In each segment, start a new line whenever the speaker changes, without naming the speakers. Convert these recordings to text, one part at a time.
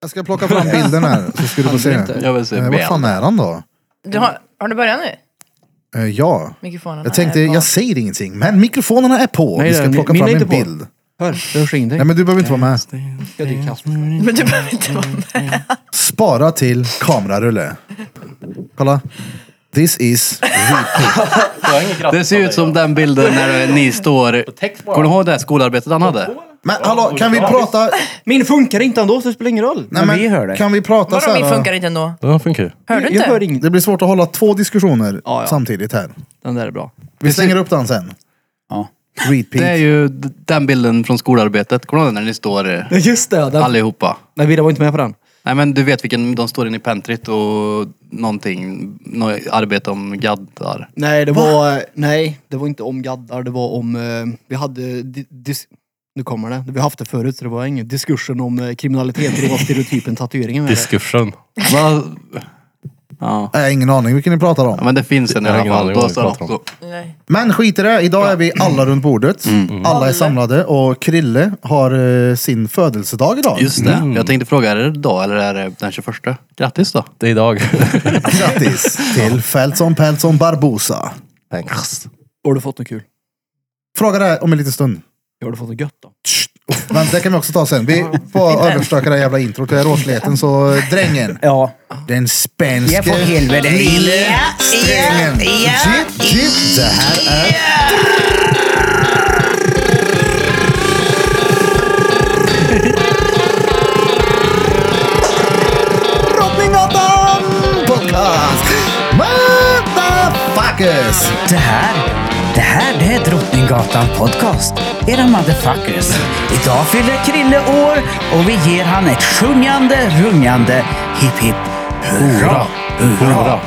Jag ska plocka fram bilden här så ska du få se.
Handleder.
Eh,
Jag vill se
vad
ben.
fan är han då?
Du har, har du börjat nu?
Eh, ja.
Mikrofonen
Jag tänkte, jag säger ingenting, men mikrofonerna är på.
Nej,
Vi ska
den-
plocka
min
fram
är
en
inte på.
bild.
Hör, du ring dig.
Nej, men du behöver inte vara med.
Ska du kasta mig?
Men du behöver inte vara med.
Spara till kamerarulle. Kolla. This is...
Det ser ut som den bilden när ni står... Kommer du ihåg det här skolarbetet han hade?
Men hallå, kan vi prata...
Min funkar inte ändå så det spelar ingen roll.
Nej, men,
vi hör dig.
Kan vi prata så
Vadå, min
här?
funkar inte ändå?
Den funkar ju.
Hör du
Jag hör
inte?
inget.
Det blir svårt att hålla två diskussioner
Ja, ja.
samtidigt här.
Den där är bra.
Vi slänger upp den sen.
Ja.
Repeat.
Det är ju d- den bilden från skolarbetet. Kommer du ihåg den när ni står eh,
Just det, den.
allihopa?
Nej, Vida var inte med på den.
Nej men du vet vilken, de står inne i pentryt och någonting, något arbete om gaddar.
Nej, det var, nej, det var inte om gaddar, det var om, eh, vi hade, di- dis, nu kommer det, vi har haft det förut så det var ingen diskursen om eh, kriminalitet, det var stereotypen tatueringen. med det.
Diskursen.
Va? Ja.
Jag har ingen aning vilken ni pratar
ja
om.
men det finns en i
Jag har
alla
ingen
fall.
aning vad
Då
vi
står
pratar om.
också-
Nej.
Men skit i det, idag är vi alla runt bordet. Alla är samlade och Krille har eh, sin födelsedag idag.
Just det, jag tänkte fråga, är det idag eller är det den 21? Grattis då!
Det är idag.
Grattis till Feltson Peltson Barbosa.
Thanks.
Har du fått något kul?
Fråga det här om en liten stund.
Har du fått något gött då?
Men det kan vi också ta sen. Vi får överstöka det här jävla introt. Jag är råsleten så eh, drängen.
Ja.
Den
Ja, för
spänske
helvete.
lille strängen. Jip, jip. Det här är... Drottninggatan podcast! Motherfuckers!
Det här, det här det är Drottninggatan Podcast. Era motherfuckers. Idag fyller Krille år och vi ger han ett sjungande, rungande hipp hipp hurra.
Hurra.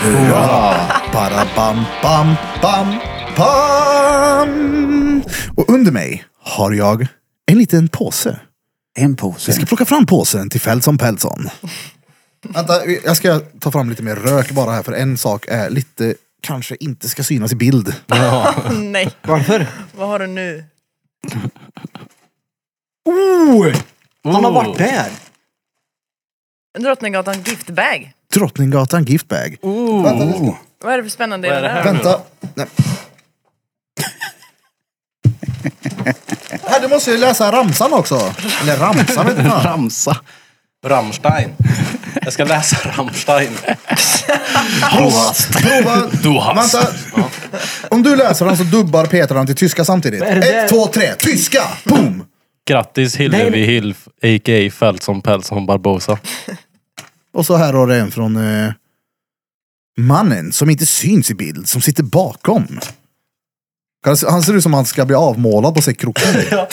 Hurra.
Bara bam, bam, bam, bam. Och under mig har jag en liten påse.
En
Jag
påse.
ska plocka fram påsen till Fältson Peltson. Vänta, jag ska ta fram lite mer rök bara här för en sak är lite, kanske inte ska synas i bild.
Nej.
Varför?
Vad har du nu?
Oh! Han har varit där!
Drottninggatan giftbag.
Drottninggatan Giftbag. Vänta, nu ska-
Vad är det för spännande i den här?
vänta. Nej. Här, du måste ju läsa ramsan också. Eller ramsan vet du fan.
Ramsa!
Rammstein. Jag ska läsa Rammstein.
Prova.
Du har-
Vänta. Om du läser den så dubbar Peter den till tyska samtidigt.
är det där?
Ett, två, tre. Tyska! Boom!
Grattis Hillevi Hilf, a.k.a. Feltson Peltson Barbosa.
Och så här har du en från eh, mannen som inte syns i bild, som sitter bakom. Han ser- Han ser ut som han ska bli avmålad på sig kroppen.
det är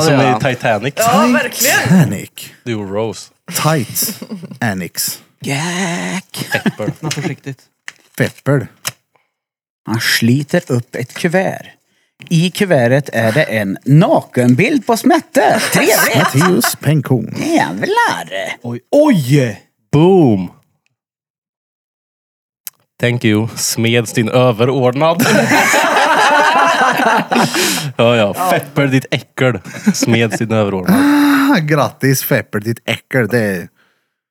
som
det är han.
i Titanic.
Ja, verkligen.
Titanic.
Du och Rose.
Tight. Anix.
Jack.
Öppna försiktigt.
Pepper.
Han sliter upp ett kuvert. I kuvertet är det en nakenbild på Smette. Trevligt!
Matteus Penkon.
Jävlar!
Oj. Oj!
Boom! Thank you. Smeds din överordnad. ja, ja. Fepper ditt äckel. Smeds din överordnad.
Ah, grattis Pepper, ditt äckel. Det är,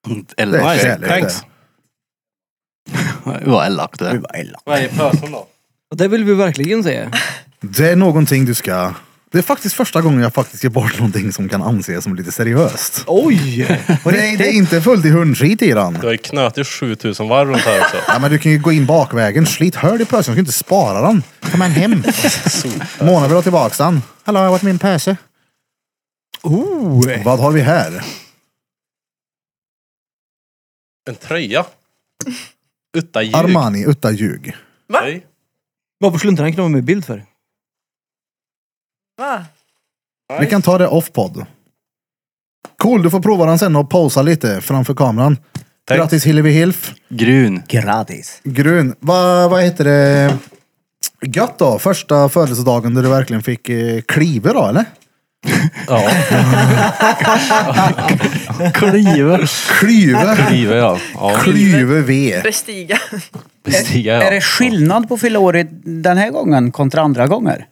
det är
Elva.
Nice,
kärlek,
thanks.
Vad elakt det är.
Vad är pösen då?
Det vill vi verkligen se.
det. det är någonting du ska... Det är faktiskt första gången jag faktiskt ger bort någonting som kan anses som lite seriöst.
Oj!
Och det, är, det är inte fullt i hundskit i den.
Du har ju knötit 7000 varv runt här också.
Ja, men du kan ju gå in bakvägen, slit hörd i pösen, du ska inte spara den. Ta med den hem. Mona vill ha tillbaks den. Hallå, jag har varit min pöse.
Oh!
Vad har vi här?
En tröja. Utta ljug.
Armani, utta ljug.
Nej.
Varför skulle inte han kunna vara med i bild för?
Va?
Vi kan ta det off-podd. Cool, du får prova den sen och posa lite framför kameran.
Tack.
Grattis Hillevi Hilf.
Grun.
Grattis.
Grun. Vad vad heter det? Gött då, första födelsedagen där du verkligen fick eh, kliva då eller?
Ja,
Kliver.
Klyve.
livet ja. ja.
Klyve V.
Bestiga.
Bestiga
Är det
ja.
skillnad på att fylla år i- den här gången kontra andra gånger?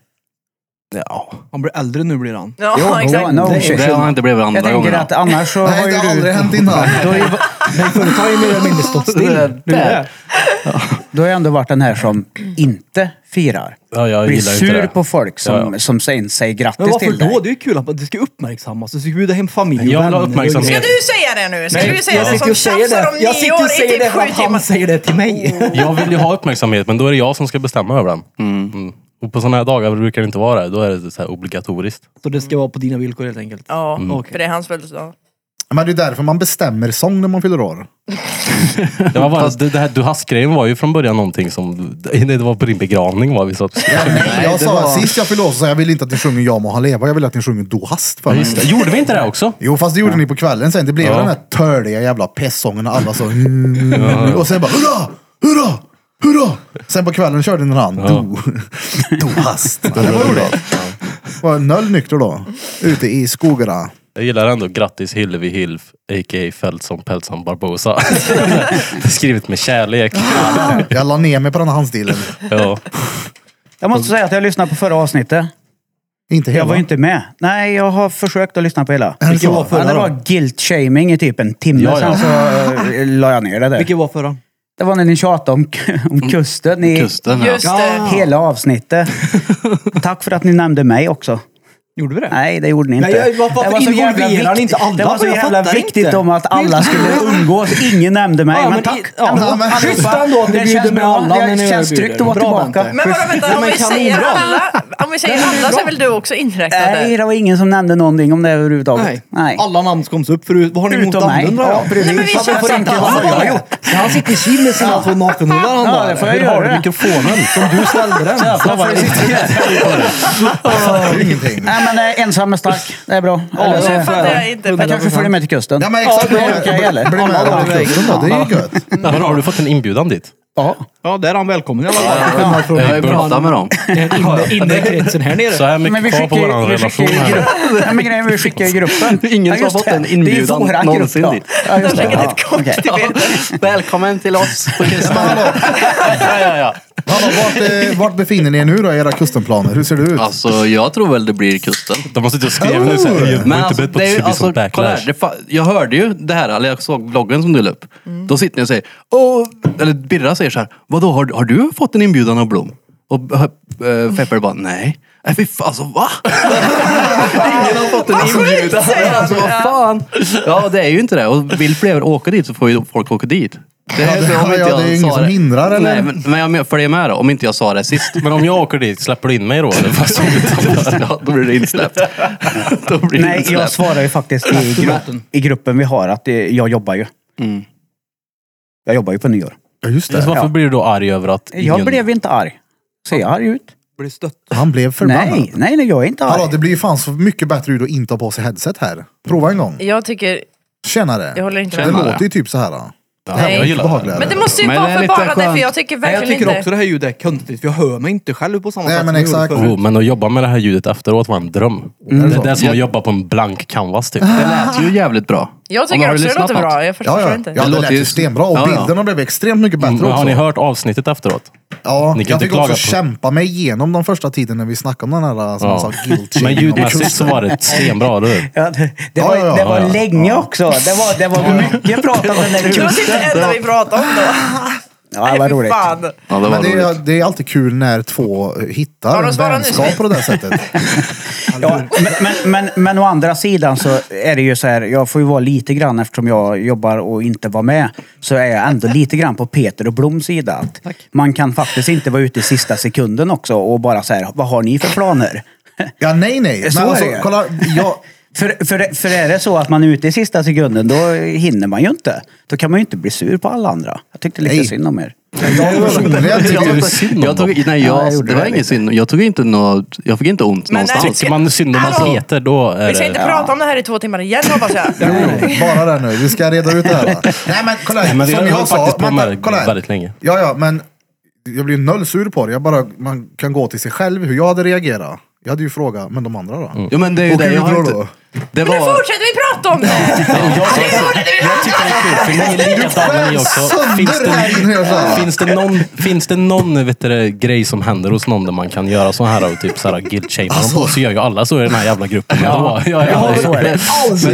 Ja.
Han blir äldre nu blir han.
Ja,
Jo,
exakt.
no, no,
Det har
shit.
inte blivit andra
Jag tänker
gången.
att annars så har
Nej,
ju
det har
du...
aldrig hänt innan.
Då har ju-
Men förut har ju mer eller mindre stått still.
Det
Nu är
där.
det.
Då har jag ändå varit den här som inte firar.
Ja, jag
Blir
gillar ju inte
sur
det.
på folk som,
Ja,
som sen säger
Men
grattis
varför
till
då?
dig.
Det är ju kul att det ska uppmärksammas. Du ska bjuda hem familj och
Jag vill
vänner.
ha uppmärksamhet.
Ska du säga det nu? Ska
Nej,
du säga
jag
det
Jag sitter
som
och säger
tjafsar om
det.
nio
Jag sitter
år
och
i
säger det
typ
för
sju
att han
timmar?
säger det till mig.
Jag vill ju ha uppmärksamhet, men då är det jag som ska bestämma över den. Mm. Och på sådana här dagar brukar det inte vara det. Då är det så här obligatoriskt.
Så det ska vara på dina villkor helt enkelt.
Ja,
Okej.
för det är hans födelsedag.
Men det är därför man bestämmer sång när man fyller år.
Det, var bara, det, det här du hast-grejen var ju från början någonting som... Det var på din begravning var vi så att...
jag sa sist jag fyllde år så sa jag, jag vill inte att ni sjunger Ja må han leva, jag vill att ni sjunger Do hast för mig.
Just det. Gjorde vi inte det också?
Jo, fast det gjorde ni på kvällen sen. Det blev
Ja.
den här törliga jävla pestsången och alla så... Mm, och sen bara hurra, hurra, hurra. Sen på kvällen körde ni den här. Do, do hast. Det var roligt. Var noll nykter då. Ute i skogarna.
Jag gillar ändå grattis Hillevi Hilf, a.k.a. Feltson Peltson Barbosa. Skrivet med kärlek.
Jag la ner mig på den här handstilen.
Ja.
Jag måste säga att jag lyssnade på förra avsnitet.
Inte hela.
Jag var ju inte med. Nej, jag har försökt att lyssna på hela.
Vilken var
Ja,
förra
det
då?
var guilt-shaming i typ en timme,
Ja, ja.
sen så eh, la jag ner det där. Mm.
Vilken var förra?
Det var när ni tjatade om, om kusten i
Kusten ja.
Just eh, det.
hela avsnittet. Tack för att ni nämnde mig också.
Gjorde vi det?
Nej, det gjorde ni inte.
Nej, jag- varför
det var så jävla
involverar ni inte alla?
Det var så
Jag
jävla
fattar
viktigt
inte.
om att alla skulle umgås. Ingen nämnde mig,
Ja,
men,
men i-
tack.
ja,
ändå.
men-
Allihopa.
Schysst ändå att ni
Det
bjuder
känns
med
bra.
alla när ni
Det känns
bjuder.
tryggt att vara
Bra,
tillbaka.
Bente.
Men vadå, vänta, om
men
vi
kan
säger
ni bra?
alla, om vi säger alla så är väl du också inräknad
Nej,
där?
det var ingen som nämnde någonting om det överhuvudtaget.
Nej. Alla namn som koms upp förut. Vad har ni emot
Utom mig.
anden då?
Ja, precis.
Nej, men vi
Fattar
känns
inte
inte
vad
av
jag har
det.
gjort. Han sitter i kyl med sina två nakenhullar han
Ja,
där.
det får jag
Hur
göra.
har du mikrofonen som du ställde den?
Jävlar vad
Det är ingenting.
Nej, men eh, ensam är stark. Det är bra.
Ja,
Eller
Nu
så-
det
fattar jag inte.
jag kanske följer med till kusten.
Ja men exakt.
Ja, det orkar jag heller.
Bli med
Alla
över
dagar.
kusten då. Det är ju gött.
Men har du fått en inbjudan dit?
Ja.
Ja, där är han välkommen i alla fall.
Jag har ju pratat med dem.
Inne i kretsen här
Så
nere.
här
Men
mycket
vi
kvar på
skickar
vår
ju vi
relation.
skickar ju
Här.
gruppen. Nej, men grejen är vi skickar ju gruppen.
är ingen som
Ja,
har fått
just
en
det.
inbjudan
Det är våran
någonsin
grupp
dit.
då. Ja, just det. Ja, okej.
Välkommen till oss på
Men
kusten.
hallå,
Ja, ja, ja.
hallå, vart, eh, vart befinner ni er nu då? Era kustenplaner? Hur ser det ut?
Alltså jag tror väl det blir kusten.
De har suttit och skrivit nu såhär. Jag
Men
har inte
alltså,
bett på
det
att
är
det
ju,
ska
alltså,
bli sån
kolla här,
backlash.
det fa- jag hörde ju det här, eller jag såg vloggen som du la upp.
Mm.
Då sitter ni och säger, Åh, eller Birra säger så här, vadå har, har du fått en inbjudan av Blom? Och äh, Pepper bara, nej. Nej fy fan, alltså va? Ingen har fått
Vad
en
sjukt,
inbjudan.
säger han.
Alltså vad fan. Ja det är ju inte det. Och vill fler åka dit så får ju folk åka dit. Det
Ja, det-
om inte
ja, det är
jag
ju ingen
sa
som hindrar, eller?
Nej, men, men jag men- följer med då, om inte jag sa det sist.
Men om jag åker dit, släpper du in mig då? eller? Fast-
ja, då blir det insläppt. Då blir det
Nej, Alltså, jag
insläppt.
svarar ju faktiskt i, gru- i gruppen vi har att eh, jag jobbar ju. Jag jobbar ju på nyår.
Ja just
Så
det.
Alltså, varför blir du då arg över att ingen...
Jag blev inte arg. Ser jag arg ut?
Blir stött.
Han blev förbannad.
Nej, nej, nej, jag är inte
Hallå,
arg.
det blir ju fan så mycket bättre ljud att inte ha på sig headset här. Prova en gång.
Jag tycker,
Tjenare.
jag håller inte
Det
med.
Tjenare.
låter ju typ så här. då.
Ja, jag gillar det.
Behagligare.
Men det måste ju
Men det
vara
är
för
lite
bara det, för
skönt.
jag tycker
Nej,
verkligen
jag tycker
inte...
också det här ljudet är konstigt, för jag hör mig inte själv på samma
Nej,
sätt
men
som jag gjorde
exakt.
förut.
Jo, men att jobba med det här ljudet efteråt var en dröm. Alltså,
Är det
Det,
så?
det är som att jobba på en blank canvas
Ah,
typ.
Det lät ju jävligt bra.
Jag
Om
tycker
har
också det
lyssnat
låter
på något?
bra, jag förstår
Ja, ja.
inte.
ja det
låter
lät ju
ju-
stenbra
Ja,
och
ja.
bilderna blev extremt mycket bättre
Men Mm, har ni
också.
hört avsnittet efteråt?
Ja,
Ni kan
jag
inte
fick
klaga
också
på-
kämpa mig igenom de första tiden när vi snackade om den här som man sa, guilt
Men
shaming om
ljudmässigt så
kusten.
var det stenbra. eller hur?
Ja, det, det var,
Ja, ja,
det
ja,
var
ja.
länge också. Det var, det var mycket prat om den där
Det var typ
kusten.
det enda vi pratade om då.
Ja, det var
Fy
roligt.
fan.
Ja, det var
Men det är,
roligt.
det är alltid kul när två eh,
Ja,
hittar
de
en
svarar nu.
vänskap på det där sättet.
Ja, men, men, men, men å andra sidan så är det ju så här, jag får ju vara lite grann eftersom jag jobbar och inte var med, så är jag ändå lite grann på Peter och Bloms sida. Att man kan faktiskt inte vara ute i sista sekunden också och bara så här, vad har ni för planer?
Ja, nej, nej.
Så
Men
är
alltså,
det ju.
kolla, jag,
För, för, för är det så att man är ute i sista sekunden, då hinner man ju inte. Då kan man ju inte bli sur på alla andra. Jag tyckte lite
Nej.
synd om er.
jag personligen
Jag,
tycker...
synd om
jag tog, nej,
Ja, jag
jag,
gjorde
det var
det
ingen
lite.
synd. Jag tog inte något, jag fick inte ont
Men nej,
någonstans.
Tycker man synd om man
eh, Hallå.
heter då är
Vi ska
det...
inte prata om det här i två timmar igen hoppas jag.
Jo, jo, bara det nu. Vi ska reda ut det här. va? Nej, men kolla här.
men
som
jag
jag,
höll
sa,
faktiskt på
vänta,
med det
kolla här.
väldigt länge.
Ja, ja, men jag blir noll sur på det. Jag bara, man kan gå till sig själv hur jag hade reagerat. Jag hade ju frågat, men de andra då?
Mm.
Jo men det är ju
Och
det.
hur
Jag har
bra
inte,
då?
Det
Men nu
var...
fortsätter vi prata om det!
Jag tycker det är kul, för ni är likadana ni också. Finns det,
Sönder här såhär.
finns det någon, finns det någon vet du, det, grej som händer hos någon där man kan göra så här och typ så här guilt-shamea dem
Alltså.
på så gör ju alla så i den här jävla gruppen. Ja, ja, ja,
så är
Men
det.
det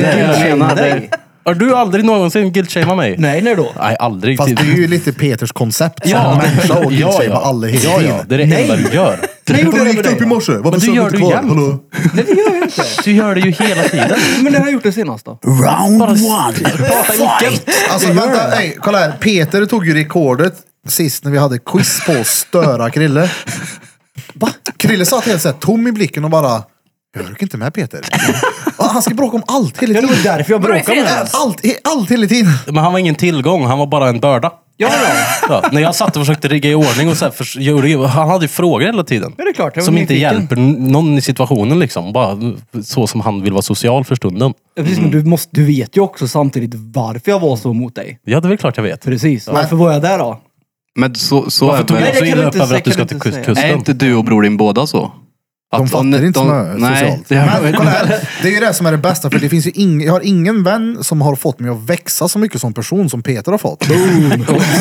är det jag
guilt-shamea
menar.
dig.
Har du aldrig någonsin guilt-shameat mig?
Nej, när då?
Nej, aldrig.
Fast det är ju lite Peters koncept. Ja. Människa och ja, ja. alla hela
ja, ja.
tiden.
Det är det enda du gör.
När
Vadå,
gjorde jag
gick
med
du upp i
dig?
morse? Varför
Men det
sover
gör
du
du
kvar?
jämt.
Hallå?
Nej, det gör jag inte.
Du gör det ju hela tiden.
Men när har jag gjort det senast då?
Round one. Fight.
Alltså vänta, nej, kolla här. Peter tog ju rekordet sist när vi hade quiz på att störa Krille. Va? Krille satt helt såhär tom i blicken och bara, jag orkar inte med Peter. Och Han ska bråka om allt hela
Ja, det
tiden.
var därför jag
Vadå, i
bråkade med
fredags?
dig.
Allt, allt hela tiden.
Men han var ingen tillgång, han var bara en börda.
Ja, ja.
Ja, när jag satt och försökte rigga i ordning och så här, för, gjorde- han hade ju frågor hela tiden.
Ja, det är klart, jag var
som inte
nyfiken.
hjälper n- någon i situationen liksom. Bara så som han vill vara social för stunden.
Ja, Precis, men du, måste, du vet ju också samtidigt varför jag var så mot dig.
Ja, det är väl klart jag vet.
Precis. Varför var jag där då?
Men så, så
Varför
är
tog
väl...
du
Nej,
så
det kan
illa
du
upp
inte
över att du ska
säga,
till
kan du
kus-
inte
Är
kusten?
inte du och brodin båda så? Att
De
om
fattar inte
de-
snö
Nej,
socialt.
det gör
Men kolla här, det är ju det som är det bästa för det finns ju ing, jag har ingen vän som har fått mig att växa så mycket som person som Peter har fått.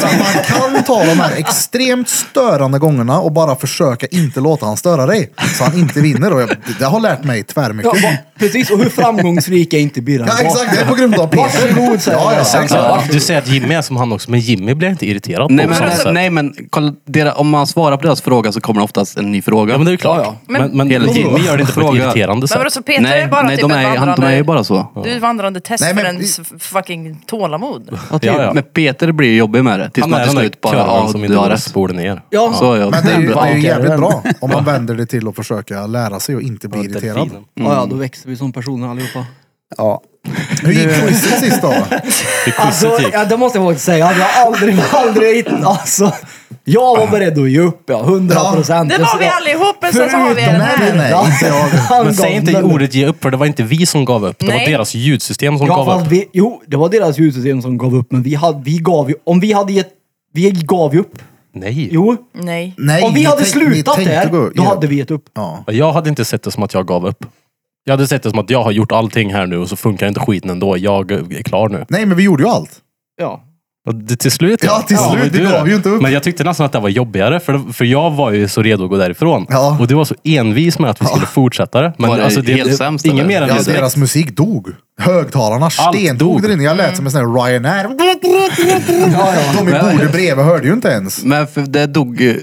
Så att man kan ta de här extremt störande gångerna och bara försöka inte låta han störa dig. Så han inte vinner. Och jag, det har lärt mig tvärmycket.
Ja, va, precis, och hur framgångsrik är inte Birra?
Ja exakt, det är på grund av Peter.
Varsågod, säger
ja,
jag.
ja,
Exakt.
exakt.
Ja, du säger att Jimmy är som han också, men Jimmy blir inte irriterad
Nej
på
men,
sånt sätt.
nej men kolla, dera, om man svarar på deras fråga så kommer det oftast en ny fråga.
Ja, men det är ju klart.
Ja,
Men, men,
Hela
Jimmy gör det inte på ett
Fråga.
irriterande
Men
sätt.
vadå, så Peter
nej,
är bara
nej
typ
de,
ett
är, han,
vandrande...
de är ju bara så.
Du är ett vandrande test
Nej, men-
för ens f- fucking tålamod.
typ.
Ja, ja.
Men Peter blir ju jobbig med det. Tills
Han
man
är
till
den där
slut bara, ja
kurvan som
du
inte
har
bara
rätt.
spår ner.
Ja.
Så är jag.
Men det är ju, det är ju jävligt
Ja.
bra om man vänder det till att försöka lära sig och inte bli irriterad.
Delfinen.
Ja, ja, då växer vi som personer allihopa.
Ja.
Hur gick quizet sist då?
Det är
Alltså,
positivt.
ja, det måste jag faktiskt säga. Jag hade aldrig, aldrig hit, alltså, Jag var beredd att ge upp, ja. 100 procent.
Det var vi allihop, men sen så har vi
Förutom
den
Nej, nej,
här.
nej, inte jag.
Men säg inte ordet ge upp, för det var inte vi som gav upp. Det var
Nej.
deras ljudsystem som
Ja,
gav upp.
fast vi, jo, det var deras ljudsystem som gav upp, men vi, hade, vi gav ju... Om vi hade gett... Vi gav ju upp.
Nej.
Jo.
Nej.
Nej,
om vi
ni
hade
tänk- ni
slutat
tänkte
där,
gå upp.
då hade vi gett upp.
Ja.
Jag hade inte sett det som att jag gav upp. Jag hade sett det som att jag har gjort allting här nu och så funkar inte skiten ändå. Jag är klar nu.
Nej, men vi gjorde ju allt.
Ja.
Och det, till slut.
Ja, till slut.
men
Vi
du
gav
då?
ju inte upp.
Men jag tyckte nästan att det var jobbigare, för, för jag var ju så redo att gå därifrån.
Ja.
Och du var så envis med att vi skulle fortsätta det. Men
Var det
alltså,
helt sämst,
Inget
eller?
mer än
Ja,
respekt.
deras musik dog. Högtalarna
Allt dog.
stendog där inne. Jag lät som en sån här Ryanair. De i bordet bredvid hörde ju inte ens.
Men för det dog ju...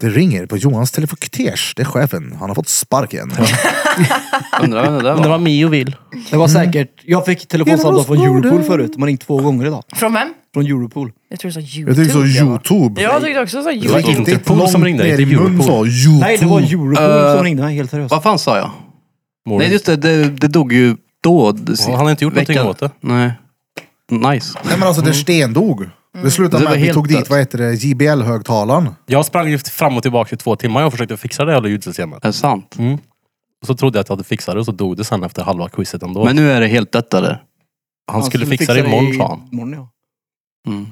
Det ringer på Johans telefonkortege. Det är chefen. Han har fått sparken.
Undrar vem det där var.
Mio vill.
Det var säkert... Jag fick telefonsamtal från Europol förut. Man ringt två gånger idag.
Från vem?
Från Europol.
Jag tror du sa
Jag
YouTube.
tyckte så
va?
YouTube.
Jag tyckte också så
Det var
YouTube.
riktigt
Interpol
långt
som ringde,
ner i
inte
mun sa YouTube.
Nej, det var Europol som ringde mig, helt seriöst.
Vad fan sa jag? Nej just det, det, det dog ju då. Det-
han har inte gjort någonting åt det.
Nej. Nice.
Nej men alltså det stendog. Det slutade
Det
med
var
att vi
helt
tog dit,
dött.
vad heter det, JBL-högtalaren.
Jag sprang ju fram och tillbaka i två timmar och försökte fixa det jävla ljudsystemet.
Är det sant?
Och så trodde jag att jag hade fixat det och så dog det sen efter halva quizet ändå.
Men nu är det helt dött eller?
han skulle fixa det imorgon sa han.
Alltså, imorgon, ja.
Mm.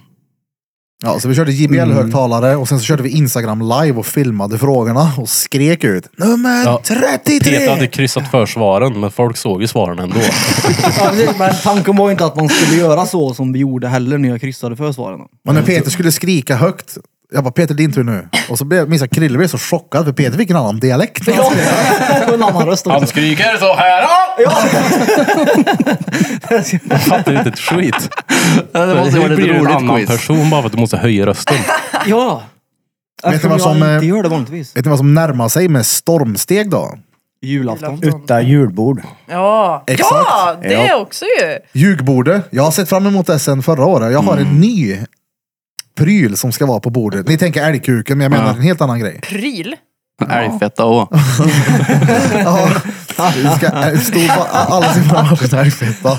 Ja, så vi körde
Mm.
JBL-högtalare och sen så körde vi Instagram live och filmade frågorna och skrek ut nummer
Ja.
33!
Peter hade kryssat för svaren, men folk såg ju svaren ändå.
Ja, precis, men tanken var inte att man skulle göra så som vi gjorde heller när jag kryssade för svaren.
Och när Peter skulle skrika högt, jag bara Peter din tur nu. Och så blev, minns jag Krille blev så chockad för Peter fick en annan dialekt.
Ja, och en annan röst också.
skriker så här! Fattar inte ett skit.
Det måste ha
Hur
varit
blir
ett
du en annan
roligt quiz.
person bara för att du måste höja rösten?
Ja!
Vet du
Eftersom
vad som,
jag
eh,
inte gör det vanligtvis.
Vet ni vad som närmar sig med stormsteg då?
Julafton.
Utta julbord.
Ja.
Exakt.
ja, det
Ja.
också ju.
Ljugbordet. Jag har sett fram emot det sen förra året. Jag har
Mm.
en ny pryl som ska vara på bordet. Ni tänker älgkuken, men jag menar en helt annan grej.
Pryl.
Älgfetta och...
Ja, vi ska stå på alla sin framför där, fett, va?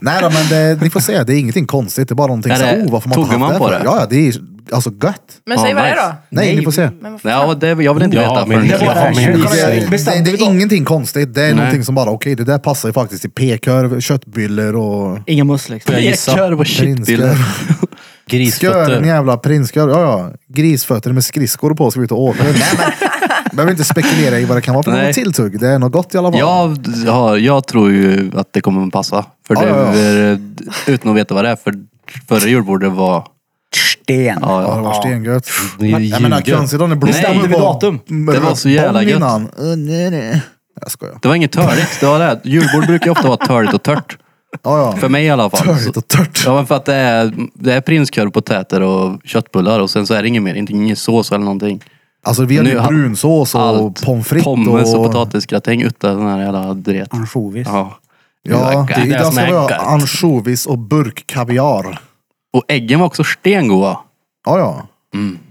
Nej då, men det, ni får se. Det är ingenting konstigt. Det är bara någonting
Är
så
det-
här, oh, varför man inte haft
tog man
här
på
för?"
det?
Ja, ja, det är alltså gött.
Men
Ja,
säg vad det är
nice.
då.
Nej, ni får se.
Men vad fan?
Ja, och det, jag vill inte
Jag
veta
har min-
förrän
jag har min-
Kolla,
Precis.
det, det,
Bestämde
det
vi
är
då?
ingenting konstigt. Det är någonting som bara, okej, det där passar ju faktiskt till p-kurv, köttbullar och
Inga möss liksom.
Jag gissar.
Ekör på
prinskorv.
shitbilder.
Skör, en
Grisfötter.
jävla prinskorv. Ja, ja. Grisfötter med skridskor på ska vi ut och åka. Nej, men Behöver inte spekulera i vad det kan vara för
Nej.
något tilltugg. Det är något gott i alla fall.
Jag, ja, jag tror ju att det kommer att passa. För
Ja,
det,
ja,
Utan att veta vad det är. För förra julbordet var...
Sten.
Ja,
Ja, det var stengött.
Det är ju
Jag menar,
ljuget.
konstigt om det blåste.
Bestämde
Det
vi
var-
datum?
Det var så jävla
bomb
gött.
Innan. Uh, nej, nej. Jag skojar.
Det var inget törligt. Det var det. Julbord brukar ju ofta vara törligt och tört.
Ja,
För
ja.
mig i alla fall.
Törligt och tört.
Ja men för att det är, det är prinskorv, potäter och köttbullar och sen så är det inget mer. Inte ingen sås eller någonting.
Alltså vi hade
Nu
ju
har-
brunsås och Mm.
Allt.
pommes frites.
Pommes och potatisgratäng utan den här jävla dret.
Ansjovis.
Ja.
Ja,
är det
idag
som
ska
är
vi ha
gött.
ansjovis och burkkaviar.
Och äggen var också stengoda.
Ja, ja.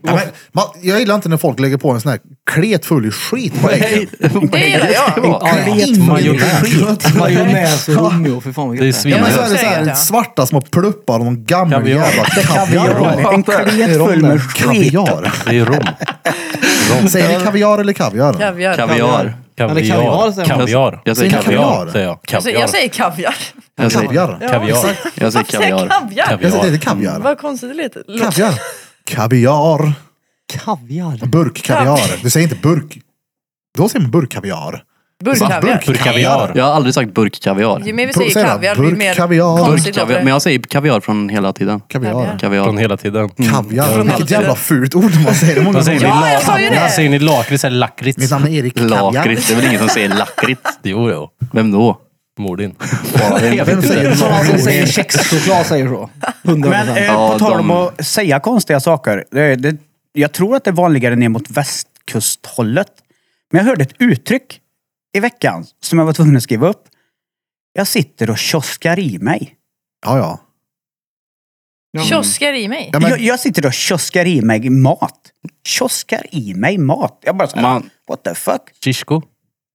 Ja, men, man, jag gillar inte när folk lägger på en sån här klet full i skit på äggen.
Det gillar jag.
Ja.
Ingen
majonnäs.
skit.
Majonnäs och humle och fy fan vad
Det är
gött det
Ja, men alltså- så
svinigt.
är det så här,
Ja.
svarta små pluppar och någon gammal
Kaviar.
jävla kaviar.
En klet full med skit.
Kaviar.
Det är rom.
Säger ni kaviar eller kaviar?
Kaviar.
Kaviar.
det är kaviar,
Kaviar.
säger man.
Kaviar.
Jag säger
Säger ni
kaviar.
Kaviar, säger jag.
Alltså, Jag säger-
Kaviar.
Jag säger kaviar.
Jag
Alltså, Kaviar.
säger,
Kaviar.
jag säger
Varför säger jag
kaviar.
kaviar?
Jag säger inte kaviar.
Vad konstigt det lät.
Kaviar. Kaviar.
Kaviar.
Burkkaviar. Du säger inte burk. Då säger man burkkaviar.
Burkkaviar.
Burkaviar.
Jag har aldrig sagt burkkaviar.
Ju mer vi
Pro-
säger
säger man
kaviar, ju mer
burkkaviar.
konstigt låter
Burkkaviar. Men
det.
jag säger kaviar från hela tiden.
Kaviar.
Kaviar.
Från
Kaviar.
hela tiden.
Kaviar.
Från
Vilket
allt
jävla
det.
fult ord man säger. Många
Vad säger ni?
gånger.
Ja, jag sa ju
Vad
det.
säger ni? Lakrits eller lakrits?
Mitt namn är Erik Kaviar.
Lakrits. Det är väl ingen som säger lakrits?
Jo, jo.
Vem då?
Mor din.
Jag vet
Vem
inte.
säger
Det är sådana som
det?
säger kexchoklad säger så. 100%.
Men eh,
Ja,
på tal om
de-
att säga konstiga saker. Det, det, jag tror att det är vanligare ner mot västkusthållet. Men jag hörde ett uttryck i veckan som jag var tvungen att skriva upp. Jag sitter och kioskar i mig.
Ja, ja.
Kioskar i mig.
Ja, men-
Jag, jag sitter och kioskar i mig mat. Kioskar i mig mat. Jag bara så här,
Man-
what the fuck?
Shishko.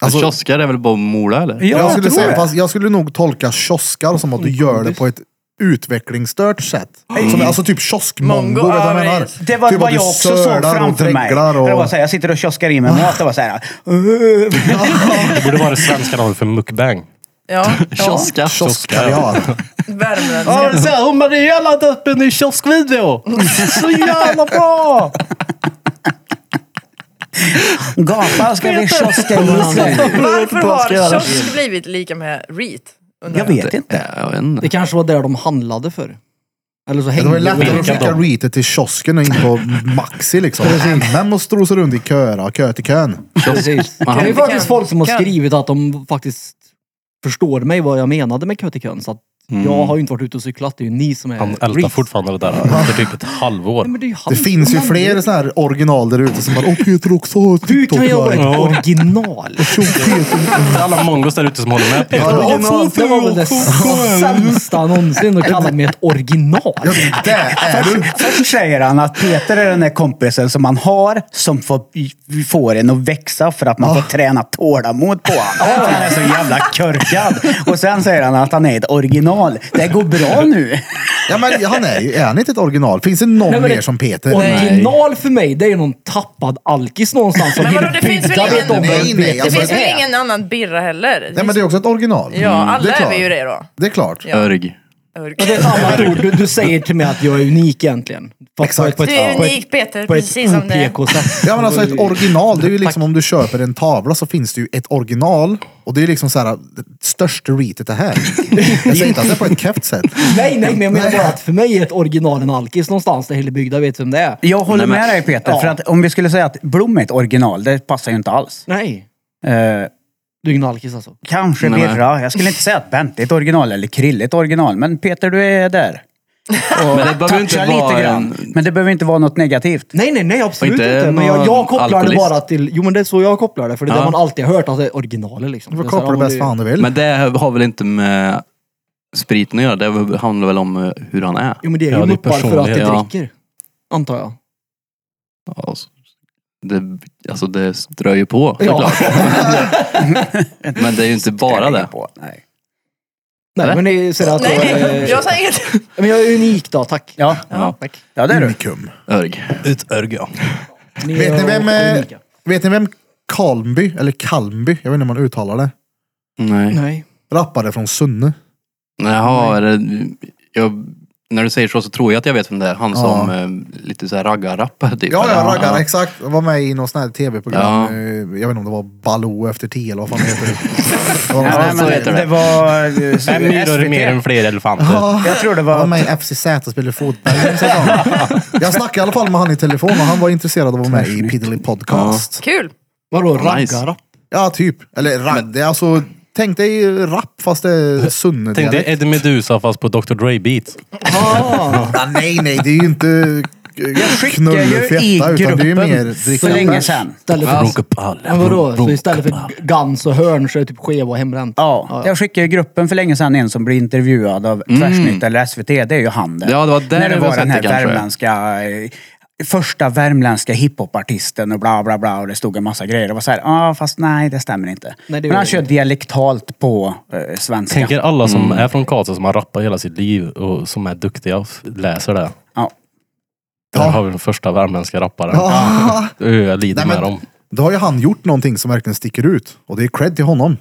Alltså-
Kioskar är väl bara Mora eller?
Ja,
jag, skulle
tror
säga,
det.
fast jag skulle nog tolka kioskar som att du gör det på ett utvecklingsstört sätt. Som, alltså typ kioskmongo,
Mongo,
vet du vad
ja,
jag menar?
precis.
Det var
typ
vad
att du
jag också såg
sölar och
framför mig.
dreglar och-
Det var så här, jag sitter och kioskar i mig mat. Det var så här... "Ugh."
Det borde vara det svenska namnet för mukbang.
Ja. ja.
Kioskar.
Kioskkaviar.
Värmländska.
Hon Maria laddat upp en ny kioskvideo. Så jävla bra!
Gapa ska vi kioska i mig.
Varför har
Kioskar.
kiosk blivit lika med reet? Undrar
Jag vet inte.
Ja, jag vet inte.
Det kanske var där de handlade för. Eller så
Det
hängde
var ju lättare att
Vilka
skicka
då?
reatet till kiosken och in på Maxi liksom. MM och strosa runt i köer, kö till kön.
Precis. Det är ju
Kan-
faktiskt folk som har
kan-
skrivit att de faktiskt förstår mig vad jag menade med köttikön. Så att
Mm.
jag har ju inte varit ute och cyklat. Det är ju ni som är...
Han ältar
reef.
fortfarande det där efter typ ett halvår.
Nej, men det är ju han
Det finns ju
som
fler
använder
sådana här original där ute som bara Åh Peter också har ett
det. Hur kan jag vara
TikTok-like."
ett original?
Tjo, Peter.
Alla mongos där ute som håller med Peter.
Ja,
original det var väl det sämsta någonsin att kalla mig ett original.
Ja, men det är du.
Först säger han att Peter är den där kompisen som man har som får, får en att växa för att man
Ah.
får träna tålamod på honom. Han är så jävla körkad. Och sen säger han att han är ett original. Det går bra nu.
Ja, men han är ju, är han inte ett original? Finns det någon
Nej, men
mer
det-
som Peter?
Original för mig, det är ju någon tappad alkis någonstans som
Men vadå, det finns väl
bygden
ingen-
vet om
Nej, nej,
vem vet
Det
alltså-
vem
finns väl
är.
ingen annan birra heller?
Nej men det är också ett original. Mm,
Ja, alla
det
är
klart.
vi ju det då.
Det är klart.
Örg.
Ja, Det är ett annat ord. Du, du säger till mig att jag är unik egentligen. Fast
Exakt.
på ett-
Du är
på ett-
unik Peter,
På ett
precis som det.
OPK-sätt.
Ja men alltså ett original, det är ju liksom om du köper en tavla så finns det ju ett original. Och det är liksom så här, det största reatet det här. Jag säger inte att det är på ett keft sätt.
Nej, nej, men jag menar bara att för mig är ett original en alkis någonstans där Hillebygda vet vem det är.
Jag håller
Nej, men-
med dig Peter.
Ja.
För att om vi skulle säga att Blom är ett original, det passar ju inte alls.
Nej,
Eh,
du är ingen alkis alltså.
kanske
Nej, men-
Birra. Jag skulle inte säga att Bente är ett original eller Krille är ett original. Men Peter, du är där. Och
Men det behöver ju inte
touchar
vara
lite grann.
en-
Men det behöver inte vara något negativt.
Nej, nej, nej, absolut
Och inte
inte. Men jag,
någon
jag kopplar det
alkoholist.
bara till... Jo, men det är så jag kopplar det. För det är
Ja.
det man alltid har hört, att det är originalet liksom.
Du får
Det är så här,
koppla det
ja, men
bäst
det-
fan du vill.
Men det har väl inte med spriten att göra? Det handlar väl om eh, hur han är?
Jo, men det är
Ja,
ju
det är
muppar för att det
personlighet,
ja.
dricker. Antar jag.
Alltså, det, alltså det strör ju på
Ja.
såklart. Men det är ju inte bara det.
På. Nej.
Nej,
Eller?
men det är sådär att jag,
Nej,
är-
jag sa inget.
men jag är unik då, tack.
Ja.
Ja.
Tack.
ja, det är du.
Unikum.
Örg.
Ett örg, ja.
är
Vet ni vem, eh,
unika.
vet ni vem Kalmby, eller Kalmby, jag vet inte hur man uttalar det.
Nej.
Nej.
Rappare från Sunne.
Jaha, är det... Jag När du säger så så tror jag att jag vet vem det är. Han som eh, lite så här raggarrappare typ.
Ja,
Eller-
ja, raggar, exakt. Jag var med i något sånt här tv-program.
Ja.
eh, Jag vet inte om det var Baloo efter tio eller vad fan det heter. Det var något
Nej,
sånt
men
så
här.
heter
det,
det.
det var eh,
Fem myror är mer än
SVT.
fler elefanter.
Jag tror det
Jag var
var...
med i FCZ och spelade fotboll. en säsong. Jag snackade i alla fall med han i telefon och han var intresserad av att vara med i Piddly Podcast.
Kul!
Vadå
Nice.
raggarrapp?
Ja, typ. Eller ragg. Det är Alltså, tänk dig rap fast det är sunne
Tänk dig Eddie Meduza fast på Dr Dre beats.
Ja, nej, nej, det är ju inte
Jag skickade ju i
knullfetta utan det är ju mer
gruppen
dricka
för länge
bärs.
sedan.
Istället för,
Runkepallen.
men vadå? Så istället för Guns och Hörn så är det typ Skeva och Hembränt?
Ja, jag skickade ju gruppen för länge sedan en som blev intervjuad av Tvärsnytt eller SVT. Det är ju han där.
Mm. Ja, det var där
När det
vi
var
har
den här
sett det kanske.
värmländska... eh, Första värmländska hiphopartisten och bla bla bla och det stod en massa grejer. Det var såhär, ja ah, fast nej det stämmer inte.
Nej, det
Men han
gör
kör
det.
dialektalt på eh, svenska.
Tänker alla som är från Karlstad som har rappat hela sitt liv och som är duktiga och f- läser det.
Ja.
Där
Ja.
har vi den första värmländska rapparen.
Ah,
Ö, Jag lider
Nej, men-
med dem.
Då har ju han gjort någonting som verkligen sticker ut och det är cred till honom.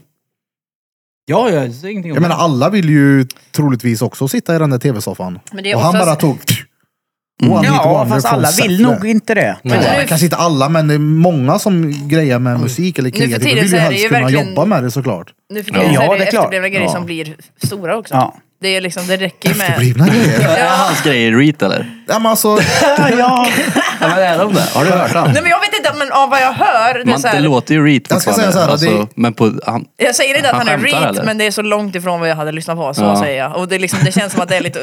Ja, jag säger ingenting om
Jag menar alla vill ju troligtvis också sitta i den där tv-soffan.
Men det är
Och han
oftast-
bara tog...
Mm.
One hit
Ja,
wonder
fast alla
concept
vill
där.
nog inte det.
Men
Ja,
nu,
kanske inte alla, men det är många som grejer med musik eller
för tiden
kreativt. Vi vill
så
ju
är det
helst
ju
kunna
verkligen-
jobba med det såklart.
nu för tiden
Ja,
så är
det
det
är klart.
efterblivna grejer
Ja.
som blir stora också.
Ja.
Det, är liksom, det räcker ju med...
Efterblivna grejer.
Är hans grejer reat eller?
Ja, men alltså,
ja.
Ja, men är de det? Har du hört han?
Nej men jag vet inte, men av vad jag hör. Det är
Man,
så
det
här,
låter ju reat
Jag ska
fortfarande. Alltså,
säga så här, det är-
men på, han,
jag säger inte att
Han
han, är
skämtar,
reet,
eller?
men det är så långt ifrån vad jag hade lyssnat på. Så
Ja.
säger jag. Och det, är liksom, det känns som att det är lite,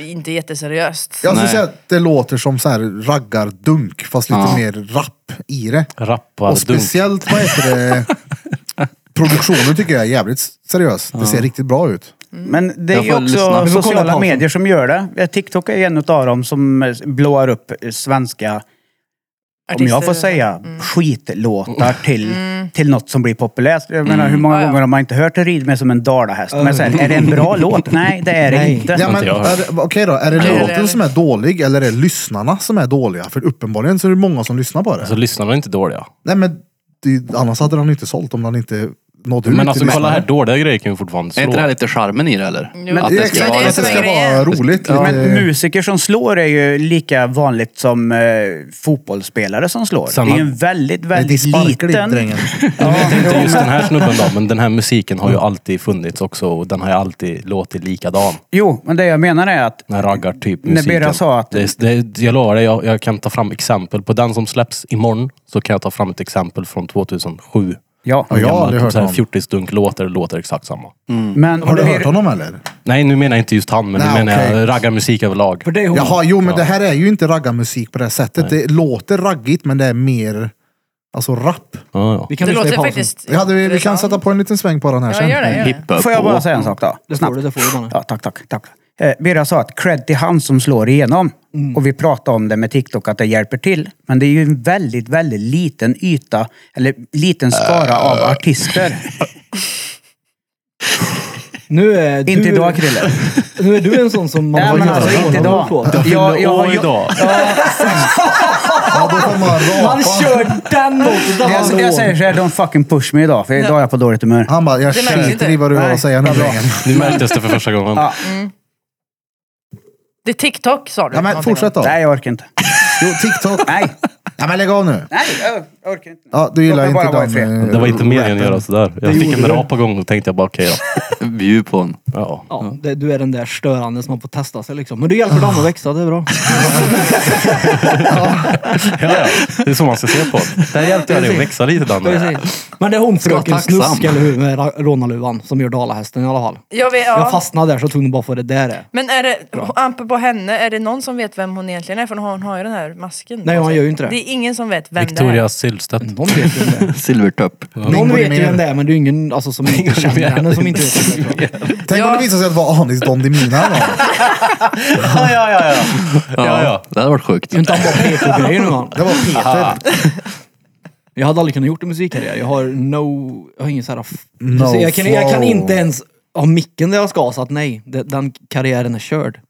inte jätteseriöst.
jag skulle
Nej.
säga att det låter som så här raggardunk fast lite
Ja.
mer rap i det.
Rappar
Och speciellt vad heter det? Produktionen tycker jag är jävligt seriös. Det ser riktigt bra ut.
Men det är
Jag
ju
får lyssna.
också
Vi
får kolla på
sociala
honom.
medier som gör det. TikTok är ju en av dem som eh, blåar upp eh, svenska Om jag får säga skitlåtar till, till något som blir populärt. Jag menar, hur många
Ja, ja.
gånger har man inte hört det rida mig som en dalahäst? Men sen, är det en bra låt? Nej, det är det
Nej.
inte.
Ja,
inte
men,
jag hört.
är det- Okej då, är det
Nej, det är
låten
det.
som är dålig eller är det lyssnarna som är dåliga? För uppenbarligen så är det många som lyssnar på det.
Alltså lyssnarna är inte dåliga.
Nej, men det, annars hade han inte sålt om han inte nådde ut
Men
till
alltså kolla
lyssnarna.
här, dåliga grejer kan ju fortfarande
är
slå.
inte det här lite charmen i det eller?
Men-
att
Ja,
det ska
exakt,
det
vara
är
att
som
det
lite...
ska
är
vara
grejen.
roligt.
Men
Lite,
musiker som slår är ju lika vanligt som eh, fotbollsspelare som slår.
Samma-
Det är ju en väldigt,
lite
väldigt
sparklig
liten...
drängen.
Jag vet inte just den här snubben då, men den här musiken har ju alltid funnits också och den har ju alltid låtit likadan.
Jo, men det jag menar är att
Den här
När
raggartypmusiken.
Bera sa att-
Det, det, jag lovar dig, jag, jag kan ta fram exempel. På den som släpps imorgon så kan jag ta fram ett exempel från 2007.
Ja,
Ja, jag har
typ
aldrig hört honom.
40-stunk låter, låter exakt samma.
men...
Mm. Har du hört honom eller?
Nej, nu menar jag inte just han, men
Nej,
nu menar
okej.
jag raggarmusik överlag.
För det är hon.
Jaha, jo men det här är ju inte raggarmusik på det här sättet. Det låter raggigt men det är mer alltså rap.
Ja, ja.
Vi kan
det
lyssna i
låter
pausen.
faktiskt
Vi, hade, vi kan sätta på en liten sväng på den här
Ja,
sen.
gör det. Gör det.
Hippa
Får jag
på.
bara säga en sak då?
Det får
Snabbt.
du, det får du Danne.
Ja, tack, tack. tack. Eh, Bera sa att cred till han som slår igenom. Och vi pratade om det med TikTok, att det hjälper till. Men det är ju en väldigt, väldigt liten yta, eller liten skara av artister.
Nu är du...
Inte idag Krille.
Nu är du en sån som man
Nej,
får
men
göra
alltså inte
hålla
idag.
på.
Jag, jag, har
År
ju-
idag.
Ja, då får man
Han
rapa.
kör den mot
jag, jag, säger så här, don't fucking push me idag, för idag är jag på dåligt humör.
Han bara, jag
Det märks
skiter
inte.
i vad du har
Nej,
att säga nu drängen.
Nu märktes det för första gången.
Ja.
Det är TikTok sa du.
Ja men
någonting om.
fortsätt då.
Nej, jag orkar inte.
Jo, TikTok.
Nej,
Ja men lägg av nu.
nej, jag jag orkar inte.
Ja, du gillar
Låt mig bara
inte
vara i
den.
fred.
eh,
Det var inte meningen att
rappen.
göra sådär. Jag fick en rap på gång och tänkte jag bara okej
Bjud på en.
då. Ja.
Ja, det, du är den där störande som man får testa sig liksom. Men du hjälper dem att växa, det är bra.
Ja, ja. Det är så man ska se på det. Där hjälpte jag dig att växa lite Danne.
Men det är hon fröken
tacksam.
Snusk, eller hur? Med ra- rånarluvan som gör dalahästen i alla fall.
Jag, vet,
Jag
ja.
fastnade där så tog hon bara för det där är.
Men är det, apropå henne, är det någon som vet vem hon egentligen är? För hon har, hon har ju den här masken.
Nej,
på
hon
sig.
gör ju inte det.
Det är ingen som vet vem det
Victoria
är.
Silvstedt.
Någon vet ju vem det är.
Silvertupp.
Någon
Bingo
vet ju
Rimér.
vem det är men det är ju ingen alltså, som inte känner henne som inte vet vem det är.
Tänk om
Ja.
det visar sig att det var Anis Don Demina eller något.
Ja, ja, ja. ja, ja.
Det hade varit sjukt.
Inte han bara PK-grejer nu man.
Det var Peter.
Jag hade aldrig kunnat gjort en musikkarriär. Jag har no... Jag har ingen så här... f-
No
Så jag, kan, jag kan
flow.
inte ens ha micken där jag ska så att nej, det- den karriären är körd.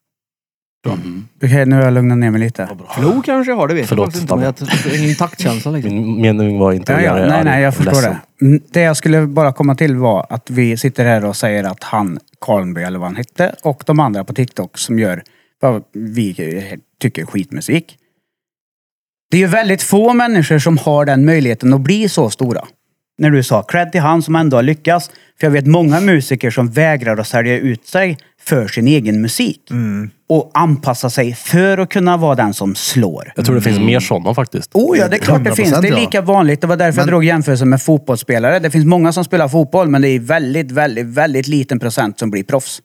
Okej, nu har jag lugnat ner mig lite.
Flow kanske jag har, det vet
Förlåt,
jag faktiskt inte. Men jag jag har ingen taktkänsla liksom.
Min mening var inte
Ja,
att
ja.
göra dig
Nej,
arg
nej, jag
och
förstår
ledsen.
det. Mm, Det jag skulle bara komma till var att vi sitter här och säger att han, Karlby eller vad han hette, och de andra på TikTok som gör
vad vi tycker är skitmusik. Det är ju väldigt få människor som har den möjligheten att bli så stora. När du sa cred till han som ändå har lyckats. För jag vet många musiker som vägrar att sälja ut sig för sin egen musik. Och anpassa sig för att kunna vara den som slår.
Jag tror det finns mer sådana faktiskt.
Oh ja, det är klart det
100%
finns. Det är
ja.
lika vanligt. Det var därför jag drog jämförelsen med fotbollsspelare. Det finns många som spelar fotboll, men det är väldigt, väldigt, väldigt liten procent som blir proffs.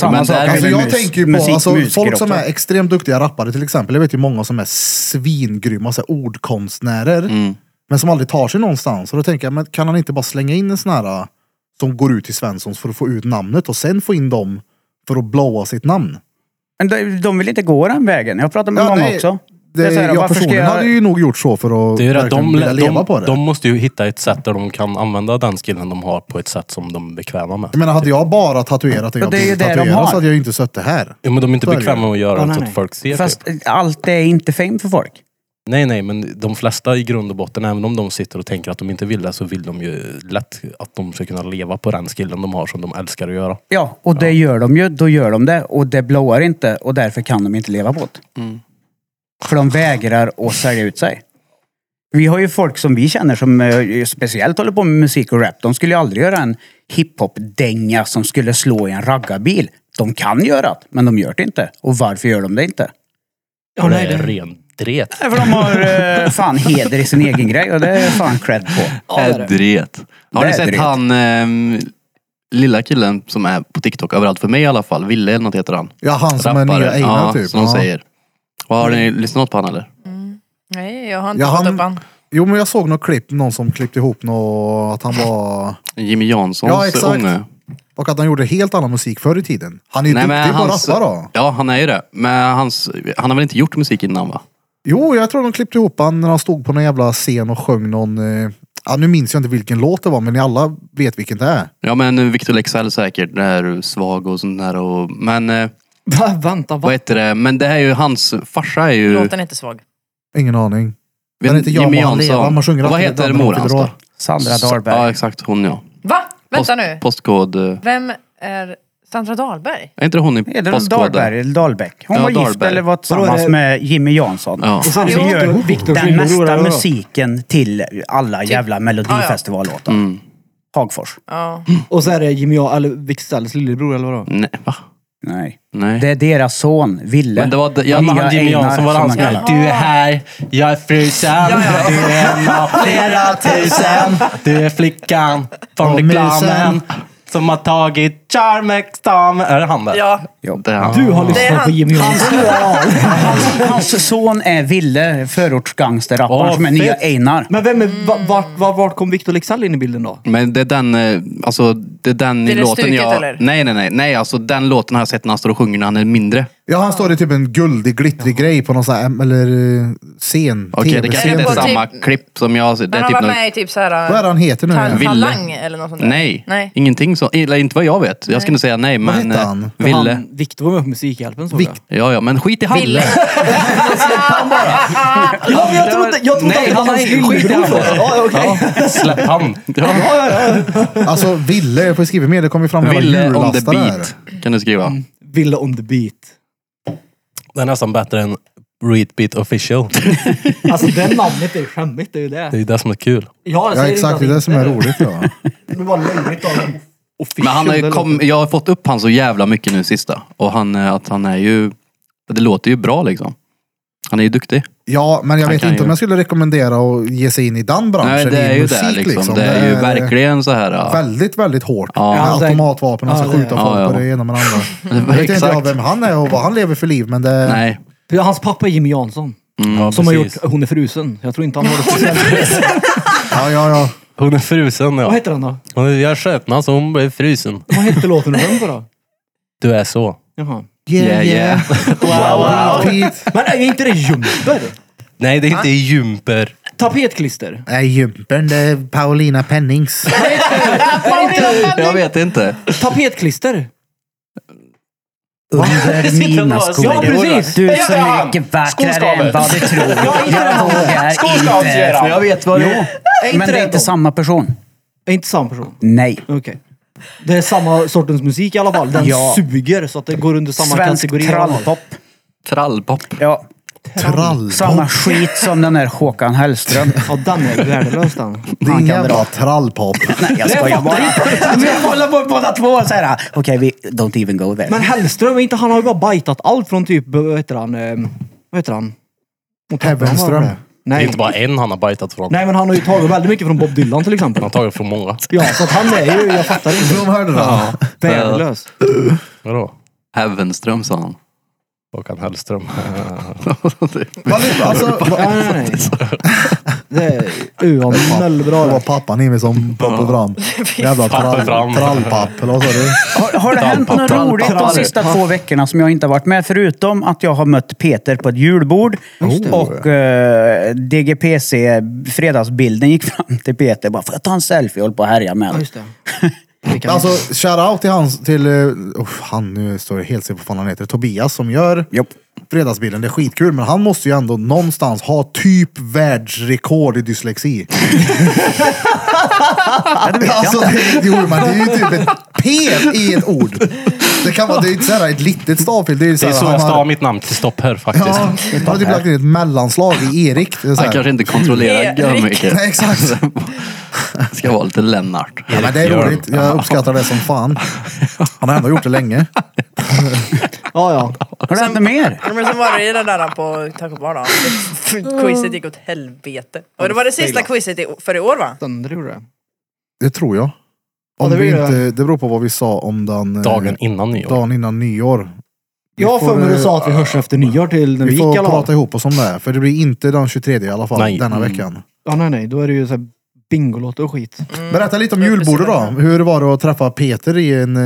Samma
men
sak
där-
med
Alltså jag
mus-
tänker ju på
musik-
alltså,
musiker
folk som
också.
är extremt duktiga rappare till exempel. Jag vet ju många som är svingrymma så här, ordkonstnärer.
Mm.
Men som aldrig tar sig någonstans. Och då tänker jag, men kan han inte bara slänga in en sån här äh, som går ut till Svenssons för att få ut namnet och sen få in dem för att blåa sitt namn?
Men de, de vill inte gå den vägen. Jag har pratat med
Ja,
många
nej,
också.
Det,
är så här,
jag
varför ska
personligen
jag-
hade ju nog gjort så för att
Det är ju det, att
verkligen
de,
vilja leva på
de,
det.
de måste ju hitta ett sätt där de kan använda den skillen de har på ett sätt som de är bekväma med.
jag menar, hade jag bara tatuerat det
Ja,
jag
det är ju
vill
det de
tatuera
har.
så hade jag ju inte suttit här.
Ja, men de är inte
Så är det
bekväma med att göra
Ja,
det så
nej,
att folk ser typ.
Fast allt är inte fame för folk.
Nej, nej, men de flesta i grund och botten, även om de sitter och tänker att de inte vill det, så vill de ju lätt att de ska kunna leva på den skillen de har som de älskar att göra.
Ja, och det gör de ju. Då gör de det. Och det blåar inte och därför kan de inte leva på det. För de vägrar att sälja ut sig. Vi har ju folk som vi känner som eh, speciellt håller på med musik och rap. De skulle ju aldrig göra en hiphop-dänga som skulle slå i en raggarbil. De kan göra det, men de gör det inte. Och varför gör de det inte?
Och det är ren dret.
Nej, För de har eh, fan heder i sin egen grej och det är fan cred på.
Ädret. Har
Det
ni
är
sett
dret.
han ehm, lilla killen som är på TikTok överallt, för mig i alla fall, Ville eller något heter han.
Ja, han som är nya Einar
ja,
typ.
som de
Ja.
säger. Och har ni lyssnat på han eller?
Nej, jag har inte
Ja,
fått
han-
upp han.
Jo men jag såg något klipp, någon som klippte ihop något, att han var...
Jimmy Janssons
Ja, exakt.
unge.
Och att han gjorde helt annan musik förr i tiden. Han är ju duktig på att rappa då.
Ja, han är ju det. Men hans, han har väl inte gjort musik innan va?
Jo, jag tror de klippte ihop han när han stod på någon jävla scen och sjöng någon... Eh, ja, nu minns jag inte vilken låt det var, men ni alla vet vilken det är.
Ja men Victor Leksell säkert, det här svag och sånt där. Och, men eh,
Va, vänta,
vad
va?
heter det? Men det här är ju hans farsa är ju...
Låten är inte svag.
Ingen aning.
vet-
Den heter Jag
Jimmy
må han leva.
Jansson.
Man sjunger
Vad
alltid
heter
den när de
mor hans
fyller år.
då?
Sandra
Ja
Dahlberg.
exakt, hon ja.
Va? Vänta nu.
Postkod... eh,
Vem är Sandra Dahlberg?
Är inte hon i
Är det
postkoden?
Dahlberg? Dahlbäck? Hon
Ja,
var gift
Dahlberg.
eller var
Vadå, är
tillsammans
det-
med Jimmy Jansson.
Ja.
Och sen
Som
Jo.
gör
Victor
den
Schyller,
mesta
då, då.
musiken till alla jävla melodifestivallåtar.
Mm.
Hagfors.
Ja.
Och så är det Jimmy A- eller Wiksells lillebror eller vadå?
Nej, va?
Nej.
Nej.
Det är deras son, Ville.
Men det var- ja,
Ja, men
Nya
han Jimmy
Einar,
Jansson var
som
hans
han kallar.
grej. Du är här, jag är frusen. Du är en av flera tusen. Du är flickan från
Och
reklamen.
musen.
Som har tagit charmexamen. Är det han där?
ja.
Det är han.
Du har
Det är
lyssnat
han.
på Jimmy A.
Hans, hans son är Ville, förortsgangsterrapparen
Åh,
som är nya
fett.
Einar.
Men vem är, va, vart, var, vart kom Victor Leksell in i bilden då?
Men det är den, eh, alltså, det är den
Det är det
låten
stuket,
jag...
eller?
Nej, nej, nej. Nej, alltså den låten har jag sett när han står och sjunger när han är mindre.
Ja, han står i typ en guldig, glittrig grej på någon sån här, em- eller eh, scen.
Okej, det kanske
TV-scen.
inte är
Är det på
samma
typ-
klipp som jag... Det
Men
är
han
typ
var
någon...
med i typ
Vad är det
såhär...
han heter nu?
Tal-
Ville.
Talang eller något sånt där.
Nej.
Nej.
ingenting så. Eller inte vad jag vet. Jag skulle säga nej,
Vad
men...
hette
eh,
han?
Ville.
Han, Victor var med på Musikhjälpen såg jag.
Vic-
Ja, ja, men skit i han.
Ville.
Ja, men jag trodde, jag trodde
Nej,
att det var
han
hans
är- skit i
lillebror.
han bara.
Ja, okej.
Släpp han.
Alltså, Ville. Jag får skriva med. Det kommer ju fram en jävla
Ville on the
jullastare här.
beat. Kan du skriva.
Mm.
Ville on the beat.
Det är nästan bättre än Readbeat official.
Alltså det namnet är skämmigt, det är ju
Det
det.
är ju det som är kul.
Ja,
Ja, exakt. Det är det som är roligt. Ja.
Det var löjligt av dem.
Men han har ju kom, jag har fått upp han så jävla mycket nu sista. Och han, eh, att han är ju... Det låter ju bra liksom. Han är ju duktig.
Ja, men jag
Han
vet
kan
inte om
ju-
jag skulle rekommendera att ge sig in i den branschen.
Nej, det är ju
musik,
det liksom. Det är ju verkligen så här... ja.
Väldigt, väldigt hårt.
Ja.
Med
Ja, det-
automatvapen och
ja,
ska
det-
skjuta folk
Ja, ja.
och det ena med det andra. Jag vet inte
Exakt.
jag vem han är och vad han lever för liv, men det...
Nej.
För hans pappa är Jimmy Jansson.
Ja,
Som har gjort
precis.
Hon är frusen. Jag tror inte han har det speciellt.
Ja, ja, ja.
Hon är frusen
Vad
ja.
heter den då?
Hon- Jag köpte henne så hon blev frusen.
Vad hette låten och den på då?
Du är så.
Jaha.
Yeah, yeah.
Wow, Pete.
Men är inte det jumper?
Nej, det är inte jumper.
Tapetklister?
Nej, jumpern, det är Paulina Pennings.
Jag vet inte.
Tapetklister?
Under mina skor.
Ja, precis.
Du är så mycket vackrare än vad du tror. Jag vågar inte.
Jag vet vad det är.
Men det är inte samma person.
Är inte samma person?
Nej.
Okej. Det är samma sortens musik i alla fall. Den
Ja.
suger så att det går under samma
Svensk
kategori. i alla fall.
trallpop.
Trallpop.
Ja.
Trall.
Samma skit som den där Håkan Hellström.
Ja, den är värdelös den.
Det är ingen jävla trallpop.
Nej, jag skojar bara. Men jag håller på båda två så här. Okej, vi don't even go there.
Men Hellström, är inte han har ju bara bajtat allt från typ, vad heter han, eh, vad heter han? Mot
Heavenström.
Det är
Nej.
inte bara en han har bajtat från. Han
Nej men han har ju tagit väldigt mycket från Bob Dylan till exempel.
har tagit från många.
Ja, så att han är ju, jag fattar inte.
De hörde det.
Värdelös.
Vadå?
Hävenström sa han.
Håkan Hellström.
Vad- Alltså, vad-
Nej, nej, nej. Det är uan bra
det var
det.
pappan i mig som poppade fram. Jävla trall,
Poppade fram.
trallpapp. Eller vad sa du?
Har, har det hänt något
Dalpa,
roligt de
dalpa.
sista två veckorna som jag inte har varit med? Förutom att jag har mött Peter på ett julbord och eh, DGPC fredagsbilden gick fram till Peter bara, får jag ta en selfie? Jag håller på att härja med
Ja,
den."
just det. Det kan-
Alltså, shout-out till hans, till, eh, oh, han nu står jag helt still på vad fan han heter, Tobias som gör
Japp.
Fredagsbilen, det är skitkul men han måste ju ändå någonstans ha typ världsrekord i dyslexi. alltså, det, jo, men det är ju typ ett P i ett ord. Det kan vara, det är inte så här ett litet stavfel. Det är,
Det är så
här,
jag
han
stavar
har-
mitt namn, Kristoffer faktiskt.
Ja, han har typ lagt in ett mellanslag i Erik. Det är så
Han
här.
kanske inte kontrollerar
Erik.
görmycket.
Nej, exakt.
Ska vara lite Lennart.
Ja, men det är
Gör
roligt. Jag uppskattar det som fan. Han har ändå gjort det länge.
Ja, ja.
Har det hänt något mer?
Ja, Men så var det ju den där på Taco Bar då. Quizet gick åt helvete. Och det var det sista quizet i- för i år va?
Sönder gjorde det.
Det tror jag.
Ja,
Om
det
det, vi
blir det.
inte, det beror på vad vi sa om den eh,
Dagen innan nyår.
dagen innan nyår. Vi
Jag har för
får,
mig du
eh,
sa att vi hörs efter nyår till när vi
Vi
gick
får
i alla
prata
fall.
ihop oss om det. här, För det blir inte den 23 i alla fall
Nej.
denna
Mm.
veckan.
Ja, nej, nej. Då är det ju så här Bingolotto och skit.
Berätta lite om
Jag är
julbordet då.
precis
Hur var det att träffa Peter i en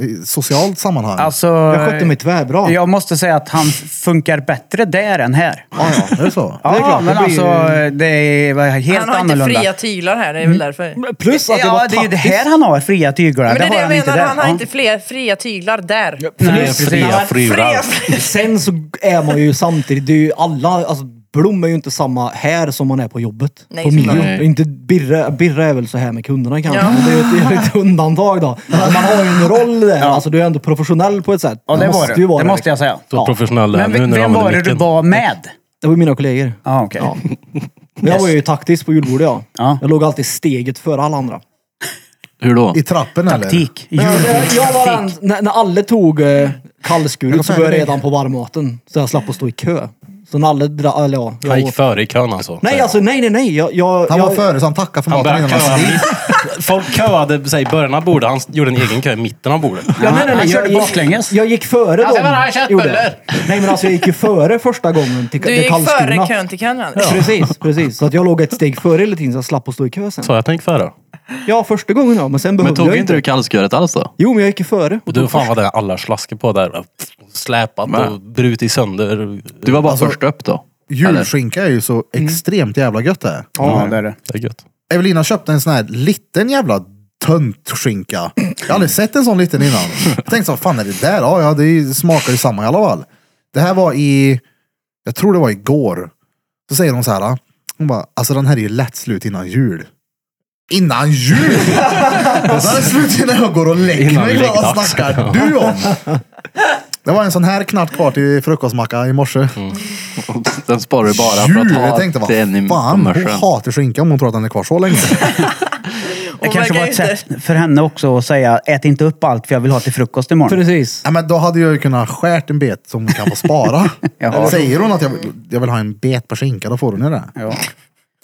eh, i socialt sammanhang?
Alltså,
Jag skötte mig tvärbra.
jag måste säga att han funkar bättre där än här.
ah, ja. Är det så?
Ja,
är klart,
men
det blir
alltså
ju-
det är var helt
Han har
annorlunda.
inte fria tyglar här, det
Mm.
är väl därför. Men
Plus att det
ja,
var
det är ju det
taktiskt.
här han har, fria tyglar.
det är det
har
jag
han inte
menar,
där.
han har
Ja.
inte fler fria tyglar där.
Nej,
precis.
fria fruar.
Fria-
Sen så är man ju samtidigt, det är ju alla, alltså Blom är ju inte samma här som man är på jobbet.
Nej,
på
såklart.
Mio. Inte Birre, Birre är väl så här med kunderna kanske,
Ja.
men det är ju ett, det är ett undantag då. Men man har ju en roll där, alltså du är ändå professionell på ett sätt.
Ja, det var
måste
det.
ju vara
Det måste jag säga.
Så professionell är
Men
nu
vem
när de
vem var
använder
det du
micken.
var med?
liksom. Det var ju mina kollegor.
Ah, okay.
Ja. Men jag var ju taktisk på julbordet ja.
Ja.
Jag låg alltid steget före alla andra.
Hur då?
I trappen eller?
Taktik.
Jag, jag var den, när, när alla tog eh, kallskuret så var jag redan på varmmaten. Så jag slapp att stå i kö. Så när alla, dra, eller ja, jag
Han
åt-
gick före i kön alltså.
Nej, alltså nej, nej, nej. Jag, jag,
Han var
jag,
före så han tackade för
Han
maten
började
innan han
köa.
kom dit.
mitt- Folk köade sig i början av bordet. Han gjorde en egen kö i mitten av bordet.
Ja, nej, nej, nej,
Han
jag
körde
gick-
baklänges.
Jag gick före dem.
ska bara ha köttbullar.
gjorde jag. Nej, men alltså jag gick ju före första gången till,
Du
till
gick
kallskorna.
före kön till kön Anders.
Precis, precis. Så att jag låg ett steg före hela tiden så jag slapp att stå i kö sen.
Så jag tänk före.
Ja, första gången ja, men sen
Men
behövde
tog
jag
inte
inte.
du kallsköret alls då?
Jo, men jag gick ju före.
Och du fan vad det är alla slaskar på där. Släpat och brutit sönder.
Du var bara
Alltså-
först upp då?
Julskinka är ju så extremt jävla gött det. här.
Ja, det är det.
Det är gött.
Evelina köpte en sån här liten jävla töntskinka. Jag har aldrig sett en sån liten innan. Jag tänkte så, vad fan är det där? Ja, ja, det är ju- smakar ju samma i alla fall. Det här var i, jag tror det var igår. Så säger hon så här, hon bara, alltså den här är ju lätt slut innan jul. Innan jul! Den här är slut innan jag går och lägger
Innan
mig.
läggdags.
Vad snackar du om? Det var en sån här knatt kvar till frukostmacka i morse.
Den sparar du Mm. bara för
Jul!
att ha
Jag tänkte, vad
till en i
fan, hon
kommersen.
hatar skinka om hon tror att den är kvar så länge.
Det
Hon
kanske
verkar
var
ju
ett
inte-
sätt för henne också att säga ät inte upp allt för jag vill ha till frukost imorgon.
Precis.
Ja, men då hade jag ju kunnat skärt en bet som kan få spara.
Ja.
Säger hon att jag, jag vill ha en bet på skinka, då får hon ju det.
Ja.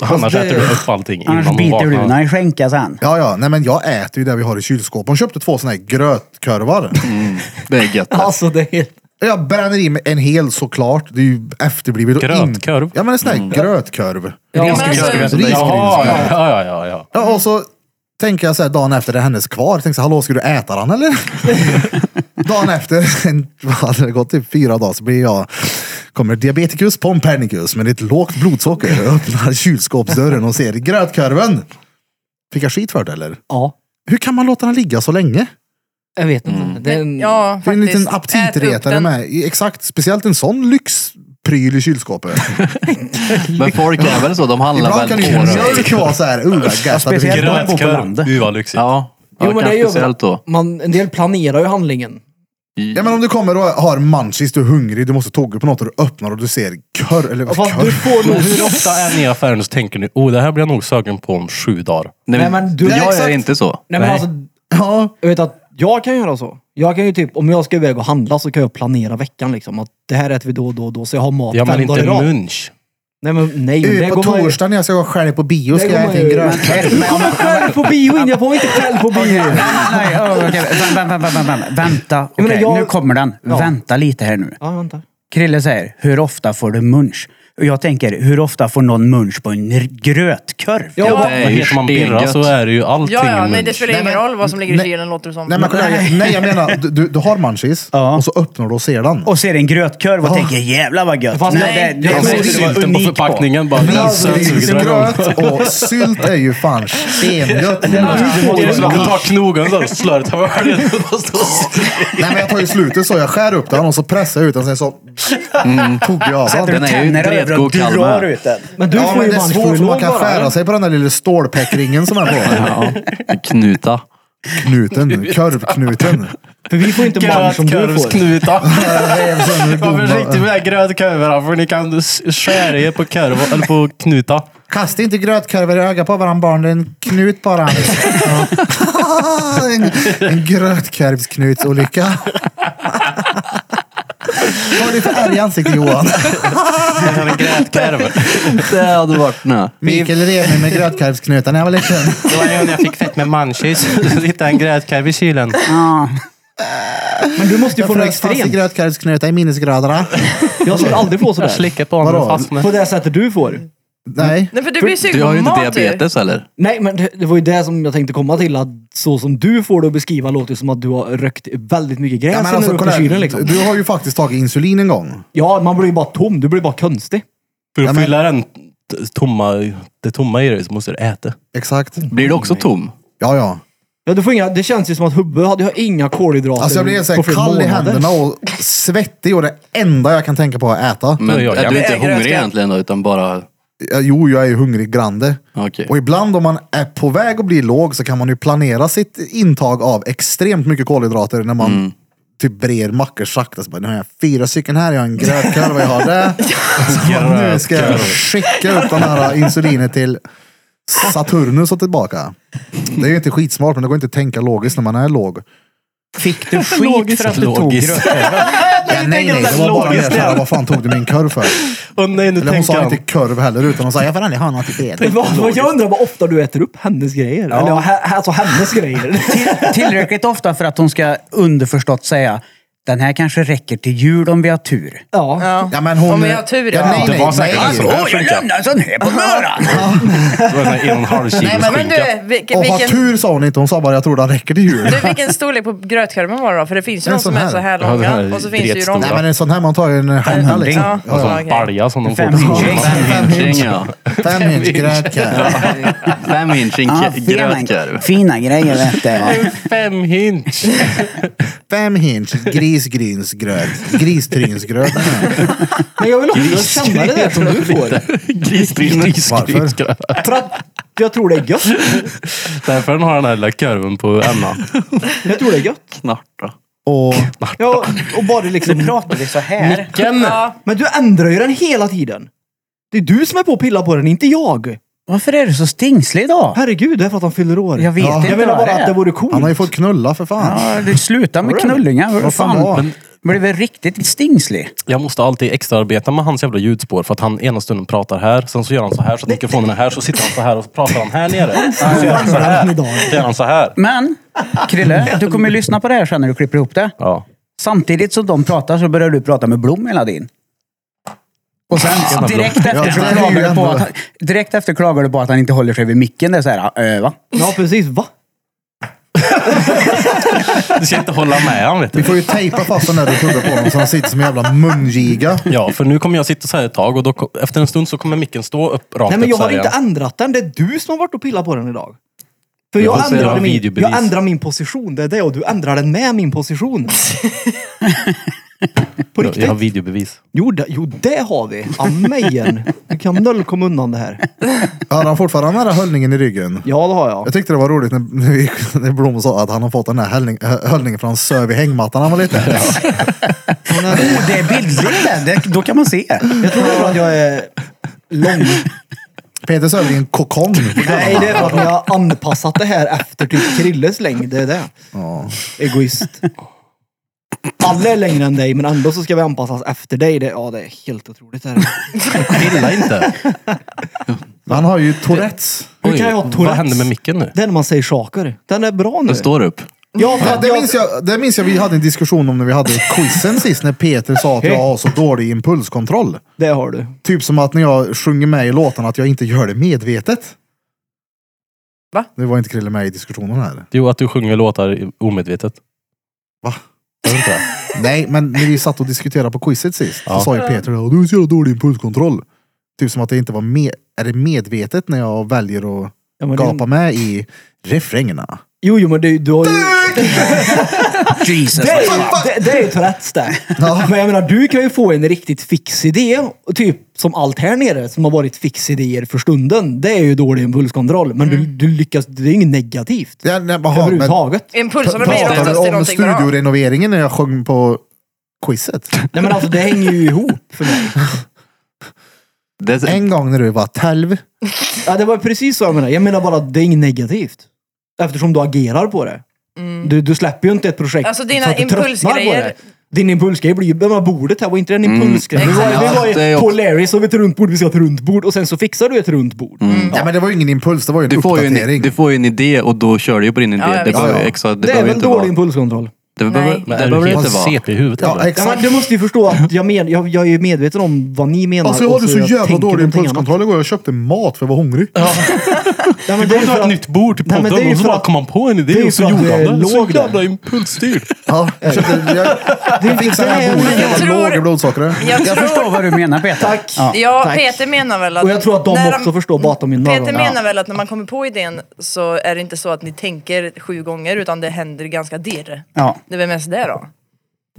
Annars
det-
äter du upp allting innan
Annars
hon
biter du
vaknar.
när i skänka sen.
Ja, ja, nej men jag äter ju det vi har i kylskåpet. Hon köpte två såna här grötkorvar.
Mm.
Det är gött.
Alltså det är helt...
Jag bränner i mig en hel såklart. Det är ju efterblivet. och in-
Grötkorv?
Ja, men en sån här
Mm.
grötkorv.
Ja,
men alltså-
Jaha,
Risgrynsgröt.
ja, ja, ja, ja.
Ja, och så tänker jag så här dagen efter, det är hennes kvar. Jag tänker så här, hallå, ska du äta den eller? dagen efter, en, vad hade det gått typ fyra dagar, så blir jag, kommer diabeticus pompernicus med ett lågt blodsocker. Jag öppnar kylskåpsdörren och ser grötkorven. Fick jag skit för det eller?
Ja,
Hur kan man låta den ligga så länge?
jag vet inte. Det är en...
Mm. Ja, faktiskt.
Det är en liten
Ät upp
aptitretare
den.
med. Exakt, speciellt en sån lyxpryl i kylskåpet.
Men folk är väl så, de handlar
Ibland kan
väl
ju
på det.
mjölk vara så här, uh, gött. att det
speciellt-
finns-
de bor på
Grötkorv.
landet.
Gud vad lyxigt.
Ja, ja
Jo, men det
kanske
är ju
speciellt då.
man, en del planerar ju handlingen.
Ja men om du kommer och har munchies, du är hungrig, du måste tugga på något och du öppnar och du ser kör, eller
Fast du
kör.
får
Men
nog...
hur ofta är ni i affären så tänker ni, oh det här blir jag nog sugen på om sju dagar.
Nej,
Nej, men
men
du-
jag
Nej,
är
exakt.
inte så.
Nej men
Nej.
alltså,
Ja,
jag vet att jag kan göra så. Jag kan ju typ, om jag ska iväg och handla så kan jag planera veckan liksom. Att det här äter vi då och då och då, så jag har mat
Ja men
fem dagar i
inte
rad.
munch.
Nej men nej,
ut
det
på
går man ju...
torsdag när jag ska gå själv på bio ska
Det
jag
går
äta
man
en
ju-
grönkärr.
Du kommer själv på bio in, jag får inte själv på bio.
Nej, oh, okej. Vänta, vänta, vänta, vänta. Vänta,
Jag menar,
okej,
jag-
nu kommer den.
Ja.
Vänta lite här nu.
Ja, vänta.
Krille säger, hur ofta får du munch? Och jag tänker, hur ofta får någon munch på en r- grötkorv?
Ja,
Ja.
va-
Nej,
Men heter man birra
stengött.
så är det ju allting
Ja, ja, nej det
munch.
spelar ingen
Nej, men-
roll vad som ligger i
nej.
kylen låter det som.
Nej men kolla, här. nej jag menar, du, du, du har munchies
Ja.
och så öppnar du och ser den.
Och ser en grötkorv och
Ja.
tänker, jävlar vad gött.
Fast
Nej, det, det,
Jag
det,
såg sylten på förpackningen bara.
Men alltså,
"Lisa, suger du igång?"
gröt och sylt är ju fan stengött.
Det är som att du tar knogen och slår ett hörn.
Nej men jag tar ju slutet så, jag skär upp den och så pressar jag ut den sen så tuggar jag av den.
Sätter du
Den är ju
tänderna över och
vredgod kall
drar
med.
ut den.
Men du
Ja
får
men
ju
det är
manch
svårt för man
lov
kan
bara, eller?
skära sig på den där lilla stålpäckringen som är på.
Ja, knuta.
Knuten, korvknuten.
För vi får inte manch som du får.
Grötkorvsknuta.
Rev sönder
Var
gumman.
försiktig med grötkorvarna för ni kan s- skära er på, korv, eller på knuta.
Kasta inte grötkorvar i ögat på varandra barn, det är en knut bara. Ja. en en grötkorvsknutsolycka. Vad är du för ärr i ansiktet Johan?
Jag tar en grötkorv.
Det hade varit nö.
Mikael rev mig med grötkorvsknutar när jag var liten.
Det var en gång jag fick fett med munchies. Så hittade jag en grötkorv i kylen.
Ja.
Men du måste ju
Jag
få något
frös fast i
extremt.
grötkorvsknutar i minnesgraderna.
Jag skulle aldrig få
Jag
sådär.
slickade på honom och
Vadå?
fastnade.
På det sättet du får.
Nej.
Nej för du blir ju sugen
Du har
på
ju inte
mat ju.
diabetes eller?
Nej men det, det var ju det som jag tänkte komma till. Att så som du får det att beskriva låter det som att du har rökt väldigt mycket gräs
Ja, men
innan
alltså,
du
kolla
öppnar
här.
kylen liksom.
Du har ju faktiskt tagit insulin en gång.
Ja, man blir ju bara tom. Du blir bara konstig.
För
Ja,
att
men-
fylla den t- tomma, det tomma i dig så måste du äta.
Exakt.
Blir du också tom?
Ja, ja.
Ja, du får inga, det känns ju som att hubbe hade jag inga kolhydrater
Alltså jag blir så här
på flera
kall i
månader.
händerna och svettig och det enda jag kan tänka på är att äta.
Men
Ja, ja,
är
ja.
du inte
Jag älskar-
hungrig egentligen då, utan bara...
Ja, Jo, jag är ju hungrig grande.
Okej.
Och ibland om man är på väg att bli låg så kan man ju planera sitt intag av extremt mycket kolhydrater när man typ brer mackor sakta. Så bara, nu har jag fyra stycken här, jag har en grötkorv och jag har det. Så bara, nu ska jag skicka ut den här insulinet till Saturnus och tillbaka. Det är ju inte skitsmart, men det går inte att tänka logiskt när man är låg.
Fick du skit för att du tog
Logiskt.
grötkorv?
Ja, nej, nej, det var bara mer
Logiskt,
såhär,
ja.
vad fan tog du min korv för?
Åh nej,
Eller
nu
hon
tänker
sa
jag.
inte korv heller, utan hon sa, jag får aldrig ha något i det.
Vad- vad- Jag undrar vad ofta du äter upp hennes grejer. Eller ja, he- alltså hennes grejer.
Till, tillräckligt ofta för att hon ska underförstått säga den här kanske räcker till jul om vi har tur.
Ja.
Ja.
Ja, men hon...
Om jag har tur,
ja.
ja.
Nej,
Det
nej,
var säkert
nej.
så.
Åh, jag lämnar en sån här på morgonen!
Det var en sån här en och en halv kilos
Nej, men, men
skinka.
du, vilken,
Och ha
vilken,
tur sa hon inte, hon sa bara jag tror den räcker till jul.
du, vilken storlek på grötkorven var det då? För det finns ju
En
de som
sån
är så här
här. Ja, den här
långa och så finns det ju de...
dretstora.
Nej men en sån här, man tar ju en halva
hundring.
liksom.
Ja,
En
ja,
sån
okej.
balja som de får
Fem
på
inch.
skolan.
Fem
Inching
hinch.
ja.
Fem hinch grötkorv.
Fem inch
Ja,
inke-
fina,
grötkorv.
fina grejer vet du.
Fem hint.
Fem hinch grisgrynsgröt. Gristrynsgröt.
Men jag vill också känna det där som du får.
Grisgrynsgröt.
Varför?
För att jag tror det är gött.
Därför den har den här lilla kurven på Emma.
Jag tror det är gött.
Knarta.
Och
Ja, och bara liksom...
Pratar vi så här?
Ken!
Men du ändrar ju den hela tiden. Det är du som är på och pillar på den, inte jag.
Varför är du så stingslig idag?
Herregud, det är för att han fyller år.
Jag vet
Ja.
inte
Jag menar
vad
bara att det
är.
vore coolt.
han har ju fått knulla för fan.
Ja, du slutar med knullingar. Vad
fan var?
fan? Blev väl riktigt stingslig?
Jag måste alltid extraarbeta med hans jävla ljudspår för att han ena stunden pratar här, sen så gör han så här så att mikrofonen är här, så sitter han så här och så pratar han här nere. Så gör han så här. Så gör han så här.
Men, Krille, du kommer lyssna på det här sen när du klipper ihop det.
Ja.
Samtidigt som de pratar så börjar du prata med Blom hela tiden. Och sen
Blom.
direkt efter, så
det är ju
klagar du på
ändå-
att han, direkt efter klagar du på att han inte håller sig vid micken. Det är så här, äh, va?
Ja, precis. Va?
Du ska inte hålla med han vet
Vi
du.
får ju tejpa fast den där du tuggar på honom så han sitter som en jävla mungiga.
Ja, för nu kommer jag sitta så här ett tag och då, ko- efter en stund så kommer micken stå upp rakt
Nej, men
upp
jag
så
har
här
inte
igen.
ändrat den. Det är du som har varit och pillat på den idag. För
Vi
jag,
får se, det
ändrar
var
min,
videobevis.
jag ändrar min position, det är det. Och du ändrar den med min position. På
Jag, jag har
riktigt?
videobevis.
Jo, det, jo, det har vi. Amen. Du kan noll komma undan det här.
Hade han fortfarande den här höllningen i ryggen?
Ja, det har jag.
Jag tyckte det var roligt när, när, vi, när Blom sa att han har fått den här höllning, hö- höllningen från söv i hängmattan han var liten.
Oh, det är bildligt där. det, då kan man se.
Jag tror det är för att jag är lång.
Peter söv i en kokong.
Nej, det är för att ni har anpassat det här efter typ Krilles längd. Det är det.
Ja.
Egoist. Alla är längre än dig, men ändå så ska vi anpassas efter dig. Det, ja, det är helt otroligt. Det här.
Pilla inte.
Men Han har ju Tourettes.
Hur
Oj,
kan jag ha
vad
Tourettes?
hände med micken nu?
Det är när man säger saker. Den är bra nu.
Den står upp.
Ja, för
Ja,
att
det,
jag,
minns jag, det minns jag vi hade en diskussion om när vi hade quizen sist när Peter sa att jag har så dålig impulskontroll.
det har du.
Typ som att när jag sjunger med i låtarna att jag inte gör det medvetet.
Va?
Det var inte Krille med i diskussionen här.
Jo, att du sjunger låtar i- omedvetet.
Va?
Jag vet inte.
Nej, men när vi satt och diskuterade på quizet sist så sa ju Peter att du har så jävla dålig impulskontroll. Typ som att det inte var med, är det medvetet när jag väljer att
Ja, men det-
gapa med i refrängerna.
Jo, jo, men du, du har ju...
Jesus.
Det är ju, det, det är ju Tourettes det. Men jag menar, du kan ju få en riktigt fix idé. och Typ som allt här nere som har varit fix idéer för stunden. Det är ju dålig impulskontroll. Men du, du lyckas, det är ju inget negativt.
Mm. Ja, nej, men, aha, men,
Överhuvudtaget.
Impulserna blir
pratar
oftast till
vi om
någonting bra.
studiorenoveringen när jag sjöng på quizet?
Nej men alltså det hänger ju ihop för mig.
Det är,
En gång när du var 12.
Ja, det var precis så jag menar. Jag menar bara att det är inget negativt. Eftersom du agerar på det. Du, du släpper ju inte ett projekt
Mm. Alltså, dina
för att du tröttnar på
impulsgrejer-
det. Din impulsgrej blir ju, men vad bordet här var inte det en impulsgrej? vi var, vi
Mm, exakt.
var
Ja, det är
ju
också-
på Larrys och vi ett runt bord, vi ska ha ett runt bord och sen så fixar du ett runt bord.
Mm.
Mm.
Ja, men det var ju ingen impuls, det var ju en
du, får ju en,
uppdatering.
du får ju en idé och då kör du ju på din idé.
Ja, ja,
det
visst.
behöver,
Ja, ja.
exakt, det
Det är
behöver
väl
inte
dålig
vara.
impulskontroll?
Det behöver, det
Men är du
behöver det inte
helt
vara.
CP i huvudet?
ja,
eller?
Ja,
exakt.
men du måste ju förstå att jag, men, jag, jag är ju medveten om vad ni menar.
Alltså jag hade
och
så jävla
tänker
dålig
någonting annat.
impulskontroll igår. Jag köpte mat för jag var hungrig.
Ja, men
Vi
det är
borde
ju
ha
för
ett
att-
nytt bord till
Nej, men det är
podden
ju
och så
för
bara
att-
kom man på en
det är
idé
ju
och så
för att
gjorde
det
han det. Så
låg där.
jävla impulsstyrt.
Ja, jag köpte... Jag, jag fixade
det är-
en bok,
jag
jag var
tror-
låg i blodsockret.
Jag
Jag förstår
tror...
vad du menar Peter.
Tack.
Ja.
Ja,
Tack.
Peter menar väl att...
Och jag tror att de
när
också förstår bakom min öron.
Peter menar väl att när man kommer på idén så är det inte så att ni tänker sju gånger utan det händer ganska dirr.
Ja.
Det är väl mest det då.